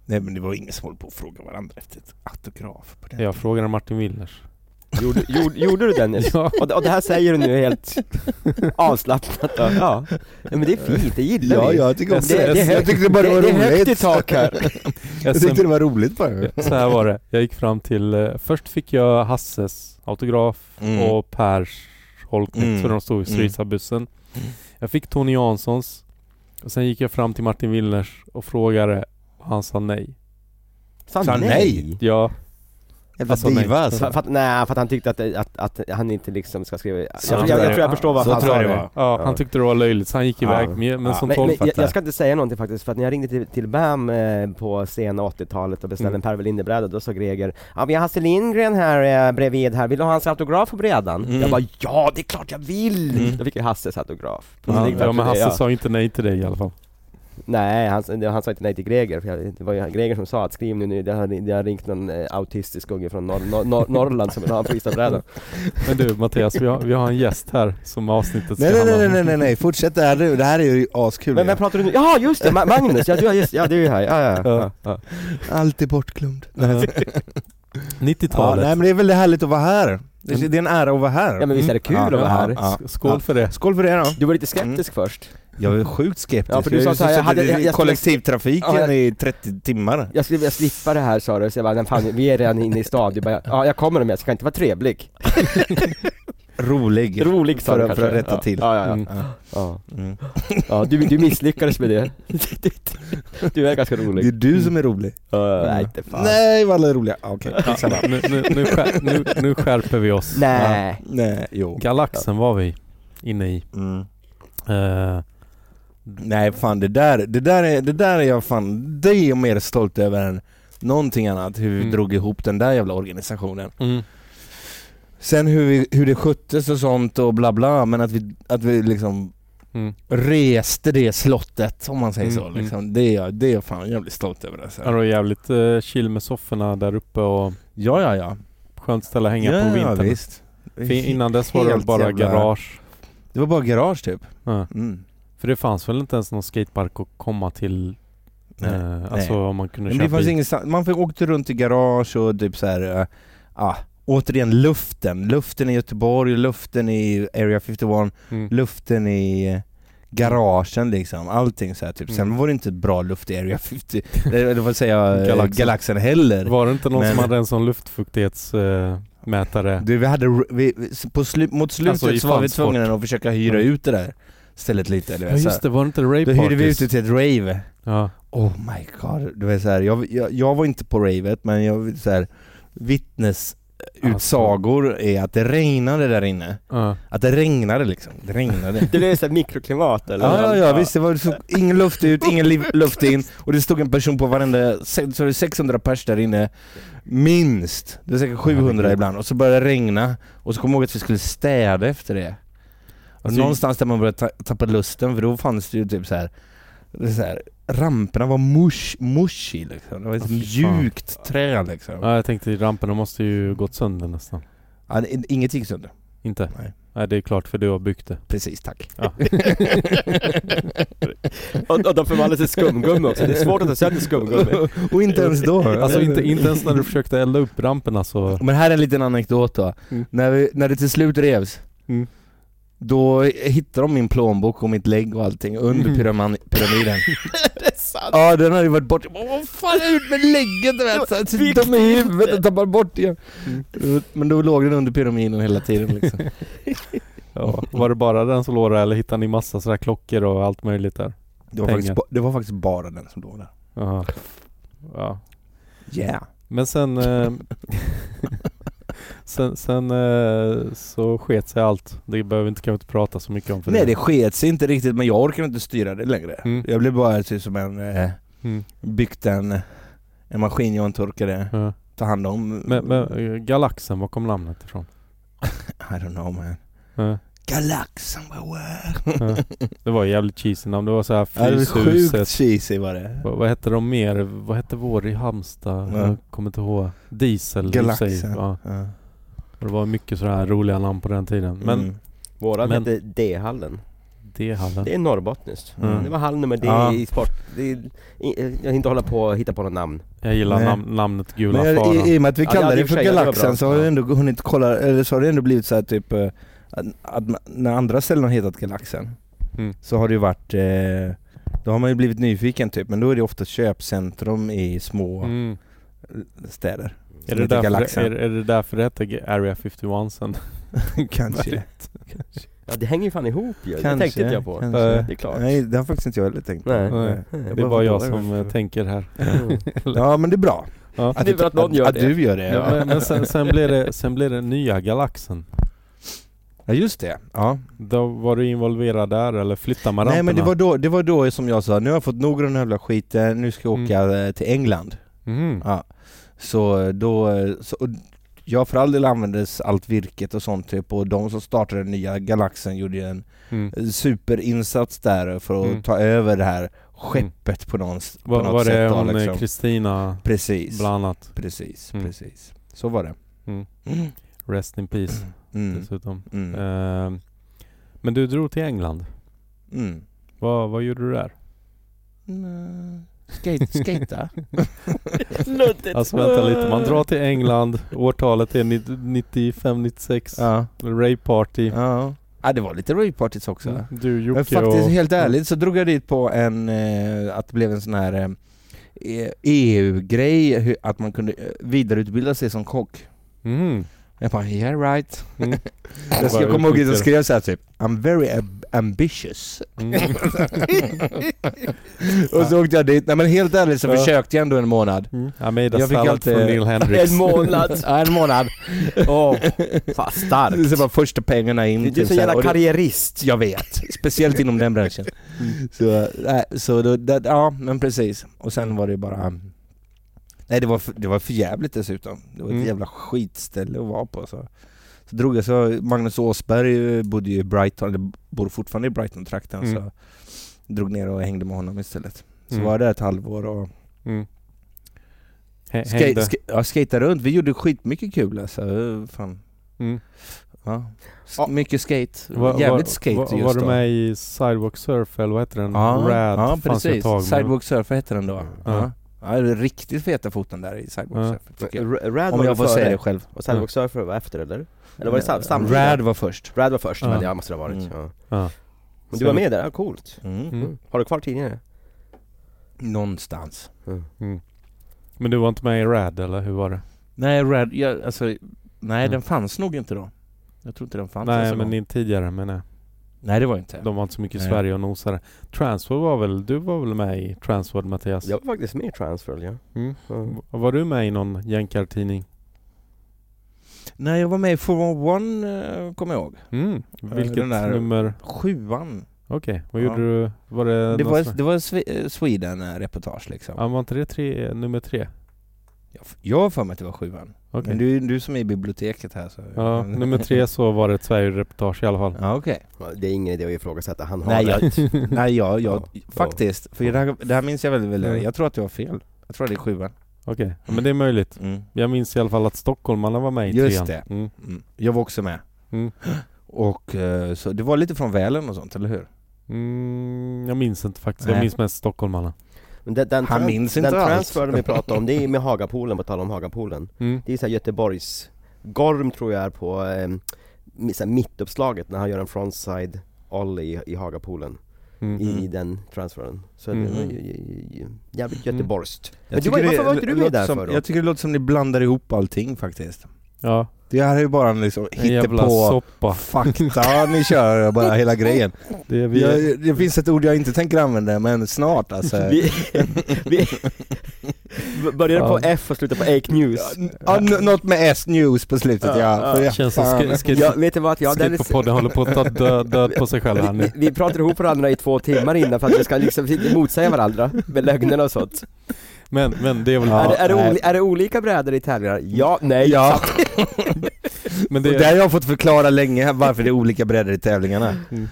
C: Nej men det var ingen som höll på att fråga varandra efter ett autograf på den.
A: Jag frågade Martin Willners.
B: Gjorde, gjorde, gjorde du den? Nils?
A: Ja.
B: Och, och det här säger du nu helt avslappnat. Ja. ja. Men det är fint, det gillar vi.
C: jag tycker
A: också det.
C: Jag tyckte bara det var
B: det, det är högt i
C: roligt.
B: tak här.
A: Jag
C: Jag
A: sen,
C: tyckte det var roligt bara.
A: så här var det. Jag gick fram till, eh, först fick jag Hasses autograf
C: Mm.
A: och Pers Holknekt
C: Mm.
A: för de stod i Strysabussen. Jag fick Tony Janssons och sen gick jag fram till Martin Willners och frågade och han sa nej.
B: Fan,
C: Sa han nej?
A: Ja,
C: Jävla
A: Alltså, nej.
C: diva alltså.
B: För, för, att- nej, för att han tyckte att, att, att han inte liksom ska skriva... Jag,
A: Så
B: jag,
A: tror
B: jag,
A: jag-
B: tror jag förstår vad
C: så
B: han
C: tror
B: sa
C: jag det
B: nu.
C: var.
A: ja,
B: Ja.
A: han tyckte det var löjligt så han gick iväg. Men, men
C: Ja.
A: som
B: Men, men jag,
A: tolvfattar.
B: jag ska inte säga någonting faktiskt, för att när jag ringde till, till BAM eh, på sena 80-talet och beställde
A: Mm.
B: en Per Welinder-bräda, då sa Greger ”Ja, vi har Hasse Lindgren här eh, bredvid här, vill du ha hans autograf på brädan?”
C: Mm.
B: Jag bara ”Ja, det är klart jag vill!”
C: Mm.
B: Då fick jag Hasses autograf.
A: Ja, ja men Hasse
B: Ja.
A: sa inte nej till dig i alla fall.
B: Nej, han, det- han sa inte nej till Greger, för jag, det var ju Greger som sa att ”Skriv nu, nu det har, det har ringt någon eh, autistisk unge från norr, norr, norr, Norrland som vill ha en Fristadbräda”.
A: Men du Mattias, vi har, vi har en gäst här som avsnittet ska
C: Nej nej
A: handla
C: nej
A: om.
C: nej nej nej, fortsätt det här nu. Det här är ju askul.
B: Men vem
C: ju.
B: pratar du nu? Ja, just det! Ma- Magnus! Ja, du, ja, just, ja, du är ju här, ja, ja, ja. ja.
C: Alltid bortglömd.
A: Ja.
C: Ja,
A: 90-talet.
C: nej men det är väldigt härligt att vara här. Det är det är en ära att vara här.
B: Mm. ja men visst är det kul
C: Mm.
B: att vara
C: Ja,
B: här?
C: ja,
A: Sk- Skål
C: Ja.
A: för det.
C: Skål för det då.
B: Du var lite skeptisk
A: Mm.
B: först.
C: Jag är sjukt skeptisk.
B: Ja, för du
C: Jag
B: sa
C: har ju
B: så här, jag
C: suttit
B: hade-
C: i
B: jag- jag-
C: kollektivtrafiken
B: Ja, jag-
C: i 30 timmar.
B: Jag skulle vilja slippa det här sa du, så jag bara, "Men fan, vi är redan inne i stan. Du bara, ja jag kommer om jag ska inte vara trevlig.
C: Rolig.
B: Rolig sa
C: För
B: du
C: att-
B: kanske.
C: för att rätta
B: ja.
C: till.
B: Ja, ja, ja.
A: Mm.
B: ja.
C: Mm.
B: ja du, du misslyckades med det. Du är ganska
C: Det är
B: rolig.
C: du som är rolig.
B: Ja,
C: Mm.
B: nej, inte fan. Mm.
C: Nej, vad alla är roliga. Ah, Okej, skitsamma.
A: Nu, nu, nu, skär, nu, nu skärper vi oss.
B: Nej.
C: Nej, jo.
A: Galaxen var vi inne i.
C: Mm.
A: Eh,
C: Nej fan det där, det där är, det där är jag fan, det är jag mer stolt över än någonting annat hur vi
A: Mm.
C: drog ihop den där jävla organisationen.
A: mm.
C: Sen hur, vi, hur det sköttes och sånt och bla bla men att vi, att vi liksom
A: Mm.
C: reste det slottet om man säger
A: Mm,
C: så
A: mm.
C: liksom. Det är jag, det är jag fan jävligt stolt över alltså.
A: Ja, det var jävligt eh, chill med sofforna där uppe och
C: Ja ja ja.
A: skönt ställe att hänga
C: ja,
A: på
C: ja,
A: vintern.
C: visst.
A: För innan dess var det
C: Helt
A: bara
C: jävla-
A: garage.
C: Det var bara garage typ.
A: Ja.
C: Mm.
A: För det fanns väl inte ens någon skatepark att komma till?
C: Nej.
A: eh, alltså
C: nej.
A: om man kunde
C: Men
A: köra
C: det fanns
A: bil.
C: ingenstans, man fick åkte runt i garage och typ så här, äh, ah, återigen luften, luften i Göteborg, luften i Area 51,
A: Mm.
C: luften i eh, garagen liksom, allting så här, typ. Sen
A: Mm.
C: var det inte bra luft i Area 50, eller eller vad säger jag, eh,
A: Galaxen.
C: galaxen heller.
A: Var det inte någon
C: Men-
A: som hade en sån eh, luftfuktighetsmätare?
C: Du, vi hade, r- vi, vi- på slu, mot slutet
A: Alltså, i
C: så var vi
A: Fansport.
C: tvungna att försöka hyra
A: Mm.
C: ut det där stället lite, eller
A: ja
C: vet, så
A: just
C: här.
A: det, var det inte rave
C: Då hyrde vi ut det till ett rave.
A: Ja.
C: Oh my god, det var så här, jag, jag, jag var inte på ravet men jag så här, vittnesutsagor är att det regnade där inne.
A: ja.
C: Att det regnade liksom, det regnade.
B: Det blev såhär mikroklimat eller?
C: Ja, ja, ja visst, det var så, ingen luft ut, ingen liv, luft in och det stod en person på varenda, se- så det är 600 pers där inne Minst, det var säkert 700
A: Herregud.
C: ibland och så började det regna och så kom jag ihåg att vi skulle städa efter det Och
A: Alltså-
C: någonstans där man började ta- tappa lusten för då fanns det ju typ så här, det är så här ramperna var mush, mushy liksom. Det var ett
A: Ah, fy fan.
C: mjukt trä liksom.
A: Ja, jag tänkte ramperna måste ju gått sönder nästan.
C: Ja, det- inget gick sönder.
A: Inte?
C: Nej.
A: Nej, det är klart för du har byggt det.
C: Precis, tack.
A: Ja.
D: Och, och de förvandlas till skumgummi också, det är svårt att ta sönder skumgummi.
C: Och inte ens då.
A: Alltså inte, inte ens när du försökte elda upp ramperna så...
C: Men här är en liten anekdot då.
A: Mm.
C: När, vi, när det till slut revs,
A: Mm.
C: då hittade de min plånbok och mitt lägg och allting under
A: Mm.
C: pyraman- pyramiden. Ja den hade ju varit borta. Åh, Vad fan är det ut med lägget? Du vet, så här, så dum i huvudet och tappar bort igen. Men då låg den under pyramiden hela tiden liksom.
A: Ja. Var det bara den som låg där eller hittade ni massa sådär klockor och allt möjligt där?
C: Det var,
A: Pengar.
C: faktiskt, ba- det var faktiskt bara den som låg där.
A: Jaha. Ja.
C: Yeah.
A: Men sen... Eh, sen sen eh, så sket sig allt. Det behöver vi inte, kan vi inte prata så mycket om för
C: Nej det sket sig inte riktigt men jag orkar inte styra det längre.
A: Mm.
C: Jag blev bara typ som en, eh,
A: Mm.
C: byggt en, en maskin jag inte orkade
A: Ja.
C: ta hand om.
A: Men, men eh, Galaxen, var kom namnet ifrån?
C: I don't know man.
A: Ja.
C: Galaxen var wow.
A: Ja. Det var jävligt cheesy namn. Det var såhär
C: Ja, Det var sjukt
A: Fryshuset.
C: cheesy var det.
A: Vad, vad hette de mer? Vad hette vår i Halmstad?
C: Ja.
A: Jag kommer inte ihåg. Diesel. i sig.
C: Galaxen.
A: Ja.
C: Ja.
A: Och det var mycket sådana här roliga namn på den tiden. Men
C: Mm.
B: Våran
A: Men-
B: hette D-hallen.
A: det hallen.
B: Det är norrbottniskt.
A: Mm.
B: Det var hall nummer D
C: Ja.
B: i sport. Det är, i, eh, jag hinner inte hålla på och hitta på något namn.
A: Jag gillar
C: Nej.
A: nam- namnet Gula
C: Men jag,
A: Faran.
C: i, i och med att vi
B: Ja,
C: kallar
B: ja, det i
C: det
B: och
C: för
B: för sig, ja, det var
C: Galaxen
B: bra.
C: så har det
B: Ja.
C: ändå hunnit kolla, eller så har det ändå blivit så här typ eh, att, att man- när andra ställen har hetat Galaxen
A: Mm.
C: så har det ju varit eh, då har man ju blivit nyfiken typ, men då är det ofta köpcentrum i små
A: Mm.
C: städer.
A: Är,
C: Som
A: det
C: heter
A: därför,
C: Galaxen.
A: är, är det därför det hette G- Area 51 sen?
C: Kanske.
B: Ja, det hänger ju fan ihop ju. Det
C: Kanske,
B: tänkte inte jag på.
C: kanske.
B: Det är klart.
C: Nej, det har faktiskt inte jag heller tänkt på.
B: Nej.
A: Nej.
C: Jag
A: Det är bara jag
C: förklarar
A: som eh,
C: varför.
A: tänker här.
C: Ja men det är bra.
A: Ja.
B: Det är bra att någon gör
C: att
B: det.
C: du gör det.
A: Men-
C: Ja,
A: Men, men sen, sen, blev det, sen blev det nya Galaxen.
C: ja just det. Ja.
A: Då var du involverad där eller flyttade man
C: Nej men det
A: ramperna?
C: var, då, det var då som jag sa, nu har jag fått nog av den här jävla skiten, nu ska jag
A: Mm.
C: åka eh, till England.
A: Mhm.
C: Ja. Så eh, då, eh, så, och jag för all del användes allt virket och sånt typ och de som startade den nya galaxen gjorde ju en
A: Mm.
C: eh, superinsats där för att
A: Mm.
C: ta över det här skeppet på, någon, s- på
A: Var,
C: något
A: var det
C: sätt. då,
A: hon eh,
C: liksom.
A: Kristina
C: Precis,
A: bland annat?
C: precis,
A: Mm.
C: precis. Så var det.
A: Mm.
C: Mm.
A: Rest in peace
C: Mm.
A: dessutom.
C: Mm.
A: Ehm, men du drog till England.
C: Mm.
A: Vad, vad gjorde du där?
C: Skate, skata?
B: Luddigt.
A: Alltså vänta lite, man drar till England, årtalet är 95-96,
C: ja.
A: Ray Party.
C: ja. Ja det var lite rave-parties också.
A: Mm, Du Jocke
C: Men faktiskt
A: och...
C: helt ärligt så drog jag dit på en, eh, att det blev en sån här eh, EU-grej, hur- att man kunde eh, vidareutbilda sig som kock.
A: Mm.
C: Jag bara yeah right.
A: Mm.
C: Jag, ska- jag kommer ihåg att jag skrev såhär typ I'm very ab- ambitious.
A: Mm.
C: Och så åkte jag dit, nej men helt ärligt så
A: Ja.
C: försökte jag ändå en månad.
A: Mm. I made a
C: Jag fick
A: salad
C: alltid-
A: från Neil Hendrix.
B: En månad.
C: Ja, en månad.
B: Åh, fan starkt.
C: Så var första pengarna in.
B: Du är
C: typ
B: så
C: så här,
B: jävla
C: och det-
B: karriärist.
C: Jag vet, speciellt inom den branschen.
A: Mm.
C: Så, äh, så då, det, ja men precis. Och sen var det ju bara... um, Nej det var, för, det var för jävligt dessutom. Det var ett
A: Mm.
C: jävla skitställe att vara på. Så, så drog jag, så Magnus Åsberg eh, bodde ju i Brighton, eller bor fortfarande i Brighton-trakten
A: Mm.
C: så drog ner och hängde med honom istället. Så
A: Mm.
C: var jag där ett halvår och
A: Mm. Hä-
C: skate,
A: Hängde.
C: ska, ja, skatade runt. Vi gjorde skitmycket kul alltså. Eh, Fan.
A: Mm.
C: Ja. S-
B: Ja.
C: Mycket skate.
A: Va- va-
C: Jävligt skate
A: va-
C: just
A: Var du
C: då.
A: med i Sidewalk Surf eller vad heter den? Rad
C: ja
A: fanns ju ett
C: precis.
A: tag. men-
C: Sidewalk Surfer hette den då.
A: Ja.
C: Ja. Ja, det är riktigt feta foten där i Sidewalk
A: Ja.
C: Surfer tycker jag.
B: R- Rad
C: Om
B: var
C: jag får
B: väl
C: säga
B: före,
C: det själv.
B: och Sidewalk Surfer var efter eller? Eller var det sam- samtidigt?
C: Rad var först.
B: Rad var först,
A: Ja.
B: men jag måste det ha varit.
C: Mm.
B: Ja.
A: Ja.
B: Men du var med där, ja, coolt.
C: Mm.
A: Mm.
B: Har du kvar tidningarna?
C: Någonstans.
A: Men du var inte med i Rad eller hur var det?
C: Nej, Rad, jag, alltså, nej
A: Mm.
C: den fanns nog inte då. Jag tror inte den fanns ens
A: Nej
C: en
A: men
C: gång.
A: inte tidigare men nej.
C: Nej det var inte.
A: De var inte så mycket i
C: Nej.
A: Sverige och nosade. Transworld var väl, du var väl med i Transworld Mattias?
B: Jag var faktiskt med i Transworld ja.
A: Mm.
B: Mm.
A: V- Var du med i någon jänkartidning?
C: Nej jag var med i 411 eh, kommer jag ihåg.
A: Mm. Vilket
C: Eh, den där-
A: nummer?
C: Sjuan.
A: Okej, vad
C: Ja.
A: gjorde du? Var det,
C: Det
A: Eh, någon
C: var,
A: sån-
C: det var Sve- eh, Sweden eh, reportage liksom.
A: Ja, var inte det tre, nummer tre?
C: Jag- Jag har för mig att det var sjuan.
A: Okej.
C: Men du, du som är i biblioteket här så...
A: Ja, nummer tre så var det ett Sverige-reportage i alla fall.
C: Ja, okej.
B: Ja, Det är ingen idé att ifrågasätta, han har
C: Nej,
B: det.
C: jag, nej, jag, jag
B: Ja.
C: faktiskt, för det här, det här minns jag väldigt, väldigt
A: Mm.
C: Jag tror att du har fel. Jag tror att det är sjuan.
A: Okej, ja, men det är möjligt.
C: Mm.
A: Jag minns i alla fall att stockholmarna var med i
C: Just
A: trean.
C: det.
A: Mm.
C: Mm. Jag var också med.
A: Mm.
C: Och eh, så, det var lite från Välen och sånt, eller hur?
A: Mm, jag minns inte faktiskt. Jag
C: Nej.
A: minns mest stockholmarna.
B: Men den, den,
C: Han
B: trans-
C: minns
B: den
C: inte allt.
B: transfern vi pratade om, det är med Hagapolen, på tal om Hagapolen.
A: Mm.
B: Det är såhär Göteborgs, Gorm tror jag är på eh, mi- så här mittuppslaget när han gör en frontside ollie i, i Hagapolen,
A: Mm.
B: i,
D: Mm-hmm.
B: i den transfern. Så det var ju- ju- ju-
D: Mm-hmm.
B: jävligt
A: Mm.
B: göteborgskt.
C: Jag
B: Men du
C: tycker
B: var,
C: det
B: varför var inte du med
C: låter
B: där
C: som,
B: för då?
C: Jag tycker det låter som ni blandar ihop allting faktiskt.
A: Ja,
C: Det här är ju bara en liksom
A: en jävla
C: på
A: soppa.
C: fakta ni kör, bara hela grejen.
A: Det är vi...
C: Jag, det finns ett ord jag inte tänker använda, men snart alltså.
B: Vi, vi började på
A: Ja.
B: F och slutade på Ake News.
C: Ja, n- ja, n- Något med S, news på slutet ja. För jag-
A: Känns som
C: fan.
A: skri- skri-
D: Ja, vet du vad? Ja,
A: skri-
D: Dennis,
A: på podden håller på att ta död, död på sig själv här
D: vi,
A: nu.
D: vi pratar ihop varandra i två timmar innan för att vi ska liksom motsäga varandra med lögnerna och sånt.
A: Men, men det är väl...
D: är, det, är, det
C: nej.
D: oli- är det olika brädor i tävlingarna? Ja, nej,
C: Ja.
A: Men
C: Och
A: det,
C: där har jag fått förklara länge här varför det är olika bredder i tävlingarna.
A: Mm.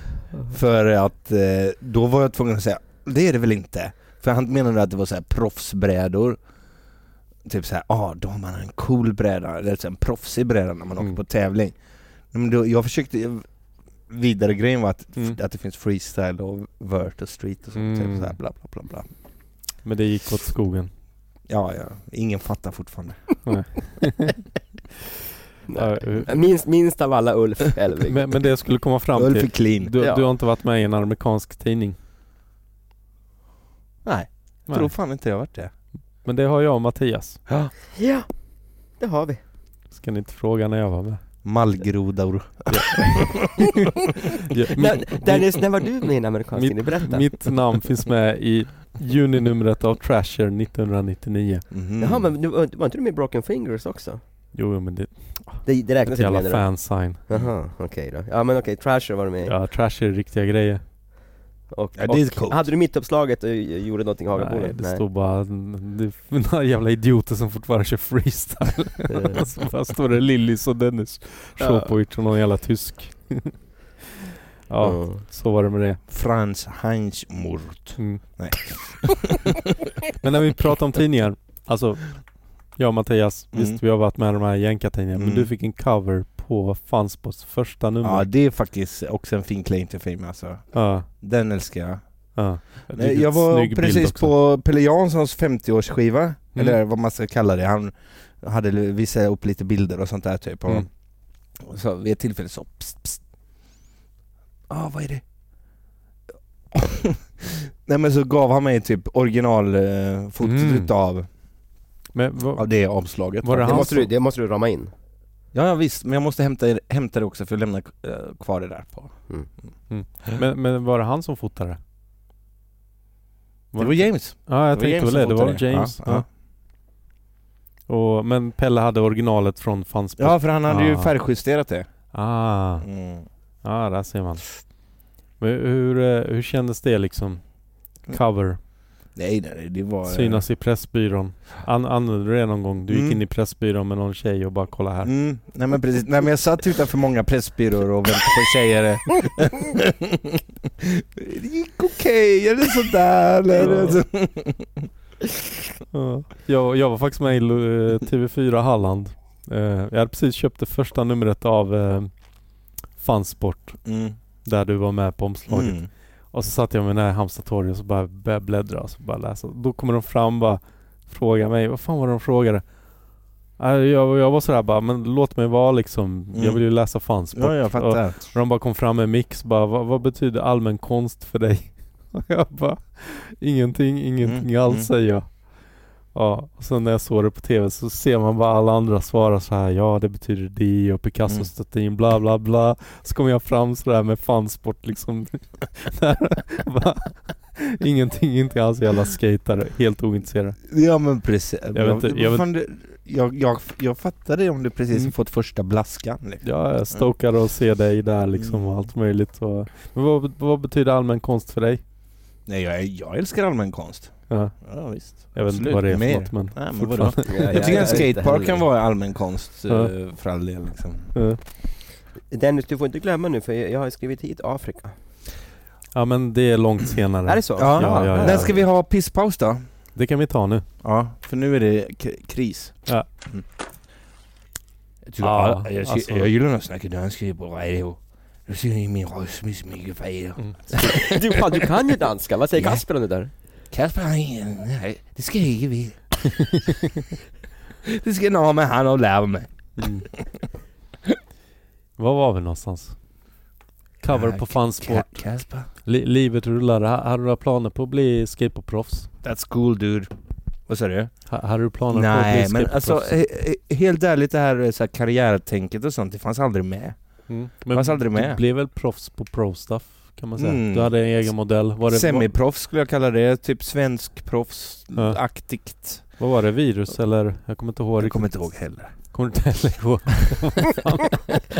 C: För att eh, då var jag tvungen att säga, det är det väl inte? För han menade att det var så här proffsbrädor. Typ såhär, ja ah, då har man en cool bräda, eller så här en proffsig bräda när man
A: Mm.
C: åker på tävling. Men då, jag försökte, vidare grejen var att,
A: Mm.
C: att det finns freestyle och vert och street och
A: Mm.
C: sånt, typ så här, bla bla bla bla.
A: men det gick åt skogen.
C: Ja, ja, ingen fattar fortfarande.
A: Ja, eh,
D: Minst, minst av alla Ulf Elving.
A: men, men det jag skulle komma fram
C: Öl för
A: till.
C: clean.
A: Du,
D: Ja.
A: du har inte varit med i en amerikansk tidning?
C: Nej,
A: Nej.
C: tror fan inte jag varit det.
A: Men det har jag och Mattias.
B: Ja, det har vi.
A: Ska ni inte fråga när jag var med?
C: Mallgrodor.
A: Ja,
D: Men,
A: mitt,
D: Dennis, när var du med i en amerikansk
A: Mitt-
D: tidning? Berätta.
A: mitt namn finns med i juninumret av Trasher 1999.
C: Mhm.
B: Jaha, men du, var inte du med i Broken Fingers också?
A: Jo, jo, men det
B: Det, det
A: är
B: räknas
A: ett
B: inte
A: jävla
B: menar du?
A: fansign.
B: Jaha, okej då. Ja men okej, Trasher var du med i.
A: Ja, Trasher är riktiga grejer.
B: Och,
C: Ja, det är
B: och
C: coolt.
B: hade du mittuppslaget och gjorde någonting i Hagapolen?
A: Nej, det stod bara det är några jävla idioter som fortfarande kör freestyle.
B: Eh,
A: så bara står det Lillis och Dennis Shopovic och någon jävla tysk. ja,
B: mm.
A: så var det med det.
C: Frans Heinz-mord.
A: Mm.
C: Nej.
A: Men när vi pratar om tidningar, alltså jag och Mattias,
C: Mm.
A: visst vi har varit med i de här jänkartidningarna, men
C: Mm.
A: du fick en cover på Fanspots första
C: Ja
A: nummer.
C: det är faktiskt också en fin claim to fame alltså.
A: Ja.
C: Den älskar jag.
A: ja. Det är
C: Nej,
A: en
C: Jag
A: snygg
C: var
A: bild
C: precis
A: också. Mm.
C: på Pelle Janssons 50-årsskiva, eller vad man ska kalla det. Han hade visat upp lite bilder och sånt där typ. Och
A: Mm.
C: och så vid ett tillfälle så, psst, psst. Ah, vad är det? Nej men så gav han mig typ originalfotot
A: Mm.
C: utav
A: Men vad-
C: av det omslaget.
A: Var det
B: det,
A: han
B: måste du,
A: som-
B: det måste du rama in.
C: Ja, ja visst, men jag måste hämta, hämta det också för att lämna eh, kvar det där på.
A: Men, men var det han som fotade?
C: Det var James.
A: Ja, jag
C: var
A: tänkte
C: James
A: väl det.
C: som
A: Det var
C: fotade.
A: James.
C: Ja,
A: Ja. Och, men Pelle hade originalet från Fanspot.
C: Ja, för han hade ju
A: Ah.
C: färgjusterat det.
A: Ah,
C: Mm.
A: ja där ser man. Men hur, eh, hur kändes det liksom? Cover,
C: Nej, nej, det var... eh,
A: synas i Pressbyrån. An, använde du det någon gång? Du gick
C: Mm.
A: in i Pressbyrån med någon tjej och bara kolla här.
C: Mm. Nej men precis, nej men jag satt utanför många pressbyråer och väntade på tjejer. det gick okej, eller sådär eller... Alltså.
A: Ja. Ja. Jag, jag var faktiskt med i eh, TV4 Halland. Eh, Jag hade precis köpt det första numret av eh, Fansport,
C: Mm.
A: där du var med på omslaget.
C: Mm.
A: Och så satt jag med den här Halmstad torg och så bara började bläddra och så bara läsa. Då kommer de fram bara fråga mig, vad fan var det de frågade? Äh, Jag, jag var sådär bara, men låt mig vara liksom.
C: Mm.
A: Jag vill ju läsa fansport.
C: Ja, jag
A: Och,
C: fattar.
A: och de bara kom fram med en mix bara, vad, vad betyder allmän konst för dig? Och jag bara, ingenting, ingenting
C: Mm,
A: alls
C: mm.
A: säger jag. Ja, och sen när jag såg det på TV så ser man bara alla andra svara så här ja det betyder det och Picasso
C: Mm.
A: stötte in bla bla bla. Så kommer jag fram sådär med fansport liksom. där, bara, ingenting, inte alls jävla skatare, helt ointresserad.
C: Ja men precis.
A: vet inte, jag vet-
C: Fan, det- jag, jag, jag fattade om du precis
A: Mm.
C: fått första blaskan. Liksom.
A: Jag är stokad att se dig där liksom och
C: Mm.
A: allt möjligt. Och, men vad, vad betyder allmän konst för dig?
C: Nej jag, jag älskar allmän konst.
A: Ja.
C: Ja, visst.
A: Jag vet inte
C: Absolut,
A: vad det är
C: mer.
A: för något men
C: Nej, men vadå?
A: fortfarande.
C: Jag tycker en
B: vet inte
C: skatepark kan
B: heller.
C: vara allmän konst eh,
A: Ja.
C: för all del liksom.
A: Ja.
D: Dennis, du får inte glömma nu för jag jag har skrivit hit Afrika.
A: Ja men det är långt
D: Är
A: senare.
D: det så?
C: Ja,
A: ja, ja.
C: När ska vi ha pisspaus då?
A: Det kan vi ta nu.
C: Ja, för nu är det k- kris.
A: Ja.
C: Mm. Jag, tycker,
A: Ja,
C: alla- jag,
A: alltså-
C: jag gillar när jag snackar danska på radio. Då ser ni min röst med så mycket fel.
D: Du, fan, du kan ju danska, vad säger
C: Ja.
D: Kasper om det där?
C: Kasper han är... Nej, det ska jag inte vilja. det ska någon med han och lära mig.
A: Var var vi någonstans? Cover
C: Ja,
A: på
C: k-
A: fansport.
C: Ka- Kasper.
A: Li- livet rullar. Ha- Har du några planer på att bli skateboardproffs?
C: That's cool dude. Vad sa du?
A: Ha- Har du planer på att bli
C: Nej men
A: skateboardproffs?
C: alltså
D: eh,
C: he- he- helt ärligt det här, eh, så här karriärtänket och sånt, det fanns aldrig med.
A: Mm.
C: fanns aldrig
A: du
C: med.
A: blev väl proffs på pro-stuff kan man säga?
C: Mm.
A: Du hade en egen modell. Var det, vad,
C: Semiproffs skulle jag kalla det, typ svensk
A: Ja.
C: proffsaktigt.
A: vad var det? Virus eller? Jag kommer inte ihåg.
C: Jag kommer inte ihåg heller.
A: Kommer du inte heller ihåg?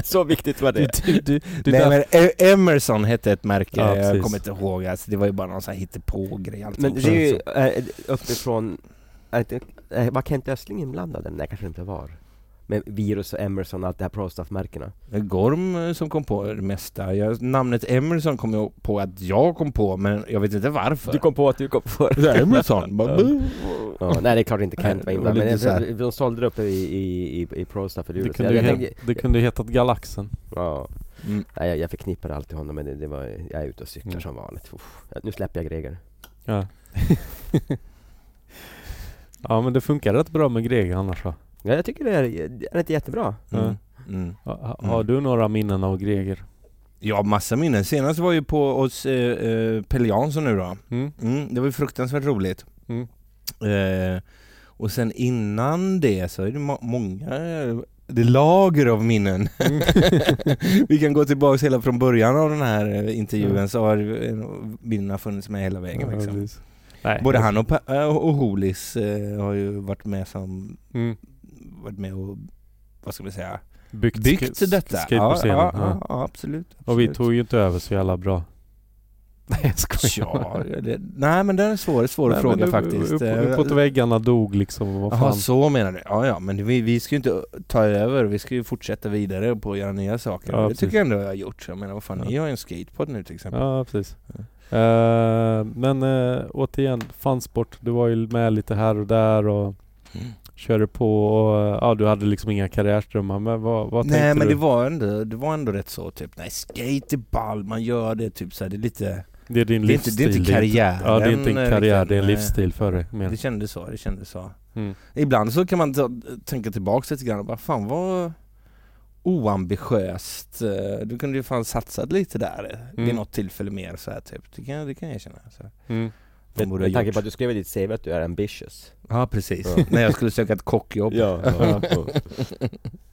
D: Så viktigt var
A: Du,
D: det.
A: du, du, du
C: Nej
A: där-
C: men E- Emerson hette ett märke,
A: Ja,
C: jag
A: precis.
C: kommer inte ihåg. Alltså, det var ju bara någon sån här hittepå-grej. allting.
D: Men det är ju eh, uppifrån, är inte, eh, var Kent Östling inblandad? Nej kanske inte var. Men Virus och Emerson och allt det här prostaff-märkena.
C: Gorm eh, som kom på det mesta. Jag, namnet Emerson kom jag på att jag kom på, men jag vet inte varför.
D: Du kom på att du kom på
C: Så här, Emerson? Bara,
D: Ja.
C: "Buh."
D: Ja, nej det är klart inte Kent
C: Nej,
D: var
C: det var
D: inblandad, men
C: lite
D: jag, de sålde det uppe i, i, i, i Prostaff för
A: det
D: Djurgården.
A: kunde
D: Jag,
A: ju
D: jag,
A: he-
D: tänker-
A: det kunde ju hetat Galaxen.
D: ja,
C: Mm.
D: nej, jag, jag förknippar alltid honom men det, det var, jag är ute och cyklar
A: Mm.
D: som vanligt. Uff, nu släpper jag Greger.
A: Ja. ja men det funkar rätt bra med Greg annars va?
D: Ja, jag tycker det är, det är inte jättebra.
C: Mm. Mm.
A: Ha- ha-
C: Mm.
A: Har du några minnen av Greger?
C: Ja, massa minnen. Senast var ju på hos eh, eh, Pelle Jansson nu då.
A: Mm.
C: Mm, det var ju fruktansvärt roligt.
A: Mm.
C: Eh, och sen innan det så är det ma- många eh, det är lager av minnen.
A: Mm.
C: Vi kan gå tillbaka hela från början av den här eh, intervjun
A: Mm.
C: så har eh, minnena funnits med hela vägen.
A: Ja,
C: Liksom.
A: precis. Nej.
C: Både han och, Pa- eh, och Holis eh, har ju varit med som
A: Mm.
C: varit med och vad ska vi säga?
A: Byggt,
C: Byggt
A: sk-
C: detta. Ja,
A: skateboardscenen,
C: ja,
A: ja.
C: ja, ja, absolut.
A: Och vi
C: absolut.
A: tog ju inte över så jävla bra. Nej jag
C: Ja, det, nej men den är svår, svår
A: Nej,
C: fråga
A: men upp-
C: faktiskt. Eh,
A: Upp, uppåt väggarna dog liksom. Vad
C: Jaha,
A: fan.
C: så menar du? Ja, ja, men vi, vi ska ju inte ta över, vi ska ju fortsätta vidare på att göra nya saker.
A: Ja,
C: det
A: precis.
C: tycker jag ändå jag har gjort. Jag menar, vad fan,
A: Ja.
C: ni har ju en skatepod nu till exempel.
A: Ja, precis. Eh, men eh, återigen, fansport. Du var ju med lite här och där och
C: Mm.
A: körde på och eh, ja, du hade liksom inga karriärsdrömmar. Men vad, vad tänkte
C: Nej men
A: du?
C: det var, ändå, det var ändå rätt så typ, nej skate är ball, man gör det typ så här, det är lite...
A: det är din
C: Det är inte,
A: livsstil.
C: det är inte karriär.
A: Ja, det är inte en karriär. Det är en
C: Nej.
A: livsstil för dig.
C: eh, Det
A: Mer.
C: kändes så, det kändes så.
A: Mm.
C: Ibland så kan man ta, tänka tillbaks lite grann och bara fan vad oambitiöst. Eh, Du kunde ju fan satsat lite där eh, vid
A: Mm.
C: något tillfälle mer så här typ. Det kan, det kan jag känna. Så här.
A: Mm.
C: Man borde ha
D: Med tanke
C: gjort.
D: på att du skrev i ditt CV att du är ambitious.
C: Ja precis,
D: Ja.
C: när jag skulle söka ett kockjobb.
D: Ja, ja, ja.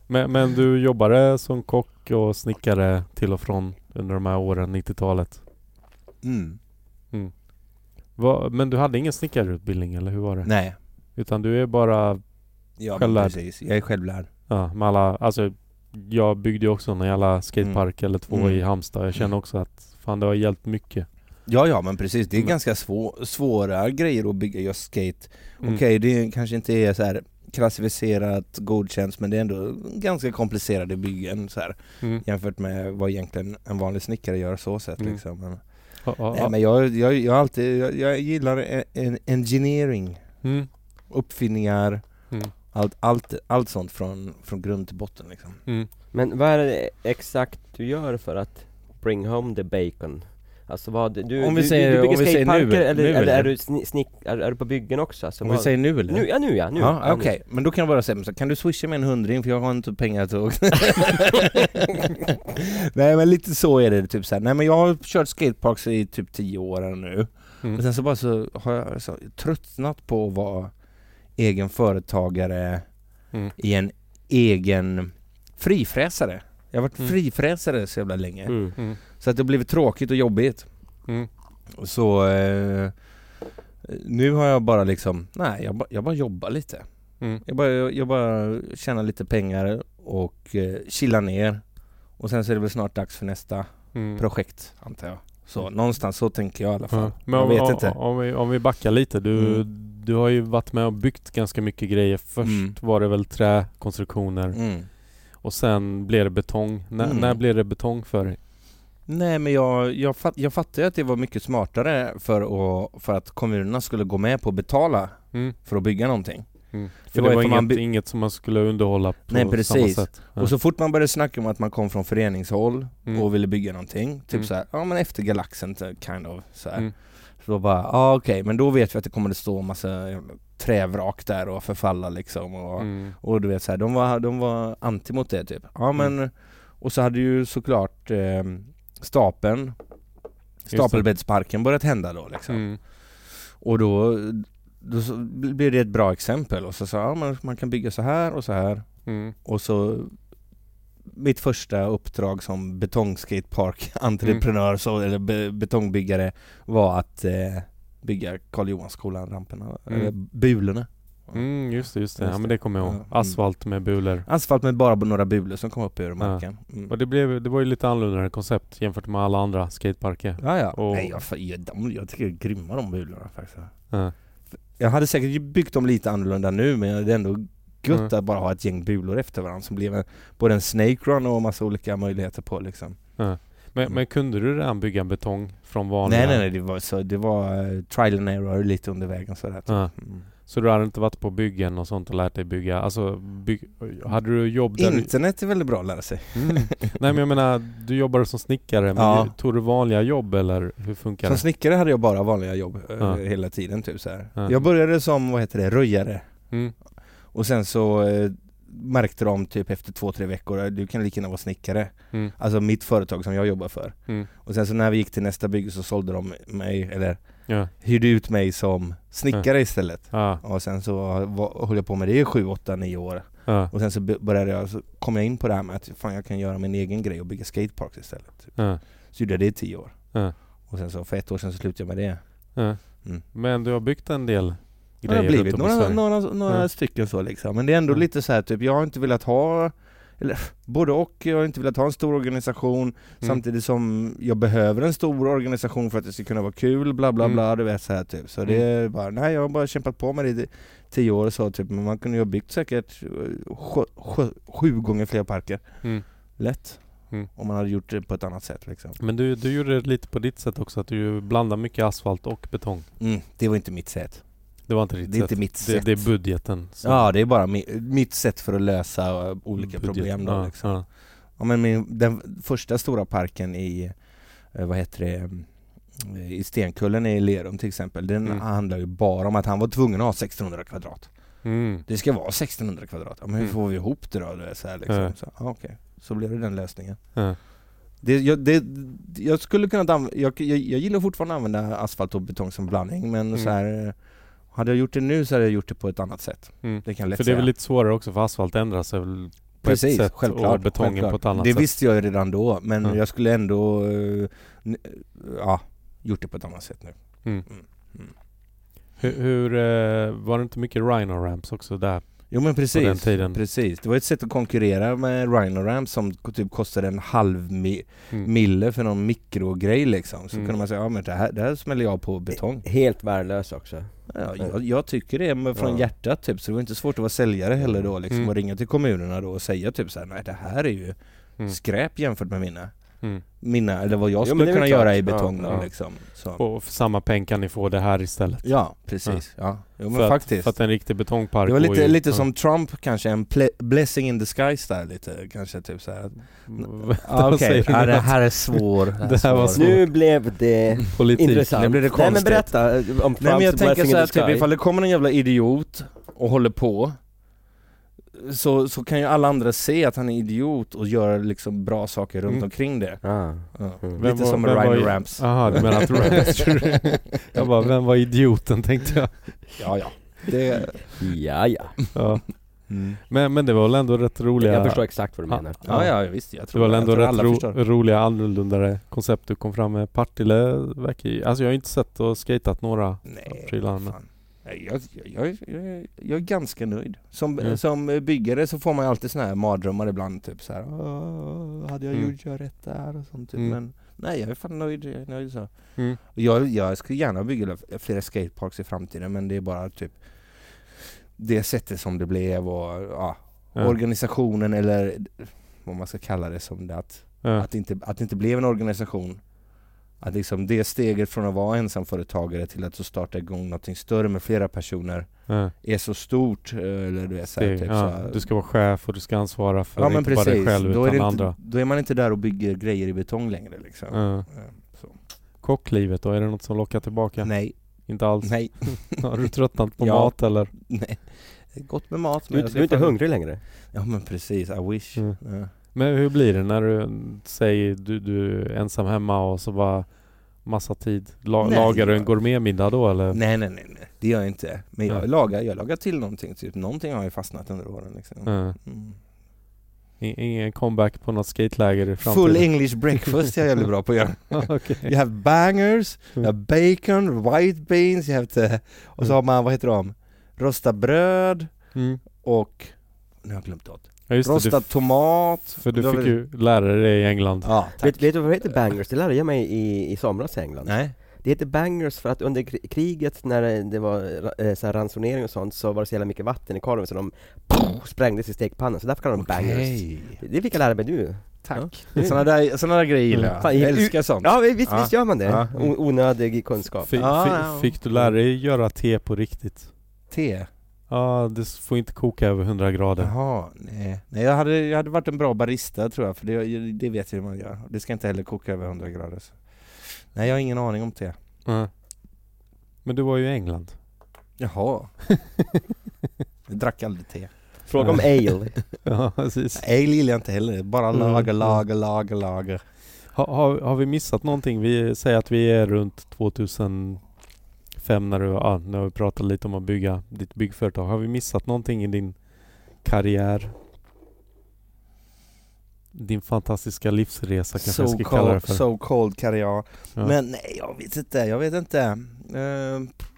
A: Men, men du jobbade som kock och snickare till och från under de här åren, 90-talet.
C: Mm.
A: Vad- men du hade ingen snickarutbildning eller hur var det?
C: Nej,
A: Utan du är bara
C: ja, men
A: Självlärd.
C: precis. Jag är självlärd.
A: Ja, med alla, alltså jag byggde ju också en jävla skatepark eller två
C: Mm.
A: i Halmstad. Jag känner
C: Mm.
A: också att fan det har hjälpt mycket.
C: Ja ja men precis, det är
A: Mm.
C: ganska svå, svåra grejer att bygga just skate.
A: Mm.
C: Okej, det kanske inte är så här klassificerat, godkänt, men det är ändå ganska komplicerade byggen så här.
A: Mm.
C: jämfört med vad egentligen en vanlig snickare gör så sett
A: Mm.
C: liksom. Men,
A: Ja, ja, ja.
C: nej, men jag, jag, jag, har alltid, jag, jag gillar en, en engineering,
A: Mm.
C: uppfinningar,
A: Mm.
C: allt, allt, allt sånt från, från grund till botten liksom.
A: Mm.
D: Men vad är det exakt du gör för att bring home the bacon? Alltså vad, du,
C: Om vi
D: du,
C: säger-
D: du, du
C: om vi
D: bygger
C: säger nu-
D: skateparker eller,
C: nu,
D: eller är
C: eller?
D: du sni- snick, är, är du på byggen också? Alltså,
C: Om vi
D: vad,
C: säger nu eller?
D: nu, ja nu ja, nu!
C: ja,
D: nu.
C: okej, men då kan jag bara säga så kan du swisha mig en hundring för jag har inte pengar till att... Nej men lite så är det typ så här. nej men jag har kört skateparks i typ 10 år här nu.
A: Mm.
C: Men sen så bara så har jag så, tröttnat på att vara egen företagare
A: Mm.
C: i en egen frifräsare. Jag har varit
A: Mm.
C: frifräsare så jävla länge.
D: Mm.
A: Mm.
C: Så att det har blivit tråkigt och jobbigt.
A: Mm.
C: Och Så eh, nu har jag bara liksom, nej jag, ba, jag bara jobbar lite.
A: Mm.
C: Jag bara, jag, jag bara tjänar lite pengar och eh, chillar ner. Och sen så är det väl snart dags för nästa
A: Mm.
C: projekt antar jag. Så någonstans så tänker jag i alla fall.
A: Ja. Men
C: Jag
A: om,
C: vet
A: om,
C: inte.
A: Om, vi, om vi backar lite. Du, du har ju varit med och byggt ganska mycket grejer. Först
C: Mm.
A: var det väl träkonstruktioner
C: Mm.
A: och sen blev det betong. När-
C: Mm.
A: När blev det betong för dig?
C: Nej men jag, jag, fatt, jag fattar ju att det var mycket smartare för, att, för att kommunerna skulle gå med på att betala
A: Mm.
C: för att bygga någonting.
A: Mm. För
C: Det
A: det
C: var
A: var,
C: ju för
A: inget,
C: man by-
A: inget som man skulle underhålla på
C: Nej,
A: samma
C: precis.
A: sätt. Ja.
C: Och så fort man började snacka om att man kom från föreningshåll
A: Mm.
C: och ville bygga någonting, typ
A: Mm.
C: så här, ja men efter galaxen t- kind of så här.
A: Mm.
C: Så då bara, ja ah, okej, men då vet vi att det kommer att stå massa eh, trävrak där och förfalla liksom och,
A: Mm.
C: och du vet så här, de var, de var anti mot det typ. Ja men,
A: Mm.
C: och så hade ju såklart eh, stapeln,
A: det.
C: stapelbäddsparken börjat hända då liksom.
A: Mm.
C: Och då, då så blev det ett bra exempel och så sa jag, man, man kan bygga så här och så här
A: Mm.
C: och så mitt första uppdrag som betongskatepark-entreprenör, så, eller be, betongbyggare, var att eh, bygga Karl Johansskolan, ramperna,
A: Mm.
C: eller bulorna.
A: Mm, just det, just det.
C: Just
A: ja men
C: det.
A: det kommer jag ihåg.
C: Ja. Mm.
A: Asfalt med bulor.
C: Asfalt med bara några bulor som kom upp ur marken. Mm.
A: Och det, blev, det var ju lite annorlunda koncept jämfört med alla andra skateparker.
C: Ja, ja.
A: Och-
C: Nej, jag, fa- jag, de, jag tycker det är grymma de bulorna faktiskt.
A: Ja.
C: Jag hade säkert byggt dem lite annorlunda nu men det är ändå gött
A: Mm.
C: att bara ha ett gäng bulor efter varandra som blev en, både en snake run och massa olika möjligheter på liksom.
A: Men,
C: Mm.
A: men kunde du redan bygga betong från vanliga?
C: Nej nej nej, det var, så, det var eh, trial and error lite under vägen sådär. typ.
A: Ja.
C: Mm.
A: Så du hade inte varit på byggen och sånt och lärt dig bygga? Alltså, byg... hade du jobb där du...
C: Internet är väldigt bra att lära sig.
A: Mm. Nej men jag menar, du jobbade som snickare, men
C: Ja.
A: du, tog du vanliga jobb eller hur funkar
C: Som
A: det?
C: snickare hade jag bara vanliga jobb eh,
A: Ja.
C: hela tiden typ så här.
A: Ja.
C: Jag började som, vad heter det, röjare.
A: Mm.
C: Och sen så eh, märkte de typ efter två, tre veckor, eh, du kan lika gärna vara snickare.
A: Mm.
C: Alltså mitt företag som jag jobbar för.
A: Mm.
C: Och sen så när vi gick till nästa bygge så sålde de mig, eller
A: Ja.
C: hyrde ut mig som snickare istället.
A: Ja.
C: Och sen så var, höll jag på med det i sju, åtta, nio år.
A: Ja.
C: Och sen så b- började jag, så kom jag in på det här med att fan jag kan göra min egen grej och bygga skateparks istället. Typ.
A: Ja.
C: Så gjorde jag det i tio år.
A: Ja.
C: Och sen så för ett år sen så slutade jag med det.
A: Ja.
C: Mm.
A: Men du har byggt en del
C: Det har
A: grejer runt
C: blivit
A: om i
C: några,
A: Sverige?
C: några, några
A: Ja.
C: stycken så liksom. Men det är ändå
A: Ja.
C: lite så här typ, jag har inte velat ha eller, både och, jag har inte velat ha en stor organisation
A: Mm.
C: samtidigt som jag behöver en stor organisation för att det ska kunna vara kul, bla bla
A: Mm.
C: bla, du vet så här typ. Så det är bara, nej jag har bara kämpat på med det i tio år och så typ, men man kunde ju ha byggt säkert eh, sju, sju, sju gånger fler parker.
A: Mm.
C: Lätt.
A: Mm.
C: Om man hade gjort det på ett annat sätt liksom.
A: Men du, du gjorde det lite på ditt sätt också, att du blandade mycket asfalt och betong.
C: Mm, det var inte mitt sätt.
A: Det var inte ditt
C: Det är
A: sätt.
C: inte mitt
A: det,
C: sätt.
A: det är budgeten. som-
C: ja, det är bara mi, mitt sätt för att lösa eh, olika
A: budget.
C: problem då
A: ja,
C: liksom.
A: Ja.
C: Ja men min, den första stora parken i, eh, vad heter det, eh, i Stenkullen i Lerum till exempel, den
A: Mm.
C: handlar ju bara om att han var tvungen att ha 1600 kvadrat.
A: Mm.
C: Det ska vara 1600 kvadrat, ja, men hur
A: Mm.
C: får vi ihop det då? Det är så, här, liksom.
A: Ja.
C: så, ja, okej. så blev det den lösningen.
A: Ja.
C: Det, jag, det, jag skulle kunna använda, jag, jag, jag gillar fortfarande att använda asfalt och betong som blandning men
A: Mm.
C: så här eh, hade jag gjort det nu så hade jag gjort det på ett annat sätt.
A: Mm.
C: Det kan jag lätt
A: För det är
C: säga.
A: väl lite svårare också för asfalt ändras väl på ett sätt och betongen på ett annat
C: det
A: sätt.
C: visste jag ju redan då men
A: Mm.
C: jag skulle ändå eh, n- ja, gjort det på ett annat sätt nu.
A: Hur, hur eh, var det inte mycket Rhino Ramps också där
C: Jo men
A: på den
C: precis.
A: tiden?
C: Precis, det var ett sätt att konkurrera med Rhinoram som k- typ kostade en halv mi-
A: Mm.
C: mille för någon mikrogrej liksom. Så
A: Mm.
C: kunde man säga, ja men det här, det här smäller jag på betong.
B: Helt värdelös också.
C: Ja, jag, jag tycker det men från
B: Ja.
C: hjärtat typ, så det var inte svårt att vara säljare heller då liksom
A: Mm.
C: och ringa till kommunerna då och säga typ såhär, nej det här är ju
A: Mm.
C: skräp jämfört med mina.
A: Mm.
C: Mina, eller vad
B: Jo,
C: jag
B: men
C: skulle
B: det är
C: kunna
B: väl
C: göra
B: klart.
C: i betong
B: Ja,
C: då
A: ja.
C: liksom. Så.
A: Och för samma peng kan ni få det här istället.
C: Ja, precis. Ja. Jo, men
A: för, Att,
C: faktiskt.
A: för att en riktig betongpark
C: det var
A: går
C: lite,
A: ju,
C: lite
A: ja.
C: som Trump kanske, en ple- blessing in disguise där lite kanske typ Ah, såhär. att-
A: Vad säger du?
C: här är svår. Det
A: Det här var svår.
B: Nu blev det
A: Politik.
B: intressant.
C: typ, Nu blev det
B: Nej men
C: konstigt.
B: berätta eh, om Trumps
C: Nej men jag tänker
B: blessing in
C: såhär,
B: disguise.
C: typ, ifall det kommer en jävla idiot och håller på så, så kan ju alla andra se att han är idiot och göra liksom bra saker runt
A: Mm.
C: omkring det.
B: Ah.
C: Ja.
B: Mm.
C: Lite som med Ryan Ramps.
A: Jaha, du menar att Ramps... jag bara, vem var idioten tänkte jag.
C: Ja, ja. Det,
B: Ja, ja.
A: Ja.
C: Mm.
A: Men, men det var väl ändå rätt roliga...
B: Jag förstår exakt vad du
A: Ja.
B: menar.
C: ja, ja, visst. Jag
A: Det
C: tror,
A: var väl ändå
C: jag tror
A: rätt
C: alla
A: ro,
C: förstår.
A: roliga annorlunda koncept du kom fram med. Partille verkar ju... Alltså jag har inte sett och skatat några
C: Nej,
A: prylar men...
C: fan. Nej, Jag, jag, jag, jag, jag är ganska nöjd. Som,
A: Mm.
C: som byggare så får man ju alltid såna här mardrömmar ibland, typ så här. "Åh, Hade jag
A: Mm.
C: gjort jag rätt där? Och sånt, typ.
A: Mm.
C: men, Nej, jag är fan nöjd. Jag är nöjd så.
A: Mm.
C: Och Jag, jag skulle gärna bygga flera skateparks i framtiden men det är bara typ det sättet som det blev och ja,
A: Ja.
C: organisationen eller vad man ska kalla det som det att,
A: Ja.
C: att, det inte, att det inte blev en organisation. Att liksom det steget från att vara ensamföretagare till att så starta igång någonting större med flera personer
A: Ja.
C: är så stort. eh, Eller du vet, så här,
A: Det,
C: typ, så
A: ja.
C: här,
A: Du ska vara chef och du ska ansvara för
C: ja, men
A: inte bara dig
C: precis.
A: själv
C: då, är
A: utan
C: det inte,
A: andra.
C: då är man inte där och bygger grejer i betong längre liksom.
A: Ja.
C: Eh, Så.
A: Kocklivet då, är det något som lockar tillbaka?
C: Nej,
A: Inte alls?
C: nej,
A: Har du tröttnat på
C: Ja.
A: mat eller?
C: nej. Det är Gott med mat
B: Du,
C: men
B: är
C: jag
B: inte-
C: ska
B: du är inte
C: fan-
B: hungrig längre?
C: Ja men precis, I wish.
A: Mm.
C: Ja.
A: Men hur blir det när du säger du, du är ensam hemma och så bara massa tid? La,
C: Nej,
A: lagar du en
C: jag-
A: gourmetmiddag då eller?
C: Nej, nej nej nej, det gör jag inte. Men jag
A: Nej.
C: lagar, jag lagar till någonting, typ någonting har ju fastnat under åren liksom.
A: Ja.
C: Mm.
A: I- Ingen comeback på något skateläger i
C: Full
A: framtiden?
C: English breakfast är jag jävligt bra på att göra.
A: Okej.
C: You have bangers,
A: Mm.
C: you have bacon, white beans, you have the, och så
A: Mm.
C: har man, vad heter de? Rosta bröd
A: mm.
C: och, nu har jag glömt något.
A: Ja just det, du,
C: Rostad
A: f-
C: tomat.
A: för du
C: Då
A: fick
C: vill-
A: ju lära dig det i England.
C: Ja, tack.
B: Vet, vet du vad det heter bangers? Det lärde jag mig i, i somras i England.
C: Nej.
B: Det heter bangers för att under kri- kriget när det- det var eh, så här ransonering och sånt så var det så jävla mycket vatten i korven så de pof, sprängdes i stekpannan så därför kallar de bangers. Det fick jag lära mig nu.
C: Tack. Sådana där, såna där grejer
A: Mm.
C: gillar jag.
B: Fan, gick
C: jag
B: ut-
C: älskar sånt.
B: Ja vi- visst,
C: Ja.
B: visst gör man det?
C: Ja.
B: O- onödig kunskap.
A: Fi,
C: Ja,
A: fi,
C: ja.
A: Fick du lära dig göra te på riktigt?
C: Te.
A: Ja, det s- får inte koka över 100 grader.
C: Jaha, nej. nej jag, hade, jag hade varit en bra barista tror jag, för det, det vet jag hur man gör. Det ska inte heller koka över 100 grader. Så. Nej, jag har ingen aning om te.
A: Ja. Men du var ju i England.
C: Jaha. jag drack aldrig te.
B: Fråga om ale.
A: Ja, precis.
C: Nej, jag gillar jag inte heller. Bara
A: Mm,
C: lager,
A: mm.
C: lager, lager, lager.
A: Ha, har- har vi missat någonting? Vi säger att vi är runt 2005 när du, ja, när vi pratade lite om att bygga ditt byggföretag. Har vi missat någonting i din karriär? Din fantastiska livsresa kanske jag
C: So
A: ska kalla det
C: called,
A: för.
C: so called karriär.
A: Ja.
C: Men nej, jag vet inte. Jag vet inte. Eh, pff.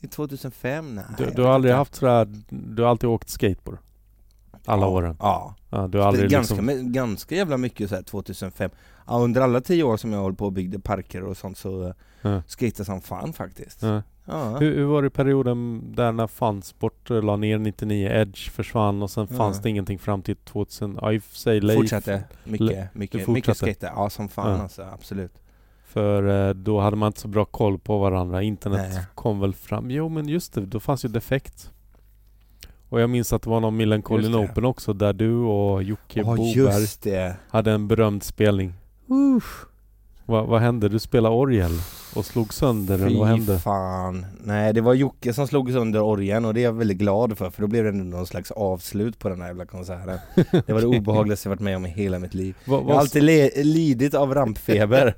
C: I 2005? Nej.
A: du,
C: jag
A: du
C: vet
A: har aldrig
C: inte.
A: haft sådär, du har alltid åkt skateboard? Alla
C: ja.
A: åren?
C: Ja.
A: Ja, du har aldrig
C: ganska,
A: liksom...
C: men- ganska jävla mycket så här 2005 ja, Under alla tio år som jag höll på och byggde parker och sånt så
A: Ja.
C: ja. skejtade som fan faktiskt
A: Ja.
C: Ja.
A: Hur, hur var det i perioden där när Fansport eh, la ner 99, Edge försvann och sen
C: Ja.
A: fanns det ingenting fram till 2000? Ja, i och för sig Leif
C: Fortsatte mycket,
A: du
C: mycket, mycket
A: fortsatte.
C: skejta, ja som fan
A: Ja.
C: alltså, absolut
A: För eh, då hade man inte så bra koll på varandra. Internet
C: Nej.
A: kom väl fram. Jo men just det, då fanns ju Defekt. Och jag minns att det var någon Millencolin
C: Just det.
A: Open också där du och Jocke
C: Ja
A: Boberg
C: just det!
A: hade en berömd spelning. Va, vad hände? Du spelade orgel och slog sönder eller vad
C: Fy
A: hände?
C: fan Nej det var Jocke som slog sönder orgeln och det är jag väldigt glad för för då blev det ändå någon slags avslut på den här jävla konserten Det var det obehagligaste jag varit med om i hela mitt liv
A: Va,
C: Jag har
A: va,
C: alltid le- lidit av rampfeber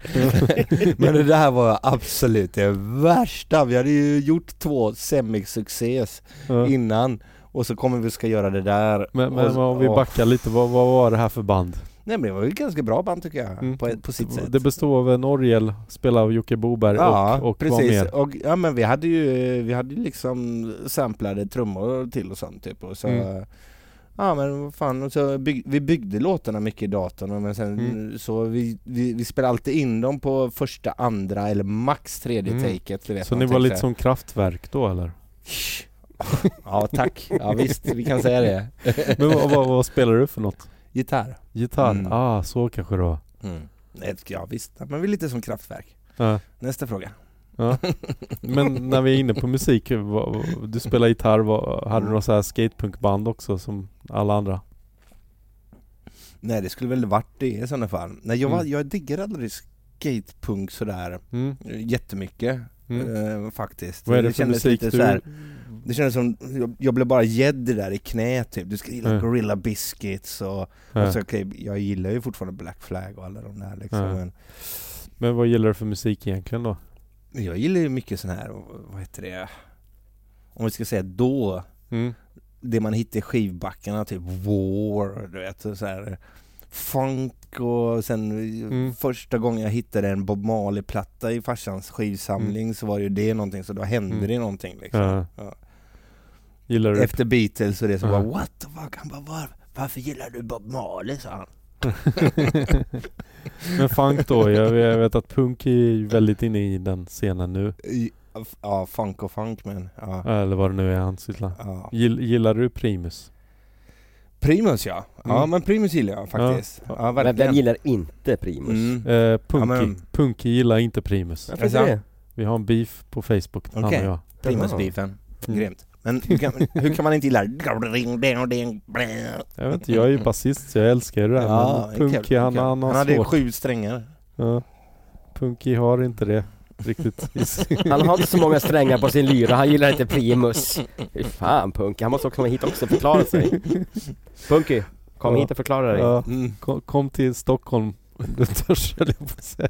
C: Men det där var absolut det värsta, vi hade ju gjort två semisuccés
A: ja.
C: innan och så kommer vi och ska göra det där
A: men, men
C: och,
A: om vi
C: och-
A: backar lite, vad, vad var det här för band?
C: Nej men det var ju ett ganska bra band tycker jag,
A: Mm.
C: på, ett- på sitt sätt
A: Det bestod av en orgel spelad av Jocke Boberg
C: Ja,
A: och, och vad
C: precis.
A: mer?
C: Och, ja men vi hade ju, vi hade ju liksom samplade trummor till och sånt typ och så
A: Mm.
C: Ja men vad fan, och så bygg, vi byggde låtarna mycket i datorn och men sen
A: Mm.
C: så vi, vi, vi spelade alltid in dem på första, andra eller max tredje
A: Mm.
C: taket du vet,
A: Så ni
C: någonting
A: var lite
C: så
A: som Kraftwerk då eller?
C: här. Ja tack, ja visst vi kan säga det
A: Men vad, vad, vad spelar du för något?
C: Gitarr
A: Gitarr?
C: Mm.
A: Ah, så kanske det var.
C: mm. Nej, Ja visst, Ja, men vi är lite som kraftverk
A: Ja.
C: Nästa fråga
A: Men när vi är inne på musik, vad- du spelar gitarr, vad- hade
C: Mm.
A: du några så här skatepunkband också som alla andra?
C: Nej det skulle väl varit det i sådana fall Nej jag, var,
A: Mm.
C: jag diggade aldrig skatepunk sådär
A: Mm.
C: Jättemycket
A: Mm.
C: eh, faktiskt.
A: Vad är det, för
C: kändes
A: musik
C: lite
A: du...
C: så här- det kändes som, jag, jag blev bara gädd där i knät typ. Du ska gilla
A: Ja.
C: Gorilla Biscuits och,
A: Ja.
C: och så, okej, jag gillar ju fortfarande Black Flag och alla de där liksom.
A: Ja.
C: Men,
A: Men vad gillar du för musik egentligen då?
C: men jag gillar ju mycket sån här, vad heter det? Om vi ska säga då,
A: Mm.
C: det man hittar i skivbackarna, typ War, du vet så här Funk och sen
A: Mm.
C: första gången jag hittade en Bob Marley-platta i farsans skivsamling så var ju det någonting, så då hände
A: Mm.
C: det någonting liksom.
A: Ja.
C: Ja.
A: Gillar du...
C: Efter Beatles och det så
A: Ja.
C: bara what the fuck? Han bara var, varför gillar du Bob Marley? sa han.
A: Men funk då, jag vet, jag vet att punk är ju väldigt inne i den scenen nu.
C: I- f- Ja, funk och funk men. Ja.
A: Eller vad det nu är han sysslar.
C: Ja.
A: Gill, gillar du Primus?
C: Primus ja. Ja
A: Mm.
C: men Primus gillar jag faktiskt. Ja,
A: Ja.
B: Men vem
C: verkligen.
B: gillar inte Primus?
C: Mm.
A: Eh, punky.
C: Ja, men-
A: punky gillar inte Primus.
B: Varför inte det?
A: Vi har en beef på Facebook, han och
C: Okej.
A: jag.
C: Primus-beefen.
A: Mm.
C: Grymt. Men hur kan, hur kan man inte gilla det?
A: Jag vet inte, jag är ju basist så jag älskar ju det här.
C: Ja,
A: men
C: det är
A: punky,
C: kul.
A: han,
C: Kul.
A: han har
C: Han hade
A: svårt.
C: sju strängar.
A: Ja. Punky har inte det riktigt. i sin-
B: Han har inte så många strängar på sin lyra, han gillar inte Primus. Fy fan Punky, han måste också komma hit också och förklara sig. Punky, kom
A: Ja.
B: hit och förklara dig.
A: ja.
C: Mm.
A: kom, kom till Stockholm, du törs höll jag på att säga.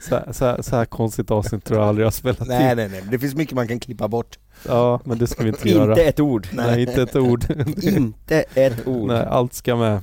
A: Så här, så, här, så här konstigt avsnitt tror jag aldrig jag har spelat
C: Nej
A: in.
C: nej nej, det finns mycket man kan klippa bort.
A: Ja, men det ska vi inte göra.
B: Inte ett ord.
A: Nej. inte ett ord.
B: Inte ett ord.
A: Nej, allt ska med.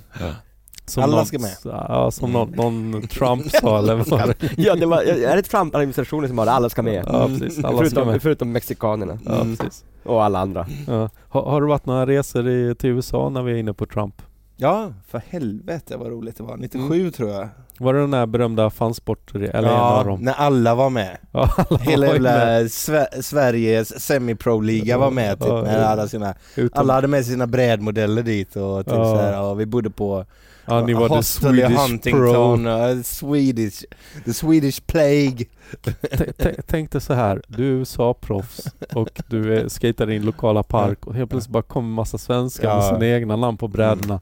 A: Som
C: Alla
A: någon,
C: ska med. Mm.
A: Ja, som någon, någon Trump sa eller vad var det?
B: Ja, det var, är det Trump-administrationen som har det? Alla ska med.
A: Ja,
C: Mm.
A: precis. Alla ska
B: förutom,
A: med.
B: förutom mexikanerna
A: Ja, precis.
B: och alla andra.
A: Ja. Har, har det varit några resor i, till USA när vi är inne på Trump?
C: Ja, för helvete vad roligt det var. 97 tror jag.
A: Var det den där berömda fansport Mm. eller en av
C: ja,
A: dem?
C: när alla var med.
A: Ja, alla
C: Hela
A: var ju med.
C: jävla Sve- Sveriges semi-pro-liga var med typ,
A: Ja,
C: när
A: ja.
C: alla, sina,
A: Utom,
C: alla hade med sina brädmodeller dit och typ
A: Ja.
C: så här, ja, vi bodde på
A: ja, ni var the
C: Hostel i
A: Swedish pro.
C: Huntington, ja, Swedish, the Swedish plague.
A: T- t- Tänk dig så här, du är USA-proffs och du är, skater i din lokala park och helt plötsligt bara kommer en massa svenskar med
C: Ja.
A: sina egna namn på brädorna.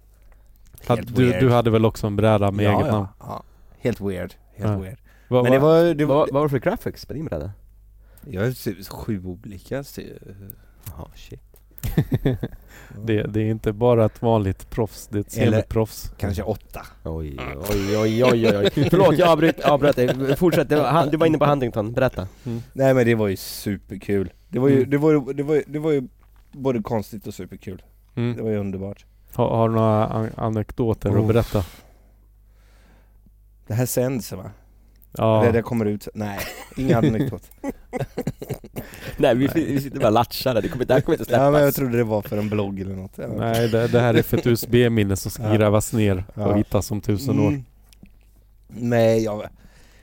A: Hade,
C: Helt
A: du,
C: weird.
A: du hade väl också en bräda med eget
C: ja,
A: namn?
C: Ja. Ja. Helt weird, helt
A: Ja.
C: weird.
A: Va,
C: Men det var, det
B: Vad,
C: var
B: vad var det för graphics på din bräda?
C: jag har typ sju olika sy-
B: Jaha, shit.
A: det, det är inte bara ett vanligt proffs, det är ett
C: Eller-
A: semiproffs.
C: kanske åtta.
B: Oj, oj, oj, oj, oj, oj. Förlåt, jag avbryt, avbröt dig. Fortsätt, det var, han, du var inne på Huntington, berätta.
C: Nej men det var ju superkul. Det var ju,
A: Mm.
C: det var, ju- det var, ju- det var ju både konstigt och superkul. Det
A: Mm.
C: var ju underbart.
A: Har, har du några an- anekdoter
C: Oh.
A: att berätta?
C: Det här sänds va? Eller
A: Ja,
C: det kommer ut? Nej, inga anekdot.
B: Nej, vi, vi sitter bara och latchar här. det kommer, det här kommer inte
C: ja, men jag
B: släppas.
C: trodde det var för en blogg eller något.
A: nej det, det här är för ett USB-minne som ska
C: Ja.
A: grävas ner
C: Ja.
A: och hittas om tusen år.
C: Mm. Nej, jag...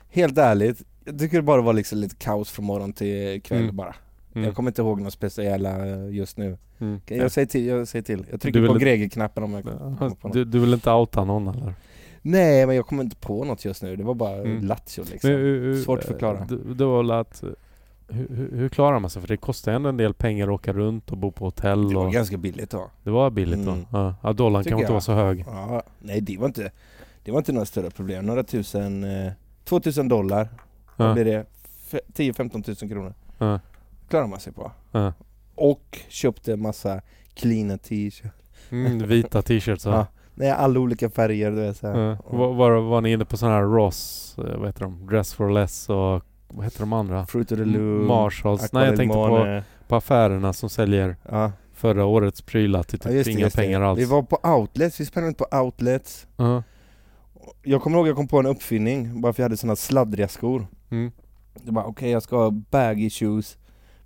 C: Helt ärligt, jag tycker det bara var liksom lite kaos från morgon till kväll
A: Mm.
C: bara.
A: Mm.
C: Jag kommer inte ihåg något speciella eh, just nu.
A: Mm.
C: Jag säger till, jag säger till. Jag
A: Du
C: trycker på
A: vill-
C: Greger-knappen om jag kommer på något.
A: Du, du vill inte outa någon eller?
C: Nej, men jag kommer inte på något just nu. Det var bara
A: Mm.
C: Lazio liksom.
A: Men, eh, hur- hur-
C: Svårt att förklara.
A: Det, det var väl att, hur, hur- hur klarar man sig? För det kostar ändå en del pengar att åka runt och bo på
C: det
A: hotell
C: var
A: och...
C: ganska billigt då.
A: Det var billigt
C: Mm.
A: då. Ja. Ja, dollarn
C: Tycker
A: kanske inte
C: jag.
A: var så hög.
C: Ja, nej det var inte, det var inte några större problem. Några tusen, eh, 2000 dollar. Vad
A: Ja.
C: blir det? F- 10-15 tusen kronor.
A: Ja.
C: Klarar man sig på.
A: Ja.
C: Och köpte massa cleana t-shirts.
A: Mm, vita t-shirts ja.
C: Ja. Nej, alla olika färger du vet såhär.
A: Ja. Var, var, var ni inne på sådana här Ross, eh, vad heter de? Dress for less och vad heter de andra?
C: Fruit of the Loom.
A: Marshalls. Nej jag tänkte på,
C: Aqualimone.
A: på affärerna som säljer
C: Ja,
A: förra årets prylar till
C: ja
A: typ
C: just det,
A: inga
C: just
A: pengar
C: det.
A: alls.
C: Vi var på outlets, vi sprang ut på outlets.
A: Ja.
C: Jag kommer ihåg jag kom på en uppfinning, bara för jag hade såna sladdriga skor.
A: Mm.
C: Det var okej jag ska ha baggy shoes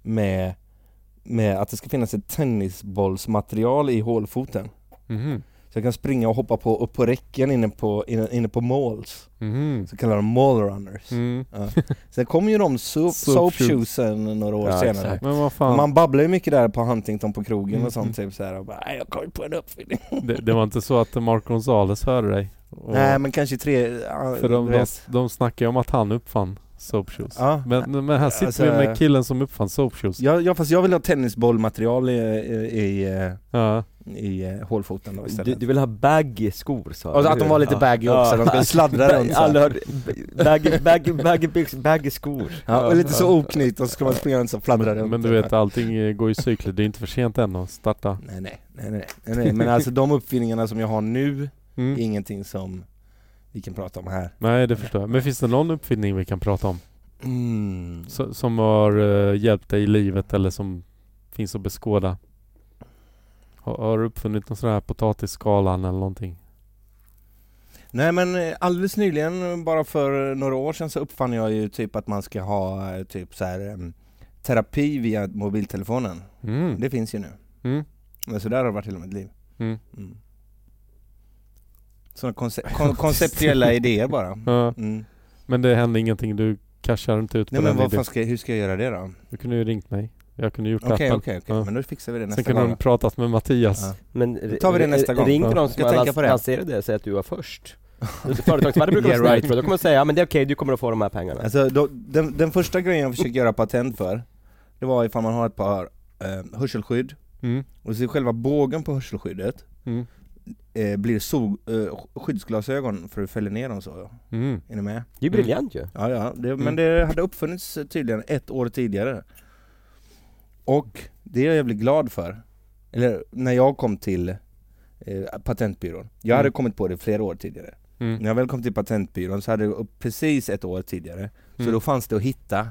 C: med, med att det ska finnas ett tennisbollsmaterial i hålfoten.
A: Mhm.
C: Så jag kan springa och hoppa på upp på räcken inne på, inne, inne på malls.
A: Mhm.
C: Så kallar de mall runners.
A: Mm.
C: Sen kom ju de so-
A: Soap
C: soap
A: shoes.
C: shoesen några år
B: Ja,
C: senare.
B: exakt.
A: Men vad fan,
C: Man babblar ju mycket där på Huntington på krogen
A: Mm,
C: och sånt
A: mm.
C: typ såhär och bara, "Nej, jag kom ju på en uppfinning.
A: det, det var inte så att Mark Gonzales hörde dig? Och-
C: Nej men kanske tre, ja,
A: För de,
C: du
A: de,
C: vet.
A: de snackar ju om att han uppfann soapshoes.
C: Ja.
A: Men, men här sitter vi
C: Alltså-
A: med killen som uppfann soapshoes. Ja.
C: Typ. Ja, ja fast jag vill ha tennisbollmaterial i, i, i, i eh, hålfoten då
B: Du,
C: istället.
B: du vill ha baggy skor sa
C: och
B: du,
C: att de
B: hur?
C: var lite baggy också, de skulle sladdra runt så.
B: Alla
C: här.
B: hörde, baggy, baggy, baggy byxor, baggy skor.
C: Ja, och lite så oknytt och så ska man springa runt och fladdra
A: Men,
C: runt.
A: men du vet allting eh, går i cykler, det är inte för sent än att starta.
C: Nej nej, nej nej, nej, nej. men alltså de uppfinningarna som jag har nu är
A: Mm.
C: ingenting som vi kan prata om här.
A: Nej det förstår jag. Men finns det någon uppfinning vi kan prata om?
C: Mm.
A: Så, som har eh, hjälpt dig i livet eller som finns att beskåda? Har, har du uppfunnit någon sån här potatisskalan eller någonting?
C: Nej men eh, alldeles nyligen, bara för några år sedan så uppfann jag ju typ att man ska ha eh, typ så här em, terapi via mobiltelefonen.
A: Mm.
C: Det finns ju nu.
A: Mm.
C: Men så där har det varit hela mitt liv.
A: Mm.
C: Mm. Sådana Mm. konce- kon- konceptuella idéer bara.
A: Ja,
C: Mm.
A: men det hände ingenting, du cashar inte ut på
C: Nej men
A: den
C: vad
A: idén.
C: fan ska, hur ska jag göra det då?
A: Du kunde ju ringt mig. Jag kunde gjort
C: Okej,
A: appen.
C: okej, okej.
A: Ja.
C: Men då fixar vi det
A: Sen
C: nästa
A: kunde
C: gång.
A: de pratat med Mattias.
C: Ja.
B: Men
C: Då tar vi det
B: r-
C: nästa
B: r-
C: gång.
B: Ring till
C: Ja.
B: de
C: Ska
B: som
C: jag tänka
B: lans-
C: på det?
B: lanserade det och säg att du var först. Företagsvärde brukar vara
C: Yeah, right.
B: right. då kommer de säga ja men det är okej, du kommer att få de här pengarna.
C: Alltså, då, den, den första grejen jag försökte göra patent för, det var ifall man har ett par eh, hörselskydd,
A: Mm.
C: och så själva bågen på hörselskyddet
A: Mm.
C: eh, blir sol, eh, skyddsglasögon för att fälla ner dem så.
A: Mm.
C: Är ni med?
B: Det är ju briljant ju.
C: Ja, ja. Det,
A: Mm.
C: Men det hade uppfunnits eh, tydligen ett år tidigare. Och det är jag blir glad för. Eller när jag kom till eh, patentbyrån. Jag hade
A: Mm.
C: kommit på det flera år tidigare.
A: Mm.
C: När jag väl kom till patentbyrån så hade det upp precis ett år tidigare. Så
A: Mm.
C: då fanns det att hitta.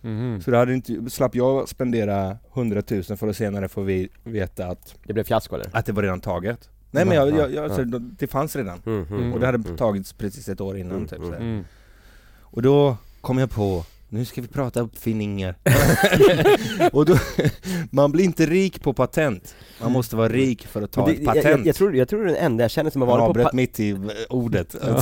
A: Mhm.
C: Så då hade inte, slapp jag spendera 100 000 för att senare få vi veta att,
B: Det blev fiasko eller?
C: att det var redan taget. Nej
A: Mm.
C: men jag,
B: Ja,
C: jag, jag,
B: ja.
C: så det- det fanns redan.
A: Mm.
C: Och det hade tagits precis ett år innan
B: Mm,
C: typ
B: mm.
C: sådär.
A: Mm.
C: Och då kom jag på, nu ska vi prata uppfinningar. och då, man blir inte rik på patent. Man måste vara rik för att ta
B: Men det-
C: ett
B: jag,
C: patent.
B: jag, jag, tror, jag tror det är den enda jag känner som har
C: jag
B: varit på,
C: avbröt
B: pa-
C: mitt i eh, ordet.
B: som har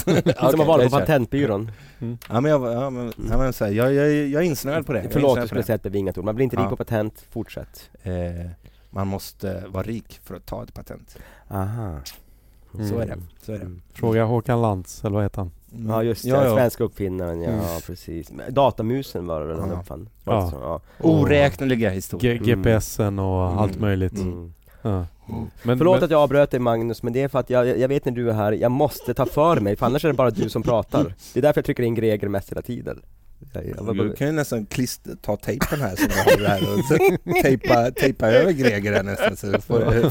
B: varit
C: Okej, jag
B: på
C: kör.
B: patentbyrån.
C: Ja men jag, var- ja, men, ja, men, så här, jag, jag, jag är insnöad på det. Jag är
B: Förlåt, jag
C: insnöad på
B: skulle säga ett bevingat ord. Man blir inte
C: Ja.
B: rik på patent, fortsätt.
C: det. Eh, man måste vara rik för att ta ett patent.
B: Aha.
C: Så är
A: Mm.
C: det. Så är det.
A: Fråga Håkan Lantz, eller vad heter han?
C: Mm.
B: Ja just det,
C: Ja, ja.
B: svenska uppfinnaren, ja precis. Men Datamusen var det väl han
C: Ja.
B: uppfann? Var det
A: Ja.
B: så? ja.
C: Oräkneliga
A: G-
C: historier.
A: GPSen och allt möjligt.
B: Mm.
A: Ja. Men,
B: Förlåt
A: men,
B: att jag avbröt dig Magnus, men det är för att jag, jag vet när du är här, jag måste ta för mig, för annars är det bara du som pratar. Det är därför jag trycker in Greger mest hela tiden. Jag, jag,
C: Du kan ju nästan klister, ta tejpen här som jag har här och så tejpa, tejpa över Greger här nästan så du får,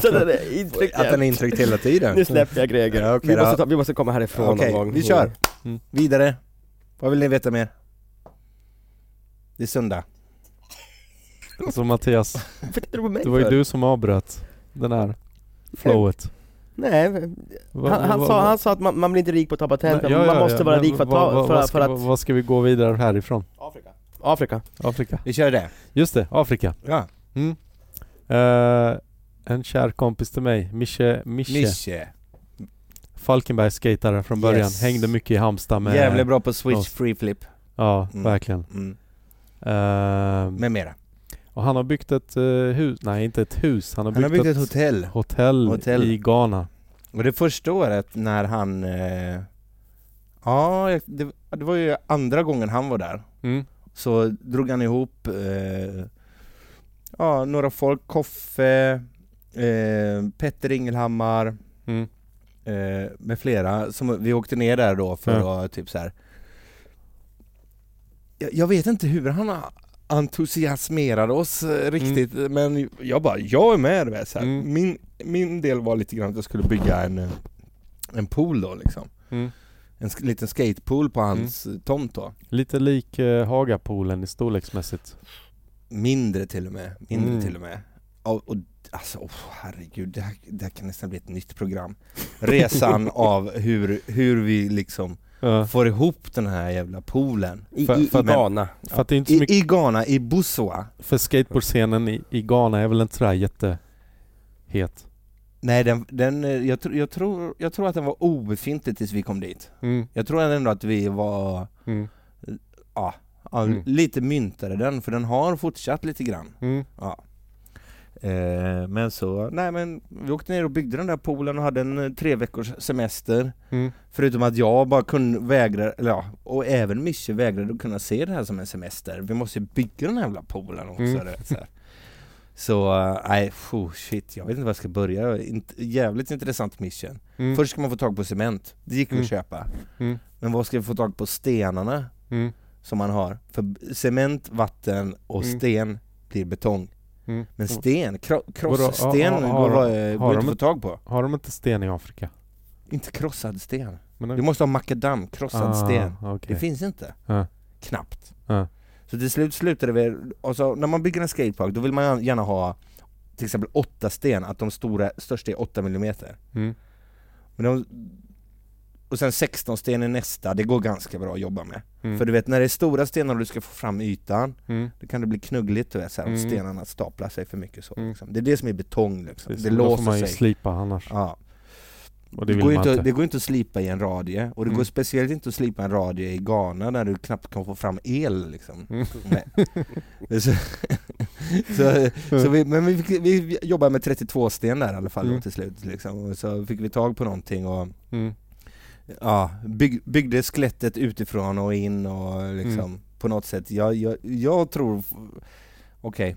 B: så den är intryckt.
C: att den är intryckt hela tiden.
B: Nu släpper jag Greger.
C: Ja, okej
B: vi, måste
C: då.
B: ta, vi måste komma härifrån
C: Okej,
B: någon gång.
C: vi kör.
A: Mm.
C: Vidare. Vad vill ni veta mer? Det är söndag.
A: alltså Mattias,
B: Varför tittar du på mig
A: det var ju
B: för?
A: du som avbröt den här flowet.
B: Nej,
A: Va-
B: han, han,
A: va-
B: sa,
A: va-
B: han sa att man, man blir inte rik på att ta patent,
A: Nej, ja,
B: man
A: ja,
B: måste
A: ja,
B: vara
A: men
B: rik för att
A: vad-
B: ta,
A: vad-
B: för,
A: vad
B: att-
A: ska-
B: för
A: vad-
B: att...
A: Vad ska vi gå vidare härifrån?
B: Afrika. Afrika.
A: Afrika.
C: Vi kör det.
A: Just det, Afrika.
C: Ja.
A: Eh, en kär kompis till mig, Mische, Mische.
C: Mische.
A: Falkenbergs skatare från början.
C: Yes.
A: Hängde mycket i Halmstad med...
C: Jävligt bra på switch
A: Oss.
C: free flip.
A: Ja,
C: Mm.
A: verkligen.
C: Mm.
A: Eh,
C: Med mera.
A: och han har byggt ett eh, hus, nej inte ett hus, han har
C: Han
A: byggt,
C: har
A: ett,
C: byggt ett hotell.
A: hotell,
C: Hotell.
A: i Ghana.
C: Och det första året när han... Eh, ja, jag- det, det var ju andra gången han var där.
A: Mm.
C: Så drog han ihop eh, ja, några folk, Koffe, eh, Petter Ingelhammar
A: Mm.
C: eh, med flera. Som, vi åkte ner där då för att typ så här. Jag, jag vet inte hur han entusiasmerade oss eh, riktigt men jag bara, jag är med. du vet, Så här.
A: Mm.
C: Min, min del var lite grann att jag skulle bygga en, eh, en pool då liksom.
A: Mm.
C: En sk- liten skatepool på hans eh, tomt då.
A: Lite lik eh, Hagapoolen i storleksmässigt.
C: Mindre till och med, mindre
A: Mm.
C: till och med. Och, och alltså, oh, herregud, det här, det här kan nästan bli ett nytt program. Resan av hur, hur vi liksom
A: Ja.
C: får ihop den här jävla poolen.
B: I,
A: För-
B: i,
A: för
B: i
A: att-
B: Ghana.
A: För att det är inte så mycket,
C: I, I Ghana, i Bussoa.
A: för skateboardscenen i, i Ghana är väl inte sådär jättehet.
C: Nej, den, den, eh, jag, tr- jag, tror, jag tror att den var obefintlig tills vi kom dit.
A: Mm.
C: Jag tror ändå att vi var
A: Mm.
C: ja,
A: Mm.
C: lite myntade den, för den har fortsatt lite grann.
A: Mm.
C: Eh, men så, nej men vi åkte ner och byggde den där poolen och hade en eh, tre veckors semester.
A: Mm.
C: Förutom att jag bara kunde vägra, eller ja, och även Mische vägrade att kunna se det här som en semester. Vi måste ju bygga den här jävla poolen också.
A: Mm.
C: du vet, Så, här. så eh, nej, oh, shit, jag vet inte var jag ska börja. Int- jävligt intressant mission.
A: Mm.
C: Först ska man få tag på cement, det gick ju
A: Mm.
C: att köpa.
A: Mm.
C: Men vad ska vi få tag på stenarna
A: Mm.
C: som man har? För b- cement, vatten och
A: Mm.
C: sten blir betong.
A: Mm.
C: Men sten, kro-
A: Vadå?
C: krosssten
A: Ha- ha- har
C: går,
A: de-
C: eh,
A: har
C: går inte
A: de
C: att få tag på.
A: Har de inte sten i Afrika?
C: Inte krossad sten.
A: Men
C: Du måste ha makadam, krossad
A: Ah.
C: sten. Det finns inte.
A: Ja.
C: Knappt.
A: Ja.
C: Så till slut slutade vi, alltså när man bygger en skatepark då vill man gärna ha till exempel åtta sten, att de stora, största är 8 millimeter.
A: Mm.
C: Men de, och sen 16 sten är nästa, det går ganska bra att jobba med.
A: Mm.
C: För du vet när det är stora stenar och du ska få fram ytan,
A: Mm.
C: då kan det bli knuggligt du vet, så här, om
A: Mm.
C: stenarna staplar sig för mycket så.
A: Mm.
C: Liksom. Det är det som är betong liksom.
A: Precis,
C: det
A: men då får
C: låser
A: man ju
C: sig.
A: slipa annars.
C: Ja.
A: Och det
C: Det,
A: vill
C: går ju
A: man
C: inte,
A: inte.
C: det går inte att slipa i en radie, och det
A: Mm.
C: går speciellt inte att slipa en radie i Ghana där du knappt kan få fram el liksom.
A: Mm.
C: Nej. så, så, så vi, men vi, fick- vi jobbar med 32-sten där i alla fall
A: Mm.
C: då till slut liksom. Och Så fick vi tag på någonting och
A: Mm.
C: ja, bygg, byggde skelettet utifrån och in och liksom
A: Mm.
C: på något sätt. Jag, jag, jag tror, okej.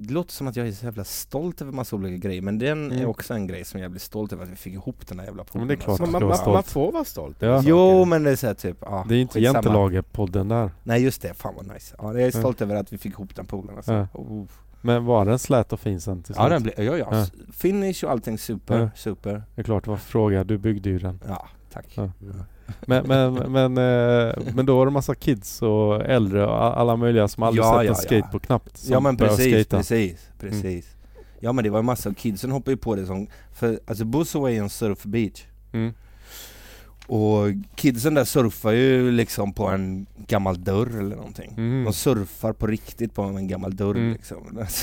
C: Det låter som att jag är så jävla stolt över massa olika grejer men den är
A: Mm.
C: också en grej som jag jävligt stolt över att vi fick ihop den där jävla
A: Ja,
C: podden.
A: men det är klart
C: alltså.
A: man,
D: Man,
A: ska
D: man,
A: vara
D: man, man
A: stolt.
D: får vara stolt.
A: Ja.
C: Jo men det är såhär typ, ja,
A: Det är inte
C: skitsamma.
A: jantelager-podden där.
C: Nej just det, fan vad nice. Ja, jag är
A: Ja.
C: stolt över att vi fick ihop den polen alltså.
A: Ja.
C: Oh.
A: Men var den slät och fin sen till
C: Ja
A: slut?
C: den blev, ja, ja.
A: Ja.
C: Finish och allting super,
A: Ja.
C: super.
A: Det är klart, det var fråga. Du byggde ju den.
C: Ja, tack.
A: Ja. Men, men, men, eh, men då var det massa kids och äldre och a- alla möjliga som aldrig
C: Ja,
A: sett
C: ja,
A: en
C: ja.
A: skateboard knappt. Som
C: Ja men
A: började
C: precis,
A: skata. Mm.
C: precis, precis. Ja men det var en massa kids som hoppade ju på det som, för alltså Busaway är en surfbeach
A: Mm.
C: och kidsen där surfar ju liksom på en gammal dörr eller någonting.
A: Mm.
C: De surfar på riktigt på en gammal dörr
A: Mm.
C: liksom.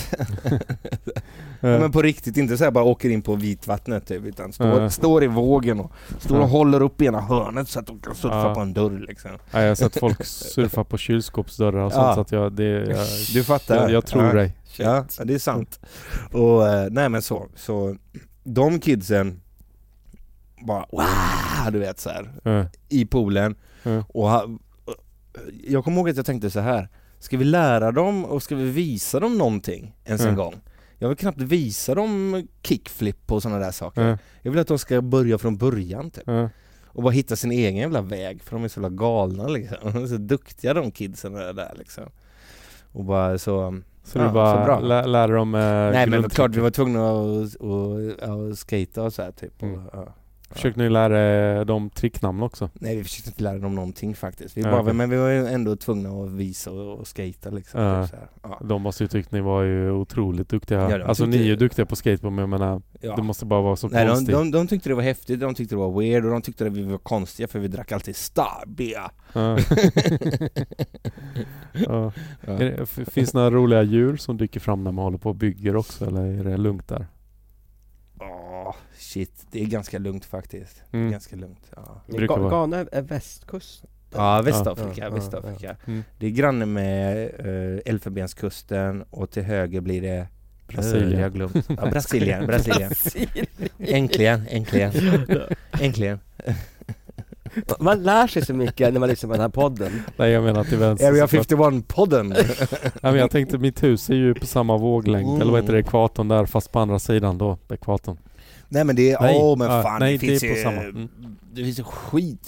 A: Eh,
C: Ja, men på riktigt, inte såhär bara åker in på vitvattnet typ, utan står,
A: Ja.
C: står i vågen och står och
A: Eh. Ja.
C: håller upp ena hörnet så att de kan surfa
A: Ja.
C: på en dörr liksom.
A: nej, jag har sett folk surfa på kylskåpsdörrar och sånt
C: Ja.
A: så att jag, det, jag,
C: Du fattar.
A: jag, jag tror
C: Ja.
A: dig.
C: Ja, ja, det är sant. Och eh, nej men så, så de kidsen bara wow, du vet så här
A: Eh,
C: i poolen
A: Ja.
C: och ha, jag kommer ihåg att jag tänkte så här ska vi lära dem och ska vi visa dem någonting ens en
A: Ja.
C: gång? Jag vill knappt visa dem kickflip och sådana där saker.
A: eh,
C: Jag vill att de ska börja från början typ.
A: eh.
C: Och bara hitta sin egen jävla väg för de är så jävla galna liksom. De är så duktiga de kidsen där, där liksom. Och bara så
A: Så
C: Ja,
A: du
C: så
A: bara
C: bra.
A: lä, lär dem eh,
C: Nej men
A: grund-
C: det var klart vi var tvungna att, att, att, att skata och så här typ och,
A: Mm.
C: ja.
A: Försökte ni lära eh, dem tricknamn också?
C: Nej vi försökte inte lära dem någonting faktiskt, vi
A: Ja,
C: bara,
A: okej.
C: men vi var ju ändå tvungna att visa och, och skata liksom
A: Ja.
C: typ så här. Ja.
A: De måste ju tyckt ni var ju otroligt duktiga.
C: Ja, de
A: alltså
C: tyckte-
A: ni är ju duktiga på skateboard men jag menar,
C: Ja.
A: det måste bara vara så
C: Nej, de,
A: konstigt.
C: de, de tyckte det var häftigt, de tyckte det var weird och de tyckte att vi var konstiga för vi drack alltid starbia
A: Ja. Ja. Är det, f- finns det några roliga djur som dyker fram när man håller på och bygger också eller är det lugnt där?
C: Åh, shit, det är ganska lugnt faktiskt.
A: Mm.
C: Ganska lugnt. Ja,
A: Det brukar
B: Ga-
A: vara-
B: Ghana är, är västkust.
C: ja Västafrika,
B: Ja, ja,
C: Västafrika.
A: ja. Mm.
C: Det är granne med eh, Elfenbenskusten och till höger blir det
A: Brasilien.
C: Jag har glömt. Ja, Brasilien, Brasilien. Äntligen, äntligen, äntligen.
B: Man lär sig så mycket när man lyssnar på den här podden.
A: Nej jag menar till vänster
C: Area
A: såklart.
C: 51-podden.
A: Nej men jag tänkte mitt hus är ju på samma våglängd,
C: Mm.
A: eller vad heter det, ekvatorn där fast på andra sidan då, ekvatorn.
C: Nej men det är,
A: Nej,
C: åh men
A: ja,
C: fan
A: nej,
C: det finns
A: det är på
C: ju,
A: samma. Mm.
C: det finns ju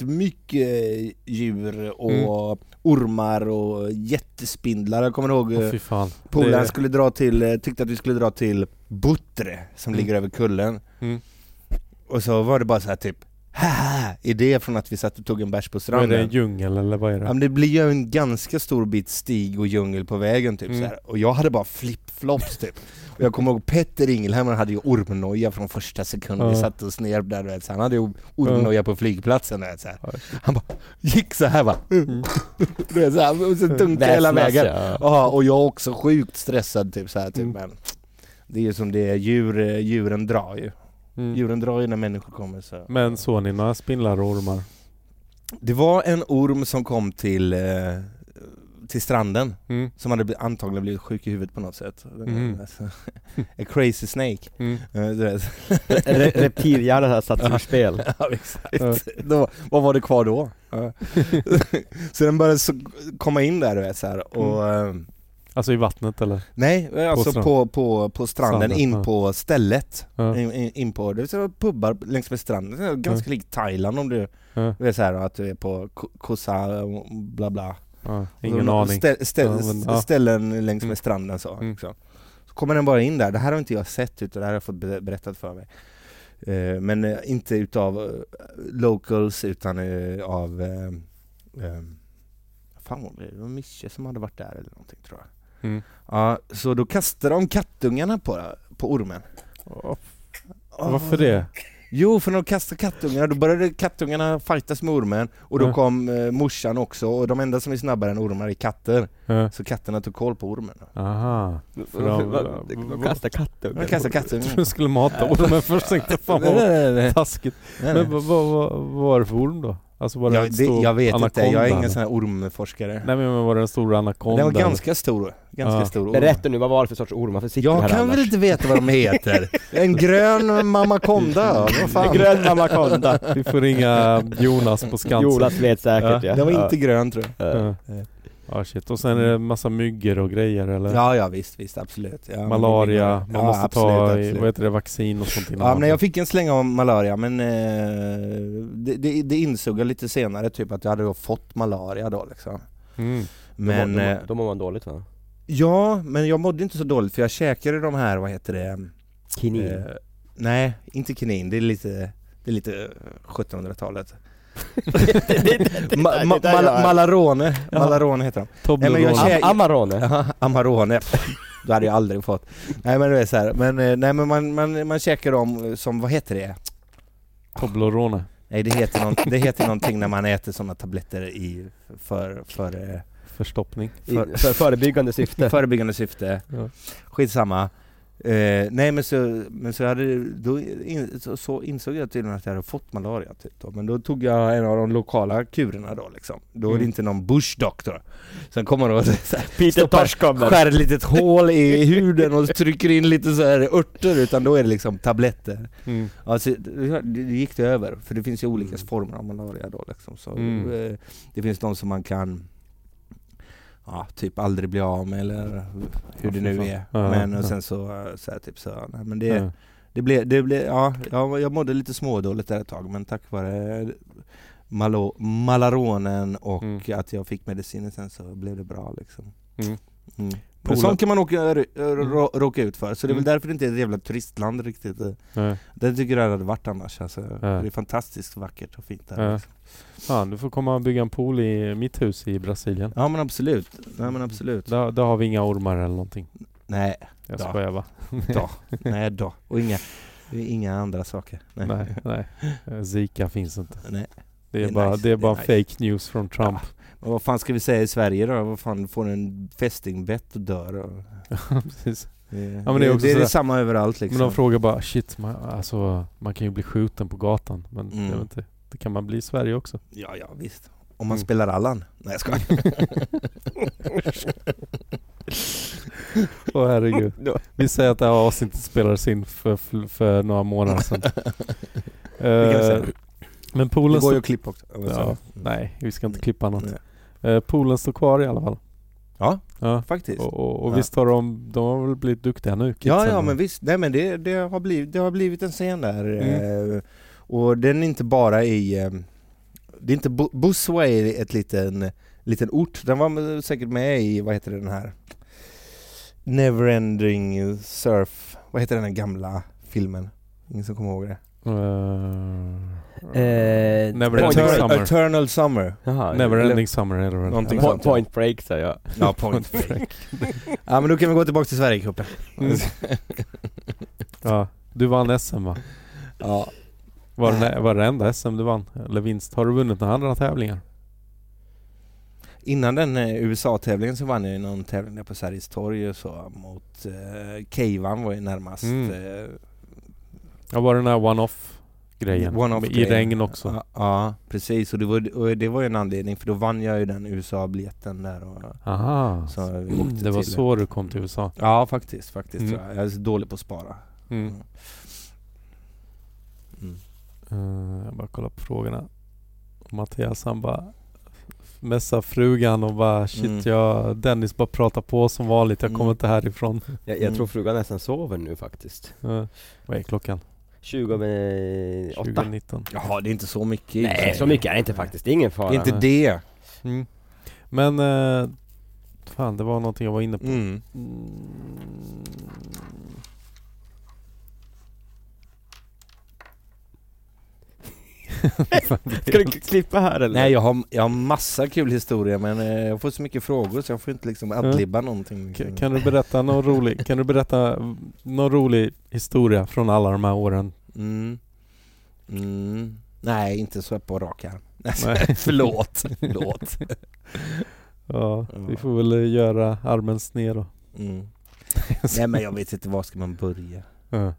C: skitmycket djur och
A: Mm.
C: ormar och jättespindlar. Jag kommer ihåg
A: Åh
C: oh,
A: fy fan.
C: polaren
A: Det-
C: skulle dra till, eh, tyckte att vi skulle dra till Buttre som
A: Mm.
C: ligger över kullen.
A: Mm.
C: Och så var det bara så här typ, haha, är det från att vi satt och tog en bärs på
A: Vad är det en
C: stranden?
A: djungel eller vad är
C: Ja,
A: det?
C: men det blir ju en ganska stor bit stig och djungel på vägen typ
A: Mm.
C: så här. och jag hade bara flip-flops typ. Och jag kommer ihåg Petter Ingelhammer hade ju ormnoja från första sekunden vi
A: Ja.
C: satte oss ner där du vet, så han hade ju ormnoja på flygplatsen du vet, så här.
A: Ja. Mm.
C: Han bara gick så här bara, du vet, så här, och så dunkade hela
B: Väsnas,
C: vägen.
B: ja.
C: Ja, och jag är också sjukt stressad typ så här, typ
A: Mm.
C: men det är ju som det är, djur, eh, djuren drar ju.
A: Mm.
C: Djuren drar ju när människor kommer så.
A: Men såg ni några spindlar och ormar?
C: Det var en orm som kom till, eh, till stranden
A: Mm.
C: som hade bli- antagligen blivit sjuk i huvudet på något sätt.
A: Mhm.
C: Alltså, A crazy snake.
A: Mm.
C: Eh, du vet.
B: Re- Reptilhjärnan har satts ur spel.
C: Ja, exakt. Då, vad var det kvar då? Ja. så den började så komma in där du vet så här, och eh,
A: Alltså i vattnet eller?
C: Nej, alltså
A: stranden.
C: på, på, på, stranden,
A: Stranden,
C: in
A: ja.
C: på stället.
A: Ja.
C: In, in, in på, det är så pubbar längs med stranden, Det är ganska likt Thailand om du,
A: Ja.
C: du är så här, att du är på Ko- Koh Sa och bla bla.
A: Ja.
C: Och
A: Ingen
C: de-
A: aning.
C: Stä, stä,
A: Ja, men, ja.
C: Ställen längs
A: Mm.
C: med stranden så.
A: Mm.
C: Liksom. Så kommer den bara in där, det här har inte jag sett utan det här har jag fått be- berättat för mig. Eh, men eh, inte utav eh, locals utan eh, av... Uh, fan vad var det? Det var Mische som hade varit där eller någonting tror jag.
A: Mm.
C: Ja, så då kastade de kattungarna på, på ormen.
A: Varför det?
C: Jo, för när de kastade kattungarna, då började kattungarna fightas med ormen och då
A: Ja.
C: kom eh, morsan också och de enda som är snabbare än ormar är katter.
A: Ja.
C: Så katterna tog koll på ormen.
A: Aha. För de-
B: De kastar katten.
C: De kastade kattungarna.
A: Du skulle mata ormen först tänkte jag, fan
C: Nej,
A: vad
C: nej, nej, nej.
A: taskigt.
C: Nej, nej.
A: Men vad, vad, vad, vad var det för orm då? Alltså var det
C: Jag,
A: en
C: det,
A: stor
C: jag vet
A: anakonda?
C: inte, jag är ingen
A: eller?
C: sån här ormforskare.
A: Nej men var det en stor anakonda?
C: Den var
A: eller?
C: ganska stor. Ganska
A: Ja.
C: stor orm.
B: Berätta nu, vad var det för sorts orm? Varför sitter du
C: Jag
B: här
C: kan
B: annars?
C: väl inte veta vad de heter? En grön mamakonda, vad fan?
B: Grön anakonda.
A: Vi får ringa Jonas på Skansen.
B: Jonas vet säkert ja.
C: Den var inte grön tror jag.
A: Ja. Ja shit. Och sen är det massa myggor och grejer eller?
C: Ja, ja visst, visst, absolut. Ja, men-
A: Malaria, man
C: Ja,
A: måste
C: absolut,
A: ta i-
C: absolut.
A: vad heter det, vaccin och sånt innan.
C: Ja, men jag fick en släng av malaria men eh, det, det, det insåg jag lite senare typ att jag hade då fått malaria då liksom.
A: mm.
C: Men,
B: då,
C: eh,
B: mår- då mår man dåligt va?
C: ja men jag mådde inte så dåligt för jag käkade de här, vad heter det?
B: Kinin.
C: Eh, nej, inte kinin, det är lite, det är lite eh, 1700-talet. Ma- ma- mala- Malarone,
A: Ja.
C: Malarone heter de. Nej, men
A: Toblerone.
C: jag
B: Am-
C: käk-
B: Amarone.
C: Jaha, Amarone. Då hade jag aldrig fått. Nej men det är så här. men, eh, nej, men man, man, man käkar dem som, vad heter det?
A: Toblerone.
C: Nej det heter, nånt- det heter någonting när man äter sådana tabletter i för, för, eh,
A: Förstoppning.
B: I, för förebyggande syfte.
C: förebyggande syfte.
A: Ja.
C: Skitsamma. Eh, nej men så, men så, hade, då in, så, så insåg jag tydligen att jag hade fått malaria typ då. Men då tog jag en av de lokala kurerna då liksom. Då är det
A: Mm.
C: inte någon bush doctor. Sen kommer de och så här,
B: Peter
C: Stoppar-
B: Tosh kommer.
C: skär ett litet hål i huden och trycker in lite så här örter utan då är det liksom tabletter.
A: Mm.
C: Alltså, det det gick det över, för det finns ju olika former av malaria då liksom. Så,
A: Mm.
C: eh, det finns de som man kan Ja, typ aldrig bli av med eller hur det
A: fy
C: nu
A: fan.
C: är.
A: Ja,
C: men och
A: ja.
C: sen så, eh, så här, typ så, nej, men det,
A: Ja.
C: det blev, det blev, ja, jag, jag mådde lite smådåligt där ett tag men tack vare malo, Malaronen och
A: Mm.
C: att jag fick medicinen sen så blev det bra liksom.
A: Mm.
C: Mm. Men
A: Polar-
C: sånt kan man åka, rö, rå, råka ut för, så det är väl
A: Mm.
C: därför det inte är ett jävla turistland riktigt. eh.
A: Ja.
C: Det tycker jag det hade varit annars alltså. Det är fantastiskt vackert och fint där.
A: Ja.
C: Liksom.
A: Fan, du får komma och bygga en pool i mitt hus i Brasilien.
C: Ja men absolut, nej men absolut.
A: Där, där har vi inga ormar eller någonting.
C: Nej,
A: Jag
C: Ja.
A: skojar bara.
C: då. nej då. Och inga, inga andra saker. Nej.
A: Nej, nej. Eh, Zika finns inte.
C: nej.
A: Det är,
C: Det är
A: bara,
C: nice,
A: det är
C: det är
A: bara
C: nice.
A: fake news från Trump.
C: Och vad fan ska vi säga i Sverige då? Vad fan, får en fästingbett och dör? Och
A: Precis.
C: det,
A: men det är
C: det,
A: också
C: det är
A: sådär-
C: detsamma överallt liksom.
A: Men de frågar bara shit, man, alltså, man kan ju bli skjuten på gatan. Men
C: Mm.
A: jag vet inte, det kan man bli i Sverige också.
C: Ja, ja visst. Om man
A: Mm.
C: spelar Allan. Nej jag skojar.
A: Åh herregud.
B: Då-
A: Vi säger att det här avsnittet spelades in för, för, för några månader sedan.
C: Det kan vi säga.
A: Eh, men
C: Det
A: poolen
C: går ju
A: står...
C: att klippa också. Mm. Ja, men så-
A: Ja, nej, vi ska inte klippa något.
C: Nej.
A: Eh, poolen står kvar i alla fall.
C: Ja,
A: Ja.
C: faktiskt.
A: Och, och, och
C: Ja.
A: visst har de, de har väl blivit duktiga nu?
C: Ja,
A: kidsen?
C: ja men visst. Nej men det, det, har, blivit, det har blivit en scen där. Eh, och den är inte bara i... Eh, det är inte... Bo- Busway är ett liten, liten ort. Den var säkert med i, vad heter den här? Neverending Surf. Vad heter den här gamla filmen? Ingen som kommer ihåg det?
A: Eh,
B: Eh,
A: Never
B: point,
A: Ending
C: Eternal
A: Break. Summer.
C: Summer. Eternal Summer.
B: Jaha,
A: Never
C: eller-
A: ending summer eller vad
C: Någonting
B: po-
C: sånt. ja.
B: point break säger jag.
C: Ja, point. ja men då kan vi gå tillbaka till Sverigecupen.
A: Mm. Ja, du vann SM va?
C: Ja.
A: Var det, var det enda SM du vann? Eller vinst? Har du vunnit några andra tävlingar?
C: Innan den eh, USA-tävlingen så vann jag ju någon tävling där på Sergels torg och så mot eh, Keivan var ju närmast.
A: Mm.
C: Eh,
A: Ja, var det den här one-off grejen?
C: One-off
A: I
C: grejen.
A: regn också?
C: ja, ja, precis. Och det, var, och det var ju en anledning för då vann jag ju den USA-biljetten där och
A: Aha,
C: så vi åkte
A: Alltså, det var
C: till.
A: så du kom till USA?
C: Ja faktiskt, faktiskt
A: Mm.
C: tror jag. Jag är så dålig på att spara.
A: Mm.
C: Mm. Mm.
A: Eh, jag bara kollar på frågorna. Och Mattias han bara messar frugan och bara shit
C: Mm.
A: jag, Dennis bara pratar på som vanligt, jag
C: Mm.
A: kommer inte härifrån.
B: Jag,
C: Mm.
B: jag tror frugan nästan sover nu faktiskt.
A: Uh, vad är klockan?
B: 20 över 8.
A: 2019.
C: Jaha, det är inte så mycket. i och för
B: Nej,
C: sig.
B: så mycket är det inte faktiskt. Det är ingen fara.
C: Det är inte det.
A: Mm. Men eh, fan det var någonting jag var inne på.
C: Mm.
B: Ska du k- klippa här eller?
C: Nej jag har, jag har massa kul historier men eh, jag får så mycket frågor så jag får inte liksom adlibba någonting.
A: K-
C: Liksom.
A: Kan du berätta någon rolig, kan du berätta någon rolig historia från alla de här åren?
C: Mm. Mm. Nej, inte så på rak arm.
A: Nej.
C: Förlåt. Förlåt.
A: Ja, vi får väl eh, göra armen sned då.
C: Mm. Nej men jag vet inte, var ska man börja?
A: Ja.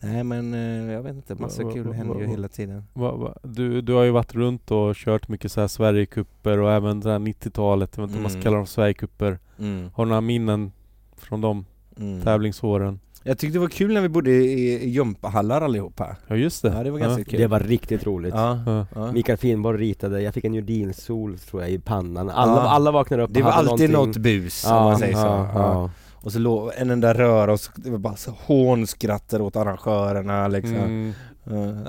C: Nej men eh, jag vet inte, massa
A: Va- va-
C: kul
A: va-
C: händer ju
A: va-
C: hela tiden.
A: Va, va, du, du har ju varit runt och kört mycket så här Sverigekupper och även det här 90-talet, jag vet inte om man ska
C: Mm.
A: kalla dem Sverigekupper. Har du några minnen från de
C: Mm.
A: tävlingsåren?
C: Jag tyckte det var kul när vi bodde i i gympahallar allihopa.
A: Ja just det.
C: Ja det var ganska kul.
B: Det var riktigt roligt.
C: Ja.
A: Ja.
C: Ja.
B: Mikael Finnborg ritade, jag fick en Nordin-sol tror jag i pannan. Alla,
C: Ja.
B: alla vaknade upp och
C: Det var
B: hade
C: alltid något
B: någonting.
C: bus
B: Ja,
C: om man säger så.
B: ja,
C: Ja.
B: ja.
C: Och så låg en enda röra och så, det var bara så hånskratter åt arrangörerna liksom.
A: Mm.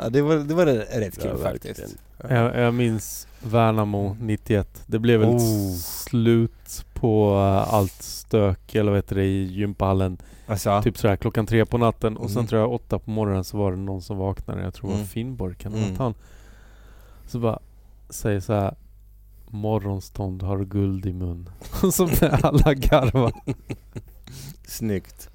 C: Ja, det var, det var rätt kul
B: Ja, verkligen.
C: faktiskt.
A: Jag, jag minns Värnamo 91. Det blev väl
C: Oh.
A: slut på eh, allt stök, eller vad heter det, i gympahallen.
C: Alltså,
A: Typ sådär klockan tre på natten och sen
C: Mm.
A: tror jag åtta på morgonen så var det någon som vaknade. Jag tror det var
C: Mm.
A: Finnborg, kan det
C: Mm.
A: mm. han? Så bara säger så här Morgonstånd har guld i mun. Som när alla garvar.
C: snyggt.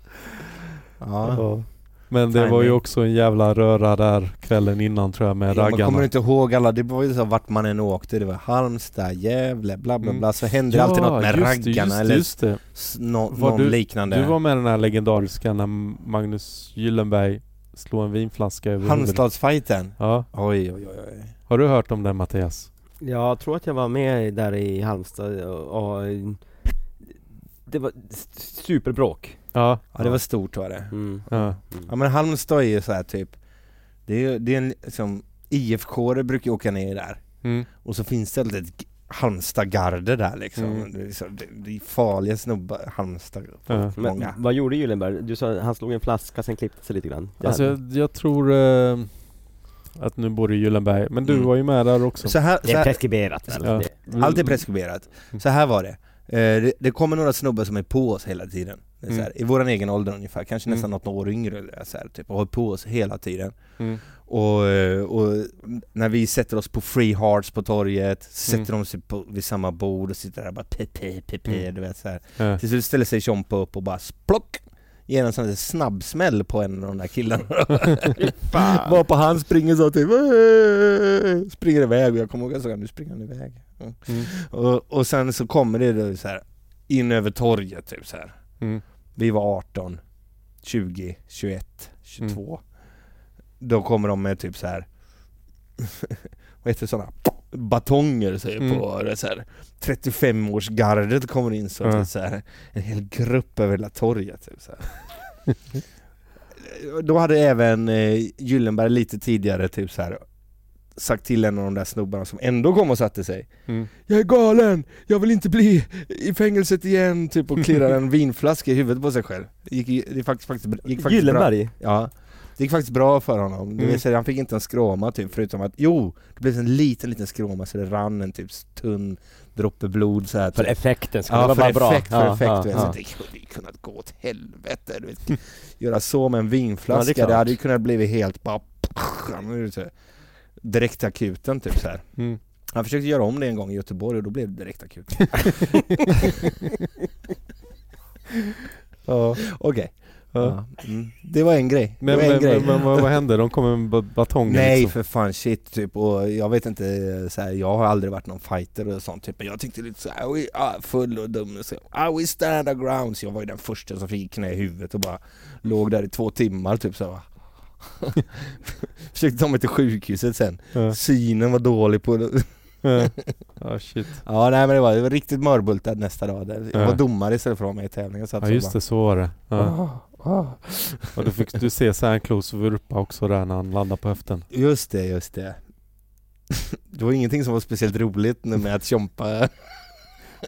A: Ja. Men det var ju
C: Timing.
A: också en jävla röra där kvällen innan tror jag med
C: Ja, man
A: raggarna.
C: kommer inte ihåg alla, det var ju så vart man än åkte, det var Halmstad, Gävle, bla bla
A: Mm.
C: bla, så hände det alltid något med
A: just det,
C: raggarna
A: just det,
C: eller
A: just det.
C: s- nå-
A: Var
C: någon
A: du-
C: liknande.
A: Du var med den här legendariska när Magnus Gyllenberg slog en vinflaska över huvudet.
C: Halmstadsfajten.
A: Ja.
C: Oj, oj, oj, oj.
A: Har du hört om det Mattias?
B: Jag tror att jag var med där i Halmstad och, och det var s- superbråk.
A: Ja.
C: Ja, det var stort var det.
B: Mm.
A: ja.
C: Ja men Halmstad är ju så här typ, det är, ju- det är en, liksom, IFK -are brukar ju åka ner där,
A: Mm.
C: och så finns det alltid ett Halmstadgarde där liksom.
A: Mm.
C: Det, är så, det, det är farliga snubbar, Halmstad,
A: Ja.
B: Men
C: många.
B: vad gjorde Gyllenberg? Du sa att han slog en flaska, sen klippte sig lite grann.
A: Alltså jag, jag tror eh, att nu bor i Gyllenberg, men du
C: Mm.
A: var ju med där också.
C: Så här,
B: det
C: så
B: är
C: här,
B: preskriberat väl?
A: Ja.
B: Det-
C: Allt är preskriberat. Så här var det. Eh, Det, det kommer några snubbar som är på oss hela tiden. Det är så
A: Mm.
C: här, I våran egen ålder ungefär, kanske nästan något år yngre eller så här, typ, och har på oss hela tiden.
A: Mm.
C: Och, eh, och när vi sätter oss på free hearts på torget, så sätter
A: Mm.
C: de sig på, vid samma bord och sitter där och bara pepe, pepe,
A: Mm.
C: du vet så här.
A: Ja.
C: Till slut ställer sig Tjompa upp och bara splock! Ger en sån här snabbsmäll på en av de där killarna Var på han springer så typ "Åh!" Springer iväg och jag kommer ihåg att jag såg nu springer han iväg Mm.
A: Mm.
C: och, och sen så kommer det då så här In över torget typ så här.
A: Mm.
C: Vi var 18 20, 21,
A: Mm.
C: 22 Då kommer de med typ så här Vad heter sådana? Batonger säger
A: Mm.
C: på det så här 35-årsgardet kommer in så, att
A: Ja.
C: det är så här, en hel grupp över hela torget typ så här. Då hade även eh, Gyllenberg lite tidigare typ så här sagt till en av de där snubbarna som ändå kom och satte sig
A: Mm.
C: Jag är galen, jag vill inte bli i fängelset igen typ och klirrar en vinflaska i huvudet på sig själv gick, i- det faktiskt, faktiskt, gick faktiskt bra
B: Gyllenberg?
C: Ja Det gick faktiskt bra för honom, det
A: Mm.
C: vill säga han fick inte en skråma typ förutom att jo, det blev en liten liten skråma så det rann en typ tunn droppe blod så här,
B: För
C: typ.
B: effekten skulle
C: Ja,
B: vara
C: för
B: bara
C: effekt,
B: bra.
C: för
B: Ja,
C: effekt.
B: ja,
C: du vet,
B: ja.
C: Så det hade ju kunnat gå åt helvete. Du vet. Göra så med en vinflaska,
B: Ja, det är
C: det,
B: klart.
C: hade ju kunnat bli helt bara... nu är det så här, Direkt akuten typ så här.
A: Mm.
C: Han försökte göra om det en gång i Göteborg och då blev det direkt akut. ja, okej.
A: Ja.
C: Ja. Mm. Det var en grej.
A: Men,
C: det var en
A: men,
C: grej.
A: men, men vad, vad hände? De kommer med ba- batonger
C: Nej
A: liksom.
C: för fan shit typ och jag vet inte så här, jag har aldrig varit någon fighter och sånt typ men jag tyckte lite såhär, "We are full och dum och så, I will stand our ground så jag var ju den första som fick knä i huvudet och bara låg där i två timmar typ så här, va. Försökte ta mig till sjukhuset sen,
A: Ja.
C: synen var dålig på
A: Ja. Ja, shit.
C: Ja nej men det var, det var riktigt mörbultad nästa dag där. Jag
A: Ja.
C: var domare istället för att vara med i tävlingen så att
A: Ja
C: jag
A: just
C: bara,
A: det, så var det. Ja.
C: "Ah, ah."
A: Och då fick du se Sandclaws vurpa också där när han landade på höften.
C: Just det, just det Det var ingenting som var speciellt roligt nu med att tjompa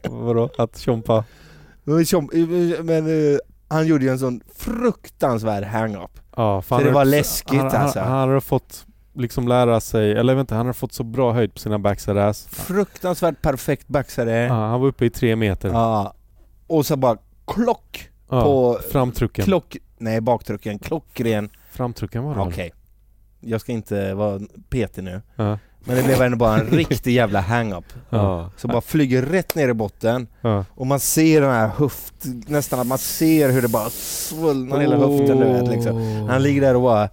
A: Vadå? Att Tjompa?
C: Men Tjom- Men eh, han gjorde ju en sån fruktansvärd hang-up.
A: Ja, fan,
C: Så det
A: han-
C: var läskigt
A: han, han,
C: alltså.
A: han, han har fått liksom lära sig, eller vänta, han har fått så bra höjd på sina backside ass.
C: Fruktansvärt perfekt baxare.
A: Ja,
C: Ja.
A: han var uppe i tre meter.
C: Och så bara klock
A: Ja,
C: på
A: Framtrucken.
C: klock... Nej, baktrucken. Klockren.
A: Framtrucken var det
C: Okej.
A: väl?
C: jag ska inte vara petig nu.
A: Ja.
C: Men det blev ändå bara en riktig jävla hang-up.
A: Ja.
C: Så bara flyger rätt ner i botten
A: Ja.
C: och man ser den här höft... Nästan att man ser hur det bara svullnar hela höften du vet liksom. Han ligger där och bara eh,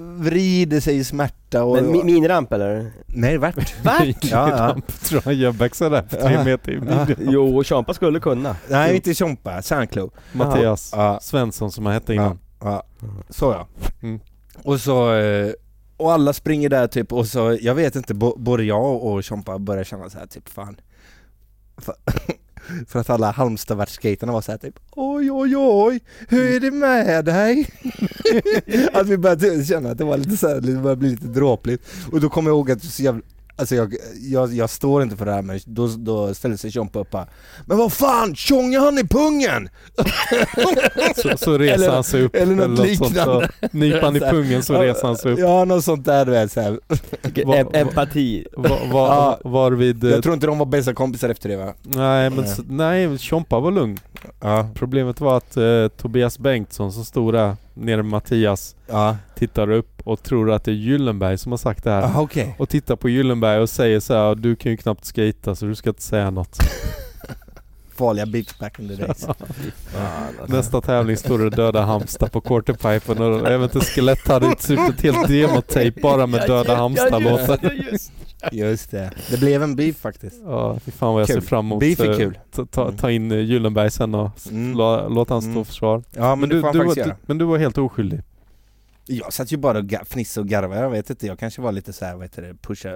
C: vrider sig i smärta och...
B: Men mi- miniramp eller?
C: Nej, värt.
A: Värt?
C: Ja, ja.
A: Tror han gör backside där på tre
C: Ja.
A: meter i midjan.
B: Jo, Champa skulle kunna.
C: Nej, inte Tjompa. Sandklo.
A: Mattias
C: Ja.
A: Svensson som han hette innan.
C: Ja, ja. så ja.
A: Mm.
C: Och så, eh, och alla springer där typ och så, jag vet inte, bo- både jag och Chompa börjar känna så här typ fan. Fa- För att alla Halmstadvärldsskaterna var så här typ oj oj oj, hur är det med dig? att vi började typ känna att det var lite så här, det började bli lite dråpligt. Och då kommer jag ihåg att så jävla, alltså jag, jag, jag står inte för det här men då, då ställde sig Chompa upp och bara, Men vad fan, tjongar han i pungen?
A: Så, så reser
C: Eller-
A: han sig upp.
C: eller något liknande.
A: Sånt, så nyper han i
C: Så här.
A: pungen så reser han sig upp.
C: Ja, något sånt där du vet så här.
A: Vad-
B: Em- Empati.
A: Var,
C: Ja.
A: var, varvid... eh,
C: Jag tror inte de var bästa kompisar efter det va?
A: Nej men så, nej, Tjompa var lugn.
C: Ja,
A: Problemet var att eh, Tobias Bengtsson som stod där nere med Mattias
C: ja.
A: tittar upp och tror att det är Gyllenberg som har sagt det här.
C: Aha, okej.
A: Och tittar på Gyllenberg och säger så här, du kan ju knappt skata så du ska inte säga något.
C: Farliga beats back in the days.
A: Nästa tävling står det döda hamstar på quarterpipen och även till skelett hade utsyrt ett helt demotejp bara med döda hamstar-låtar.
C: Just det. Det blev en beef faktiskt.
A: Ja, fy fan vad jag
C: Kul.
A: ser fram emot.
C: Beef är
A: eh,
C: kul.
A: ta- Ta, ta in eh, Gyllenberg sen och s-
C: Mm.
A: la- låta han stå
C: Mm.
A: och försvara.
C: Ja men, det får han
A: du, var-
C: faktiskt
A: du,
C: göra.
A: men du var helt oskyldig.
C: Jag satt ju bara och ga- fnissade och garvade, jag vet inte, jag kanske var lite såhär, vad heter det, pusha,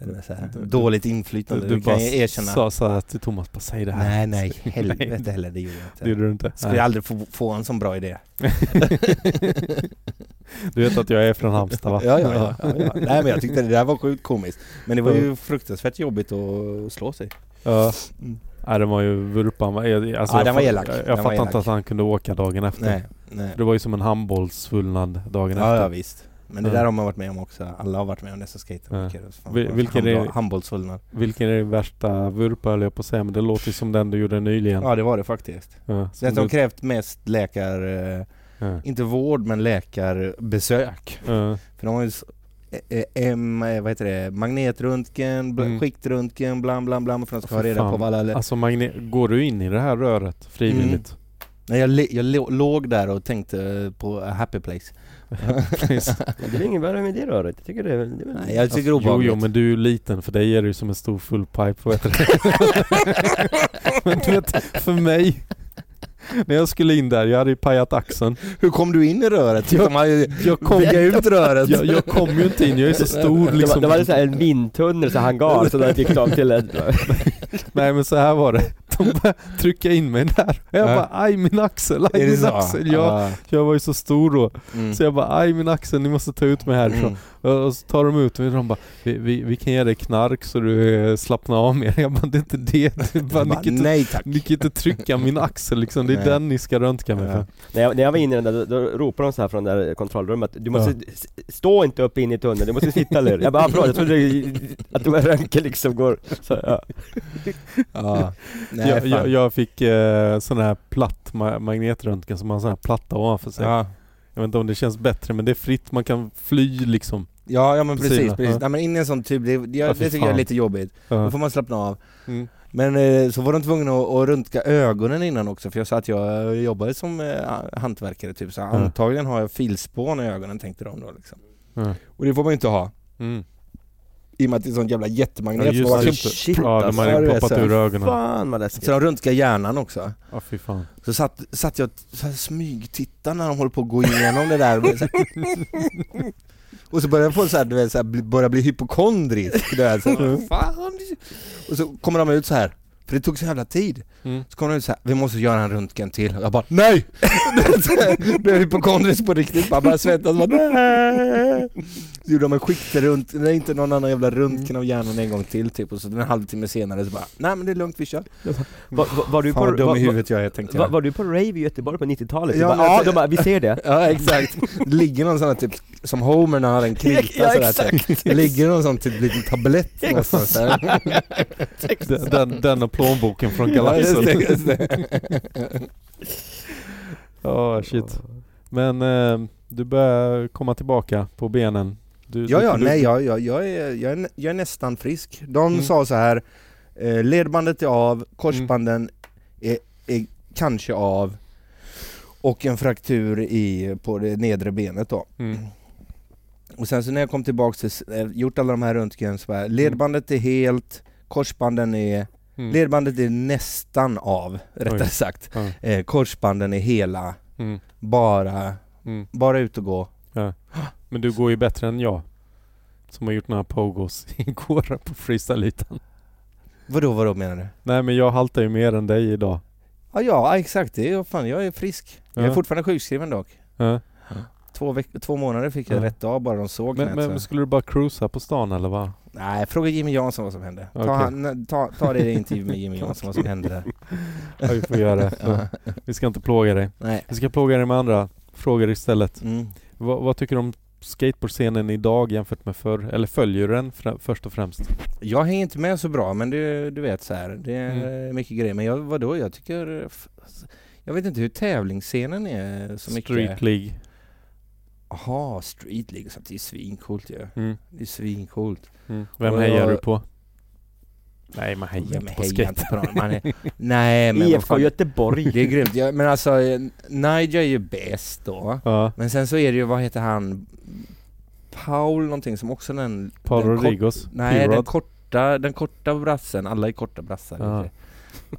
C: eller så här,
A: Du-
C: dåligt
A: Du,
C: inflytande,
A: du
C: det kan
A: bara
C: jag erkänna.
A: sa så här till Thomas, bara säg det här.
C: Nej nej, helvete
A: Nej,
C: heller, det gjorde
A: Det
C: jag inte.
A: gjorde du inte.
C: Skulle
A: Nej.
C: aldrig få, få en sån bra idé.
A: Du vet att jag är från Halmstad va?
C: Ja, ja, ja, ja, ja. Nej men jag tyckte det där var sjukt komiskt. Men det var ju fruktansvärt jobbigt att slå sig.
A: Ja.
C: Mm.
A: Nej, den var ju vurpan. va? Jag- Alltså,
C: Ja,
A: jag
C: den var
A: fatt-
C: elak.
A: Jag, jag
C: Den var
A: fattar
C: elak.
A: inte att han kunde åka dagen efter.
C: Nej, nej.
A: Det var ju som en handbollssvullnad dagen
C: Ja, ja
A: efter.
C: visst. Men det
A: Ja.
C: där har man varit med om också. Alla har varit med om dessa skaterolyckor. Fan,
A: Vil- vilken
C: handboll-
A: är-
C: Handbollsvullnad.
A: Vilken är din värsta vurpa höll jag på att säga, men det låter ju som den du gjorde nyligen.
C: Ja det var det faktiskt.
A: Ja, som
C: Den som
A: du,
C: krävt mest läkar... eh,
A: ja.
C: Inte vård men läkarbesök.
A: Ja.
C: För de har ju... s- eh, eh, M, eh, vad heter det? Magnetröntgen, bl-
A: Mm.
C: skiktröntgen, blam blam blam för de ska
A: Åh,
C: ha
A: fy
C: reda på
A: fan.
C: vad alla...
A: Alltså Magne, går du in i det här röret
C: Mm.
A: frivilligt?
C: Nej, jag, li- jag lo- låg där och tänkte eh, på a happy place.
A: Precis.
B: Men Det är inget värre med det röret. Jag tycker det är väl... Det är väl...
C: Nej, jag tycker det är
A: Alltså, jo, jo,
C: obehagligt.
A: men du är ju liten, för dig är det ju som en stor full pipe, vad heter det? men du vet, för mig, när jag skulle in där, jag hade ju pajat axeln.
C: Hur kom du in i röret?
A: Jag-
C: De har ju
A: Jag kom,
C: vigat ut röret.
A: jag, jag kom ju inte in, jag är så stor
B: Det var,
A: liksom.
B: det var så här en vindtunnel, så här hangar, så där fick de till en...
A: Nej men så här var det, de började trycka in mig där. Och jag
C: Ja.
A: bara aj min axel, aj
C: Är det
A: min
C: så?
A: axel. Jag,
C: Ah,
A: jag var ju så stor då.
C: mm.
A: Så jag bara aj min axel, ni måste ta ut mig härifrån.
C: Mm.
A: Och och så tar de ut mig och de bara vi, vi, vi kan ge dig knark så du eh, slappnar av mer. Jag bara det är inte det. Du bara, ni,
C: Bara,
A: kan inte,
C: nej tack.
A: ni kan inte trycka min axel liksom, det är
C: Nej.
A: den ni ska röntga mig för.
B: När jag, när jag var inne i den där, då, då ropade de så här från det där kontrollrummet Du måste, s- stå inte upp in i tunneln, du måste sitta ner Jag bara, ah, bra, jag trodde det- att det var röntgen liksom går så, ja.
C: Ja. Nej,
A: jag,
C: fan.
A: jag, jag fick eh, sån här platt ma- magnetröntgen som har en sån här platta ovanför sig.
C: Ja.
A: Jag vet inte om det känns bättre men det är fritt, man kan fly liksom.
C: Ja, ja men precis,
A: Precis,
C: precis.
A: ja.
C: Nej, men in i en sån tub, det, det,
A: Ja,
C: det
A: fy
C: tycker jag
A: fan.
C: är lite jobbigt. Då
A: Ja.
C: får man slappna av.
A: Mm.
C: Men eh, så var de tvungna att, att röntga ögonen innan också för jag sa att jag eh, jobbade som eh, hantverkare typ så antagligen har jag filspån i ögonen tänkte de då liksom.
A: Ja.
C: Och det får man ju inte ha.
A: Mm.
C: I och med att det är en sån jävla jättemagnet
A: Ja,
C: som
A: just
C: har typ-
A: det.
C: klippt.
B: Shit
A: Ja, de
B: alltså,
A: hade
C: Ja,
A: ju
C: det är
A: ploppat
C: så.
A: ur ögonen.
B: fan vad läskigt
C: Så de röntgar hjärnan också.
A: Ja fy fan.
C: Så satt, satt jag så här, smygtittar när de håller på att gå igenom det där. Och, det är så här. och så börjar jag få så här, du vet, så här, bli- börja bli hypokondrisk. Du vet, så här, fan. Och så kommer de ut så här. För det tog så jävla tid.
A: Mm.
C: Så kommer de ut så här, vi måste göra en röntgen till. Och jag bara, nej! Du vet, så här, Blev hypokondrisk på riktigt. Man bara svettas. Bara, nej! Så gjorde de en skiktrunt, nej inte någon annan jävla röntgen av hjärnan en gång till typ. Och så en halvtimme senare så bara, nej men det är lugnt vi kör.
B: var, var, var, du
C: Fan
B: på,
C: vad dum i
B: var,
C: huvudet jag är tänkte
B: var,
C: jag.
B: var du på rave i Göteborg på 90-talet?
C: Ja,
B: Ja, bara,
C: ja,
B: alltså, de bara, vi ser det
C: Ja exakt, det ligger någon sån här typ som Homer när han har en krita
B: Ja,
C: sådär typ. Det ligger någon sån typ liten tablett någonstans där.
A: Den, den, den och plånboken från
C: Ja, just
A: galaxen.
C: det, just det.
A: Oh, Ja shit. Men eh, Du börjar komma tillbaka på benen. Du,
C: Ja,
A: du-
C: ja,
A: du,
C: nej jag, jag, jag, är, jag, är, nä- jag är nästan frisk. De
A: Mm.
C: sa så här eh, ledbandet är av, korsbanden är, är kanske av och en fraktur i, på det nedre benet då.
A: Mm.
C: Och sen så när jag kom tillbaks till, s- eh, gjort alla de här röntgen så här, ledbandet är helt, korsbanden är,
A: Mm.
C: ledbandet är nästan av, rättare sagt.
A: Ja.
C: Eh, korsbanden är hela,
A: Mm.
C: bara,
A: Mm.
C: bara ut och gå.
A: Men du går ju bättre än jag. Som har gjort några pogos igår på freestylytan.
C: Vadå, vadå menar du?
A: Nej men jag haltar ju mer än dig idag.
C: Ja, ja exakt, det är, fan, jag är frisk. Jag
A: Ja.
C: är fortfarande sjukskriven dock.
A: Ja.
C: Två, veck- två månader fick jag
A: Ja.
C: rätt av bara de såg alltså.
A: Men,
C: knät,
A: men,
C: så.
A: skulle du bara cruisa på stan eller vad?
C: Nej, fråga Jimmy Jansson vad som hände. Ta,
A: Okej.
C: han, ta, ta det i intervju med Jimmy Jansson vad som hände där.
A: Ja, vi får göra det.
C: Ja.
A: Vi ska inte plåga dig.
C: Nej.
A: Vi ska plåga dig med andra frågor istället.
C: Mm.
A: Vad- vad tycker du om skateboardscenen idag jämfört med förr? Eller följer du den frä- först och främst?
C: Jag hänger inte med så bra men det, du vet så här. det är mycket grejer. Men jag, vadå, jag tycker... f- Jag vet inte hur tävlingsscenen är så mycket.
A: Street League.
C: Jaha, Street League. och sånt. Det är svincoolt ju.
A: Mm.
C: Det är svincoolt.
A: Mm. Vem
C: Och jag-
A: hejar du på? Nej man hejar
C: Ja,
A: inte
C: men
A: på E
C: heja
A: skate.
C: inte på någon. Man är, nej men vad
D: IFK
C: fan.
D: Göteborg.
C: Det är grymt. Jag, men alltså, eh, Nigel är ju bäst då.
A: Ja,
C: Men sen så är det ju, vad heter han? Paul någonting som också den...
A: Paul
C: den kort-
A: Rodrigos.
C: Nej, den
A: P-Rod.
C: korta, den korta brassen. Alla är korta brassar.
A: Ja.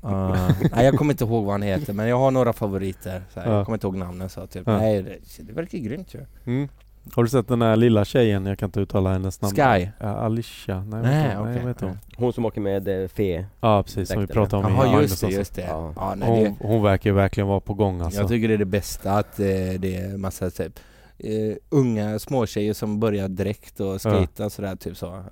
C: Ah, nej, jag kommer inte ihåg vad han heter, men jag har några favoriter. Så här,
A: Ja.
C: Jag kommer inte ihåg namnen så typ.
A: Ja.
C: Nej, det, det verkar grymt ju.
A: Mm. Har du sett den här lilla tjejen? Jag kan inte uttala hennes namn.
C: Sky.
A: Ja, Alicia. Nej,
C: Nej,
A: nej, nej
C: okej.
A: vad heter hon?
D: Hon som åker med eh, Fe.
A: Ja, precis. Som vi
D: Ursäkta,
A: pratade om i
C: Jaha, just
A: Magnus
C: det,
A: också.
C: just det.
D: Ja.
C: Ja, nej, det
A: Hon, hon verkar ju verkligen vara på gång alltså.
C: Jag tycker det är det bästa att eh, det är massa typ eh, unga småtjejer som börjar direkt och skejta sådär typ så.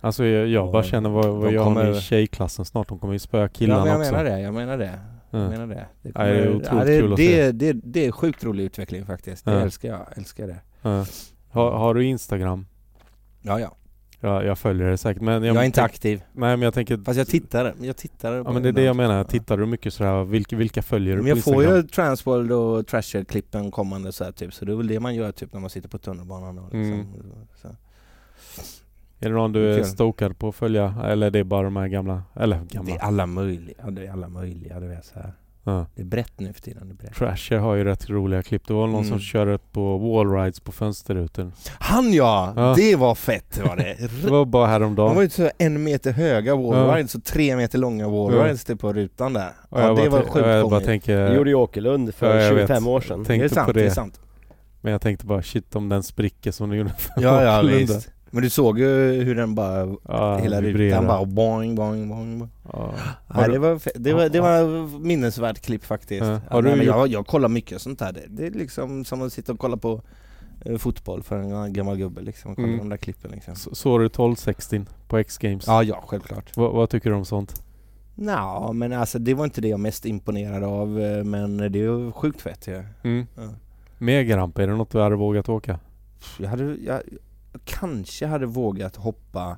A: Alltså jag, jag bara
C: Och
A: känner vad, vad
C: de
A: jag kommer... har
C: kommer-
A: med tjejklassen snart. De kommer ju spöa
C: ja,
A: killarna
C: men jag
A: också.
C: menar det, jag menar det. Jag
A: Ja.
C: menar det. Det,
A: Ja, det är
C: kommer-
A: otroligt
C: det,
A: kul att
C: det, det, det är sjukt rolig utveckling faktiskt. Det
A: Ja.
C: älskar jag, älskar det.
A: Ja. Har, har du Instagram?
C: Ja, ja.
A: Ja, jag följer det säkert. Men jag,
C: Jag är inte
A: tänk-
C: aktiv.
A: Nej men jag tänker...
C: Fast jag tittar. Jag tittar
A: Ja men det är det jag menar. Tittar du mycket sådär, vilka, vilka följer du
C: Men
A: på
C: jag får
A: Instagram?
C: ju Transworld och Trasher-klippen kommande så här, typ, så det är väl det man gör typ när man sitter på tunnelbanan och liksom,
A: Mm.
C: så.
A: Är det någon du är
C: Kul.
A: stokad på att följa? Eller det är bara de här gamla? Eller
C: Det
A: gamla?
C: är alla möjliga, det är alla möjliga, du vet så här.
A: Ja.
C: Det är brett nu för tiden, det är brett.
A: Trasher har ju rätt roliga klipp. Det var någon som
C: Mm.
A: körde på wallrides på fönsterrutor.
C: Han ja!
A: Ja.
C: Det var fett var det!
A: Det var bara
C: De var
A: häromdagen.
C: ju så här en meter höga wallrides och tre meter långa wallrides typ på rutan där.
A: Och
C: Ja, det
A: bara
C: var
A: tän-
C: sjukt
A: och Jag bara
C: konstigt.
A: tänker...
D: Det gjorde ju Åkerlund för
A: ja, jag vet.
D: 25 år sedan.
A: Tänk-
C: Det är
A: tänkte på
C: sant,
A: det.
C: det är sant.
A: Men jag tänkte bara shit om den spricker som den gjorde för
C: Ja, ja
A: Åkerlunda.
C: visst. Men du såg ju hur den bara,
A: Ja,
C: hela
A: vibrera.
C: rutan bara boing, boing, boing. boing.
A: Ja. Har
C: Nej,
A: du-
C: det, var, fe- det, var, det var minnesvärt klipp faktiskt.
A: Ja.
C: Ja,
A: Har du
C: nej, men
A: gjort-
C: jag, jag kollar mycket sånt här. Det, det är liksom som att sitta och kolla på eh, fotboll för en gammal gubbe liksom. Kolla
A: Mm.
C: de där klippen liksom.
A: Så- Såg du 1260 på X-Games?
C: Ja, ja, självklart.
A: Vad- vad tycker du om sånt?
C: Nå, men alltså det var inte det jag mest imponerad av, eh, men det är sjukt fett ju.
A: Mm.
C: Ja.
A: Med Grampa, är det något du hade vågat åka?
C: Jag hade, jag, jag kanske hade vågat hoppa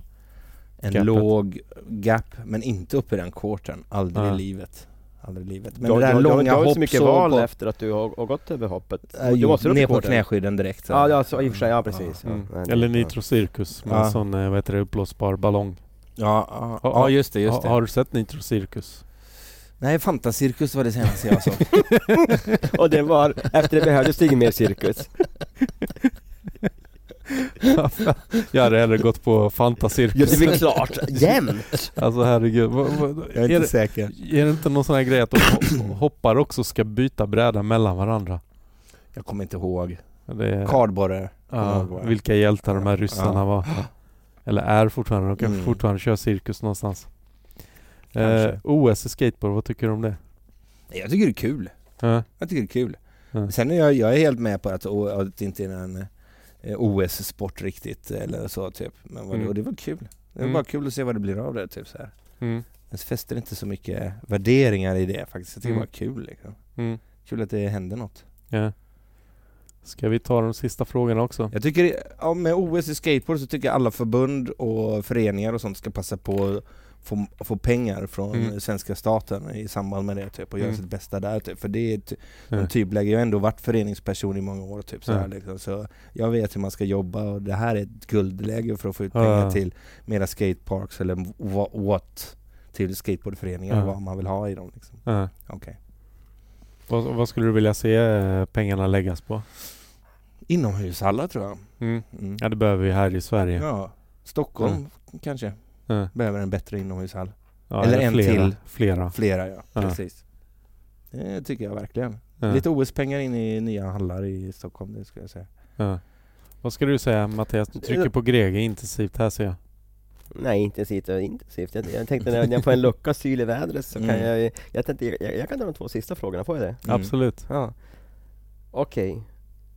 C: en
A: Gapet.
C: låg gap, men inte upp i den quartern. Aldrig
A: Ja.
C: i livet. Aldrig i livet. Men
D: Du har-
C: det
D: du
C: där
D: har- du har-
C: långa
D: Du har ju
C: hopp
D: så mycket
C: så
D: val
C: på-
D: efter att du har, har gått över hoppet.
C: Äh,
D: du måste upp i
C: ner på
D: quartern.
C: knäskydden direkt. så.
D: Ja, ja, så, i och för sig. Ja, precis.
A: Mm.
D: Ja,
A: Eller Nitro Circus med
C: Ja.
A: en sån, eh, vad heter det, uppblåsbar ballong.
C: Ja, ja,
A: Ha-
C: ja just det, just
A: Ha-
C: det.
A: Har du sett Nitro Circus?
C: Nej, Fantacirkus var det senaste jag såg.
D: Och det var, efter det behövdes ingen mer cirkus.
A: jag hade hellre gått på Fanta
D: Ja,
A: Circus.
D: det är väl klart. Jämt!
A: Alltså herregud. Vad- vad- är, det,
C: säker.
A: är det inte någon sån här grej att de ho- hoppar också ska byta bräda mellan varandra?
C: Jag kommer inte ihåg.
A: Det är,
C: Kardborre. kommer
A: ja,
C: jag ihåg.
A: vilka hjältar de här ryssarna
C: Ja.
A: var. Eller är fortfarande. De kanske
C: Mm.
A: fortfarande kör cirkus någonstans.
C: Kanske.
A: Eh, OS i skateboard, vad tycker du om det? Eh?
C: Nej, Jag tycker det är kul.
A: Ja.
C: Jag tycker det är kul.
A: Ja.
C: Sen är jag, jag är helt med på att, o- att det inte är en eh, OS-sport riktigt eller så typ. Men vad,
A: Mm.
C: och det var kul. Det var
A: Mm.
C: bara kul att se vad det blir av det typ så här.
A: Mm.
C: Jag fäster inte så mycket värderingar i det faktiskt. Jag tycker
A: Mm.
C: det var kul liksom.
A: Mm.
C: Kul att det händer något.
A: Ja. Ska vi ta de sista frågorna också?
C: Jag tycker, ja, med OS i skateboard så tycker jag alla förbund och föreningar och sånt ska passa på få, få pengar från
A: Mm.
C: svenska staten i samband med det typ och göra
A: Mm.
C: sitt bästa där typ. För det är ett
A: Ja.
C: mm. typläge, jag har ändå varit föreningsperson i många år typ så, här,
A: Ja.
C: liksom. så jag vet hur man ska jobba och det här är ett guldläge för att få ut
A: Ja.
C: pengar till mera skateparks eller wha- what till skateboardföreningar
A: Ja.
C: och vad man vill ha i dem liksom.
A: Ja.
C: Okej.
A: Vad, vad skulle du vilja se eh, pengarna läggas på?
C: Inomhushallar tror jag.
A: Mm.
C: Mm.
A: Ja, det behöver vi här i Sverige.
C: Ja, Stockholm kanske
A: Ja.
C: behöver en bättre inomhushall.
A: Ja,
C: Eller en
A: flera.
C: till.
A: Flera.
C: Flera ja,
A: Ja.
C: precis. Det tycker jag verkligen.
A: Ja.
C: Lite OS-pengar in i nya hallar i Stockholm, det skulle jag säga.
A: Ja. Vad ska du säga Mattias? Du trycker på Grege intensivt här ser jag.
B: Nej, intensivt och intensivt. Jag, jag tänkte när när jag får en lucka och syl i vädret så kan
C: Mm.
B: jag, jag, tänkte, jag... Jag kan ta de två sista frågorna, får jag det?
C: Mm.
A: Absolut.
B: Ja. Okej.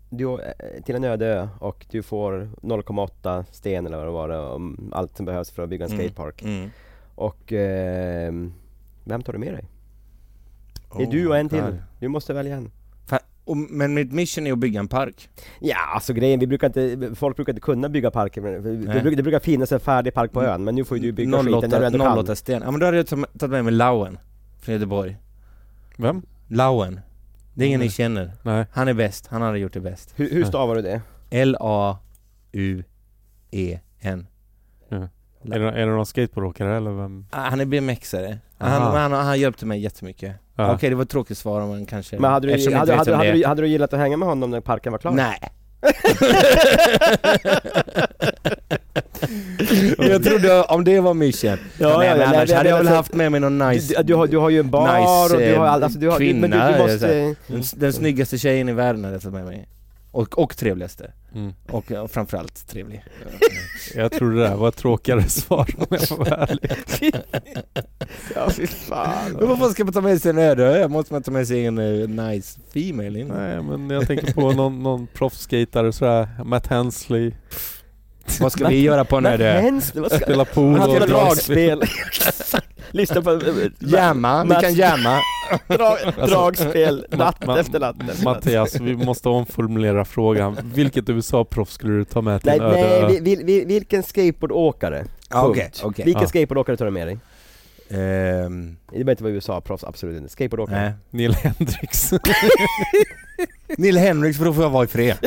B: Du å- eh, till en öde ö och du får 0,8 sten eller vad det var, eh, om allt som behövs för att bygga en
C: Mm.
B: skatepark.
C: Mm.
B: Och ehm, vem tar du med dig?
C: Oh
B: det är du och en till.
C: där.
B: Du måste välja en.
C: Fa- och, men mitt mission är att bygga en park.
B: Ja, alltså grejen, vi brukar inte, folk brukar inte kunna bygga parker. men Det,
C: Nej.
B: det, brukar, det brukar finnas en färdig park på
C: Mm.
B: ön, men nu får ju du bygga skiten när du
C: 08,
B: ändå kan.
C: 08 sten. Ja men då hade jag tagit tagit med mig Lauen från Göteborg.
A: Vem?
C: Lauen. Det är ingen
A: Mm.
C: ni känner.
A: Nej.
C: Han är bäst, han hade gjort det bäst.
B: Hur, hur stavar du
C: Mm.
B: det?
C: L-A-U-E-N. E
A: Är det, är det någon skateboardåkare eller vem?
C: Ah, Han är BMXare. Han,
A: Aha.
C: han, han hjälpte mig jättemycket.
A: Ja.
C: Okej, det var ett tråkigt svar men kanske...
B: Men hade du,
C: Eftersom jag
B: hade,
C: inte vet
B: hade,
C: vem
B: hade,
C: det
B: du, hade du gillat att hänga med honom när parken var
C: är.
B: klar?
C: Nej. jag trodde om det var mission.
B: ja,
C: nej, men
B: ja,
C: annars
B: nej,
C: hade jag väl
B: alltså-
C: haft med mig någon nice...
B: Du, du, har, du har ju en bar
C: Nice,
B: och du har,
C: eh,
B: all- alltså, du har, du, men
C: kvinna, eh,
B: du, du
C: så här.
B: måste...
C: Den, den snyggaste tjejen i världen hade jag tagit med mig. Och, och trevligaste.
A: Mm.
C: Och, och framförallt trevlig.
A: Jag trodde det där var ett tråkigare svar om jag får vara ärlig.
B: Ja, fy fan.
C: Men varför ska man ta med sig en öde ö? Måste man ta med sig en eh, nice female in?
A: Nej men jag tänker på någon, någon proffsskejtare sådär, Matt Hensley,
C: Vad ska vi göra på en
B: Vad
C: öde ö?
B: händs? Vad ska...
A: spela pool
B: Han
A: och
B: spelar
A: dra-
B: dragspel. Lyssna på
C: Jamma, vi
B: Mats-
C: kan jamma.
B: dra,
A: Alltså,
B: dragspel, natt
A: Ma- ma-
B: efter natt efter natt.
A: Mattias, vi måste omformulera frågan. Vilket USA-proffs skulle du ta med till
B: Nej,
A: en öde
B: nej
A: ö?
B: vi, vi, vi, vilken skateboardåkare?
C: Ja,
B: Punkt.
C: Okej, okej.
B: Vilken
A: Ja.
B: skateboardåkare tar du med dig?
C: Ehm,
B: Det behöver inte vara USA-proffs, absolut inte. Skateboardåkare.
C: nej.
A: Neil Hendrix.
C: Neil Henrik för då får jag vara i fred.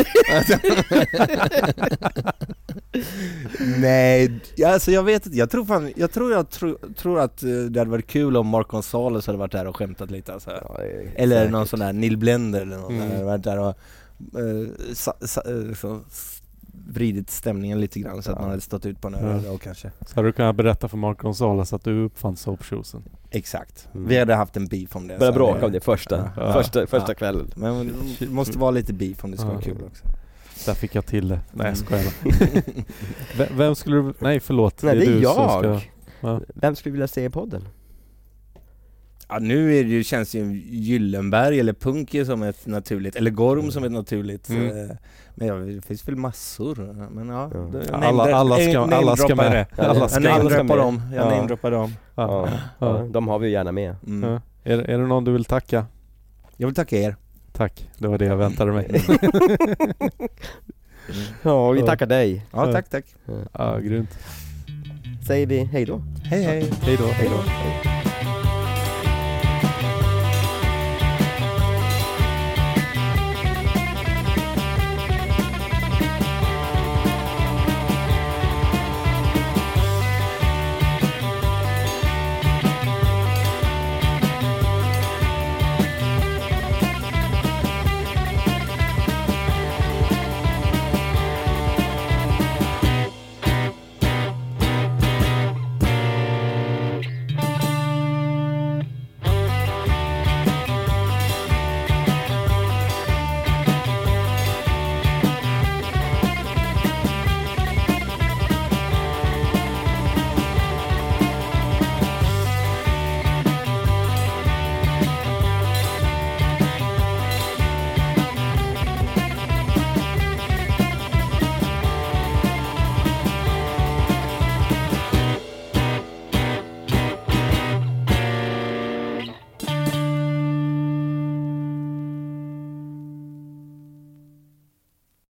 C: Nej, ja, alltså jag vet inte. Jag tror fan, jag tror, jag tror, tror att eh, det hade varit kul om Mark Gonzales hade varit där och skämtat lite alltså.
B: Ja, det är
C: Eller
B: säkert.
C: någon sån där Neil Blender eller någon
A: Mm.
C: hade varit där och eh, sa, sa, eh, liksom s- vridit stämningen lite grann så att
B: Ja.
C: man hade stått ut på en
A: Ja. Mm.
C: öre och kanske.
A: Så hade du kunnat berätta för Mark Gonzales att du uppfann soapshoesen.
C: Exakt.
B: Mm.
C: Vi hade haft en beef om det.
B: Börja
C: så
B: bråka
C: hade-
B: om det första,
A: Ja.
B: första, första
C: Ja.
B: kvällen.
C: Men det måste vara lite beef om det ska
A: Ja.
C: vara kul också.
A: Där fick jag till det. Nej jag
C: Mm.
A: skojar bara. V- Vem skulle du... Nej förlåt.
B: Nej, det är
A: du som
B: jag.
A: ska- Ja.
B: Vem skulle du vilja se i podden?
C: Ja nu är det ju, känns ju Gyllenberg eller Punky som ett naturligt, eller Gorm som ett naturligt
A: Mm.
C: eh, Men ja, det finns väl massor, men ja,
B: Ja.
C: då- jag
A: Alla, alla, ska,
C: namedra-
A: alla ska
C: namedroppar det.
A: med.
B: Ja,
A: Alla ska
C: Jag
B: alla
A: med.
B: ska
C: namedroppar
B: med.
C: dem, jag
A: Ja.
C: namedroppar dem
A: Ja.
B: Ja.
A: Ja.
B: De har vi ju gärna med.
C: mm.
A: Ja. Är, är det någon du vill tacka?
C: Jag vill tacka er
A: Tack. Det var det jag väntade mig.
B: Ja, vi
A: Ja.
B: tackar dig.
C: Ja
A: Ja.
C: tack tack,
A: Ja, grymt.
B: Säger vi hej då.
C: hej hej
A: Hej då.
B: Hej då. Hej.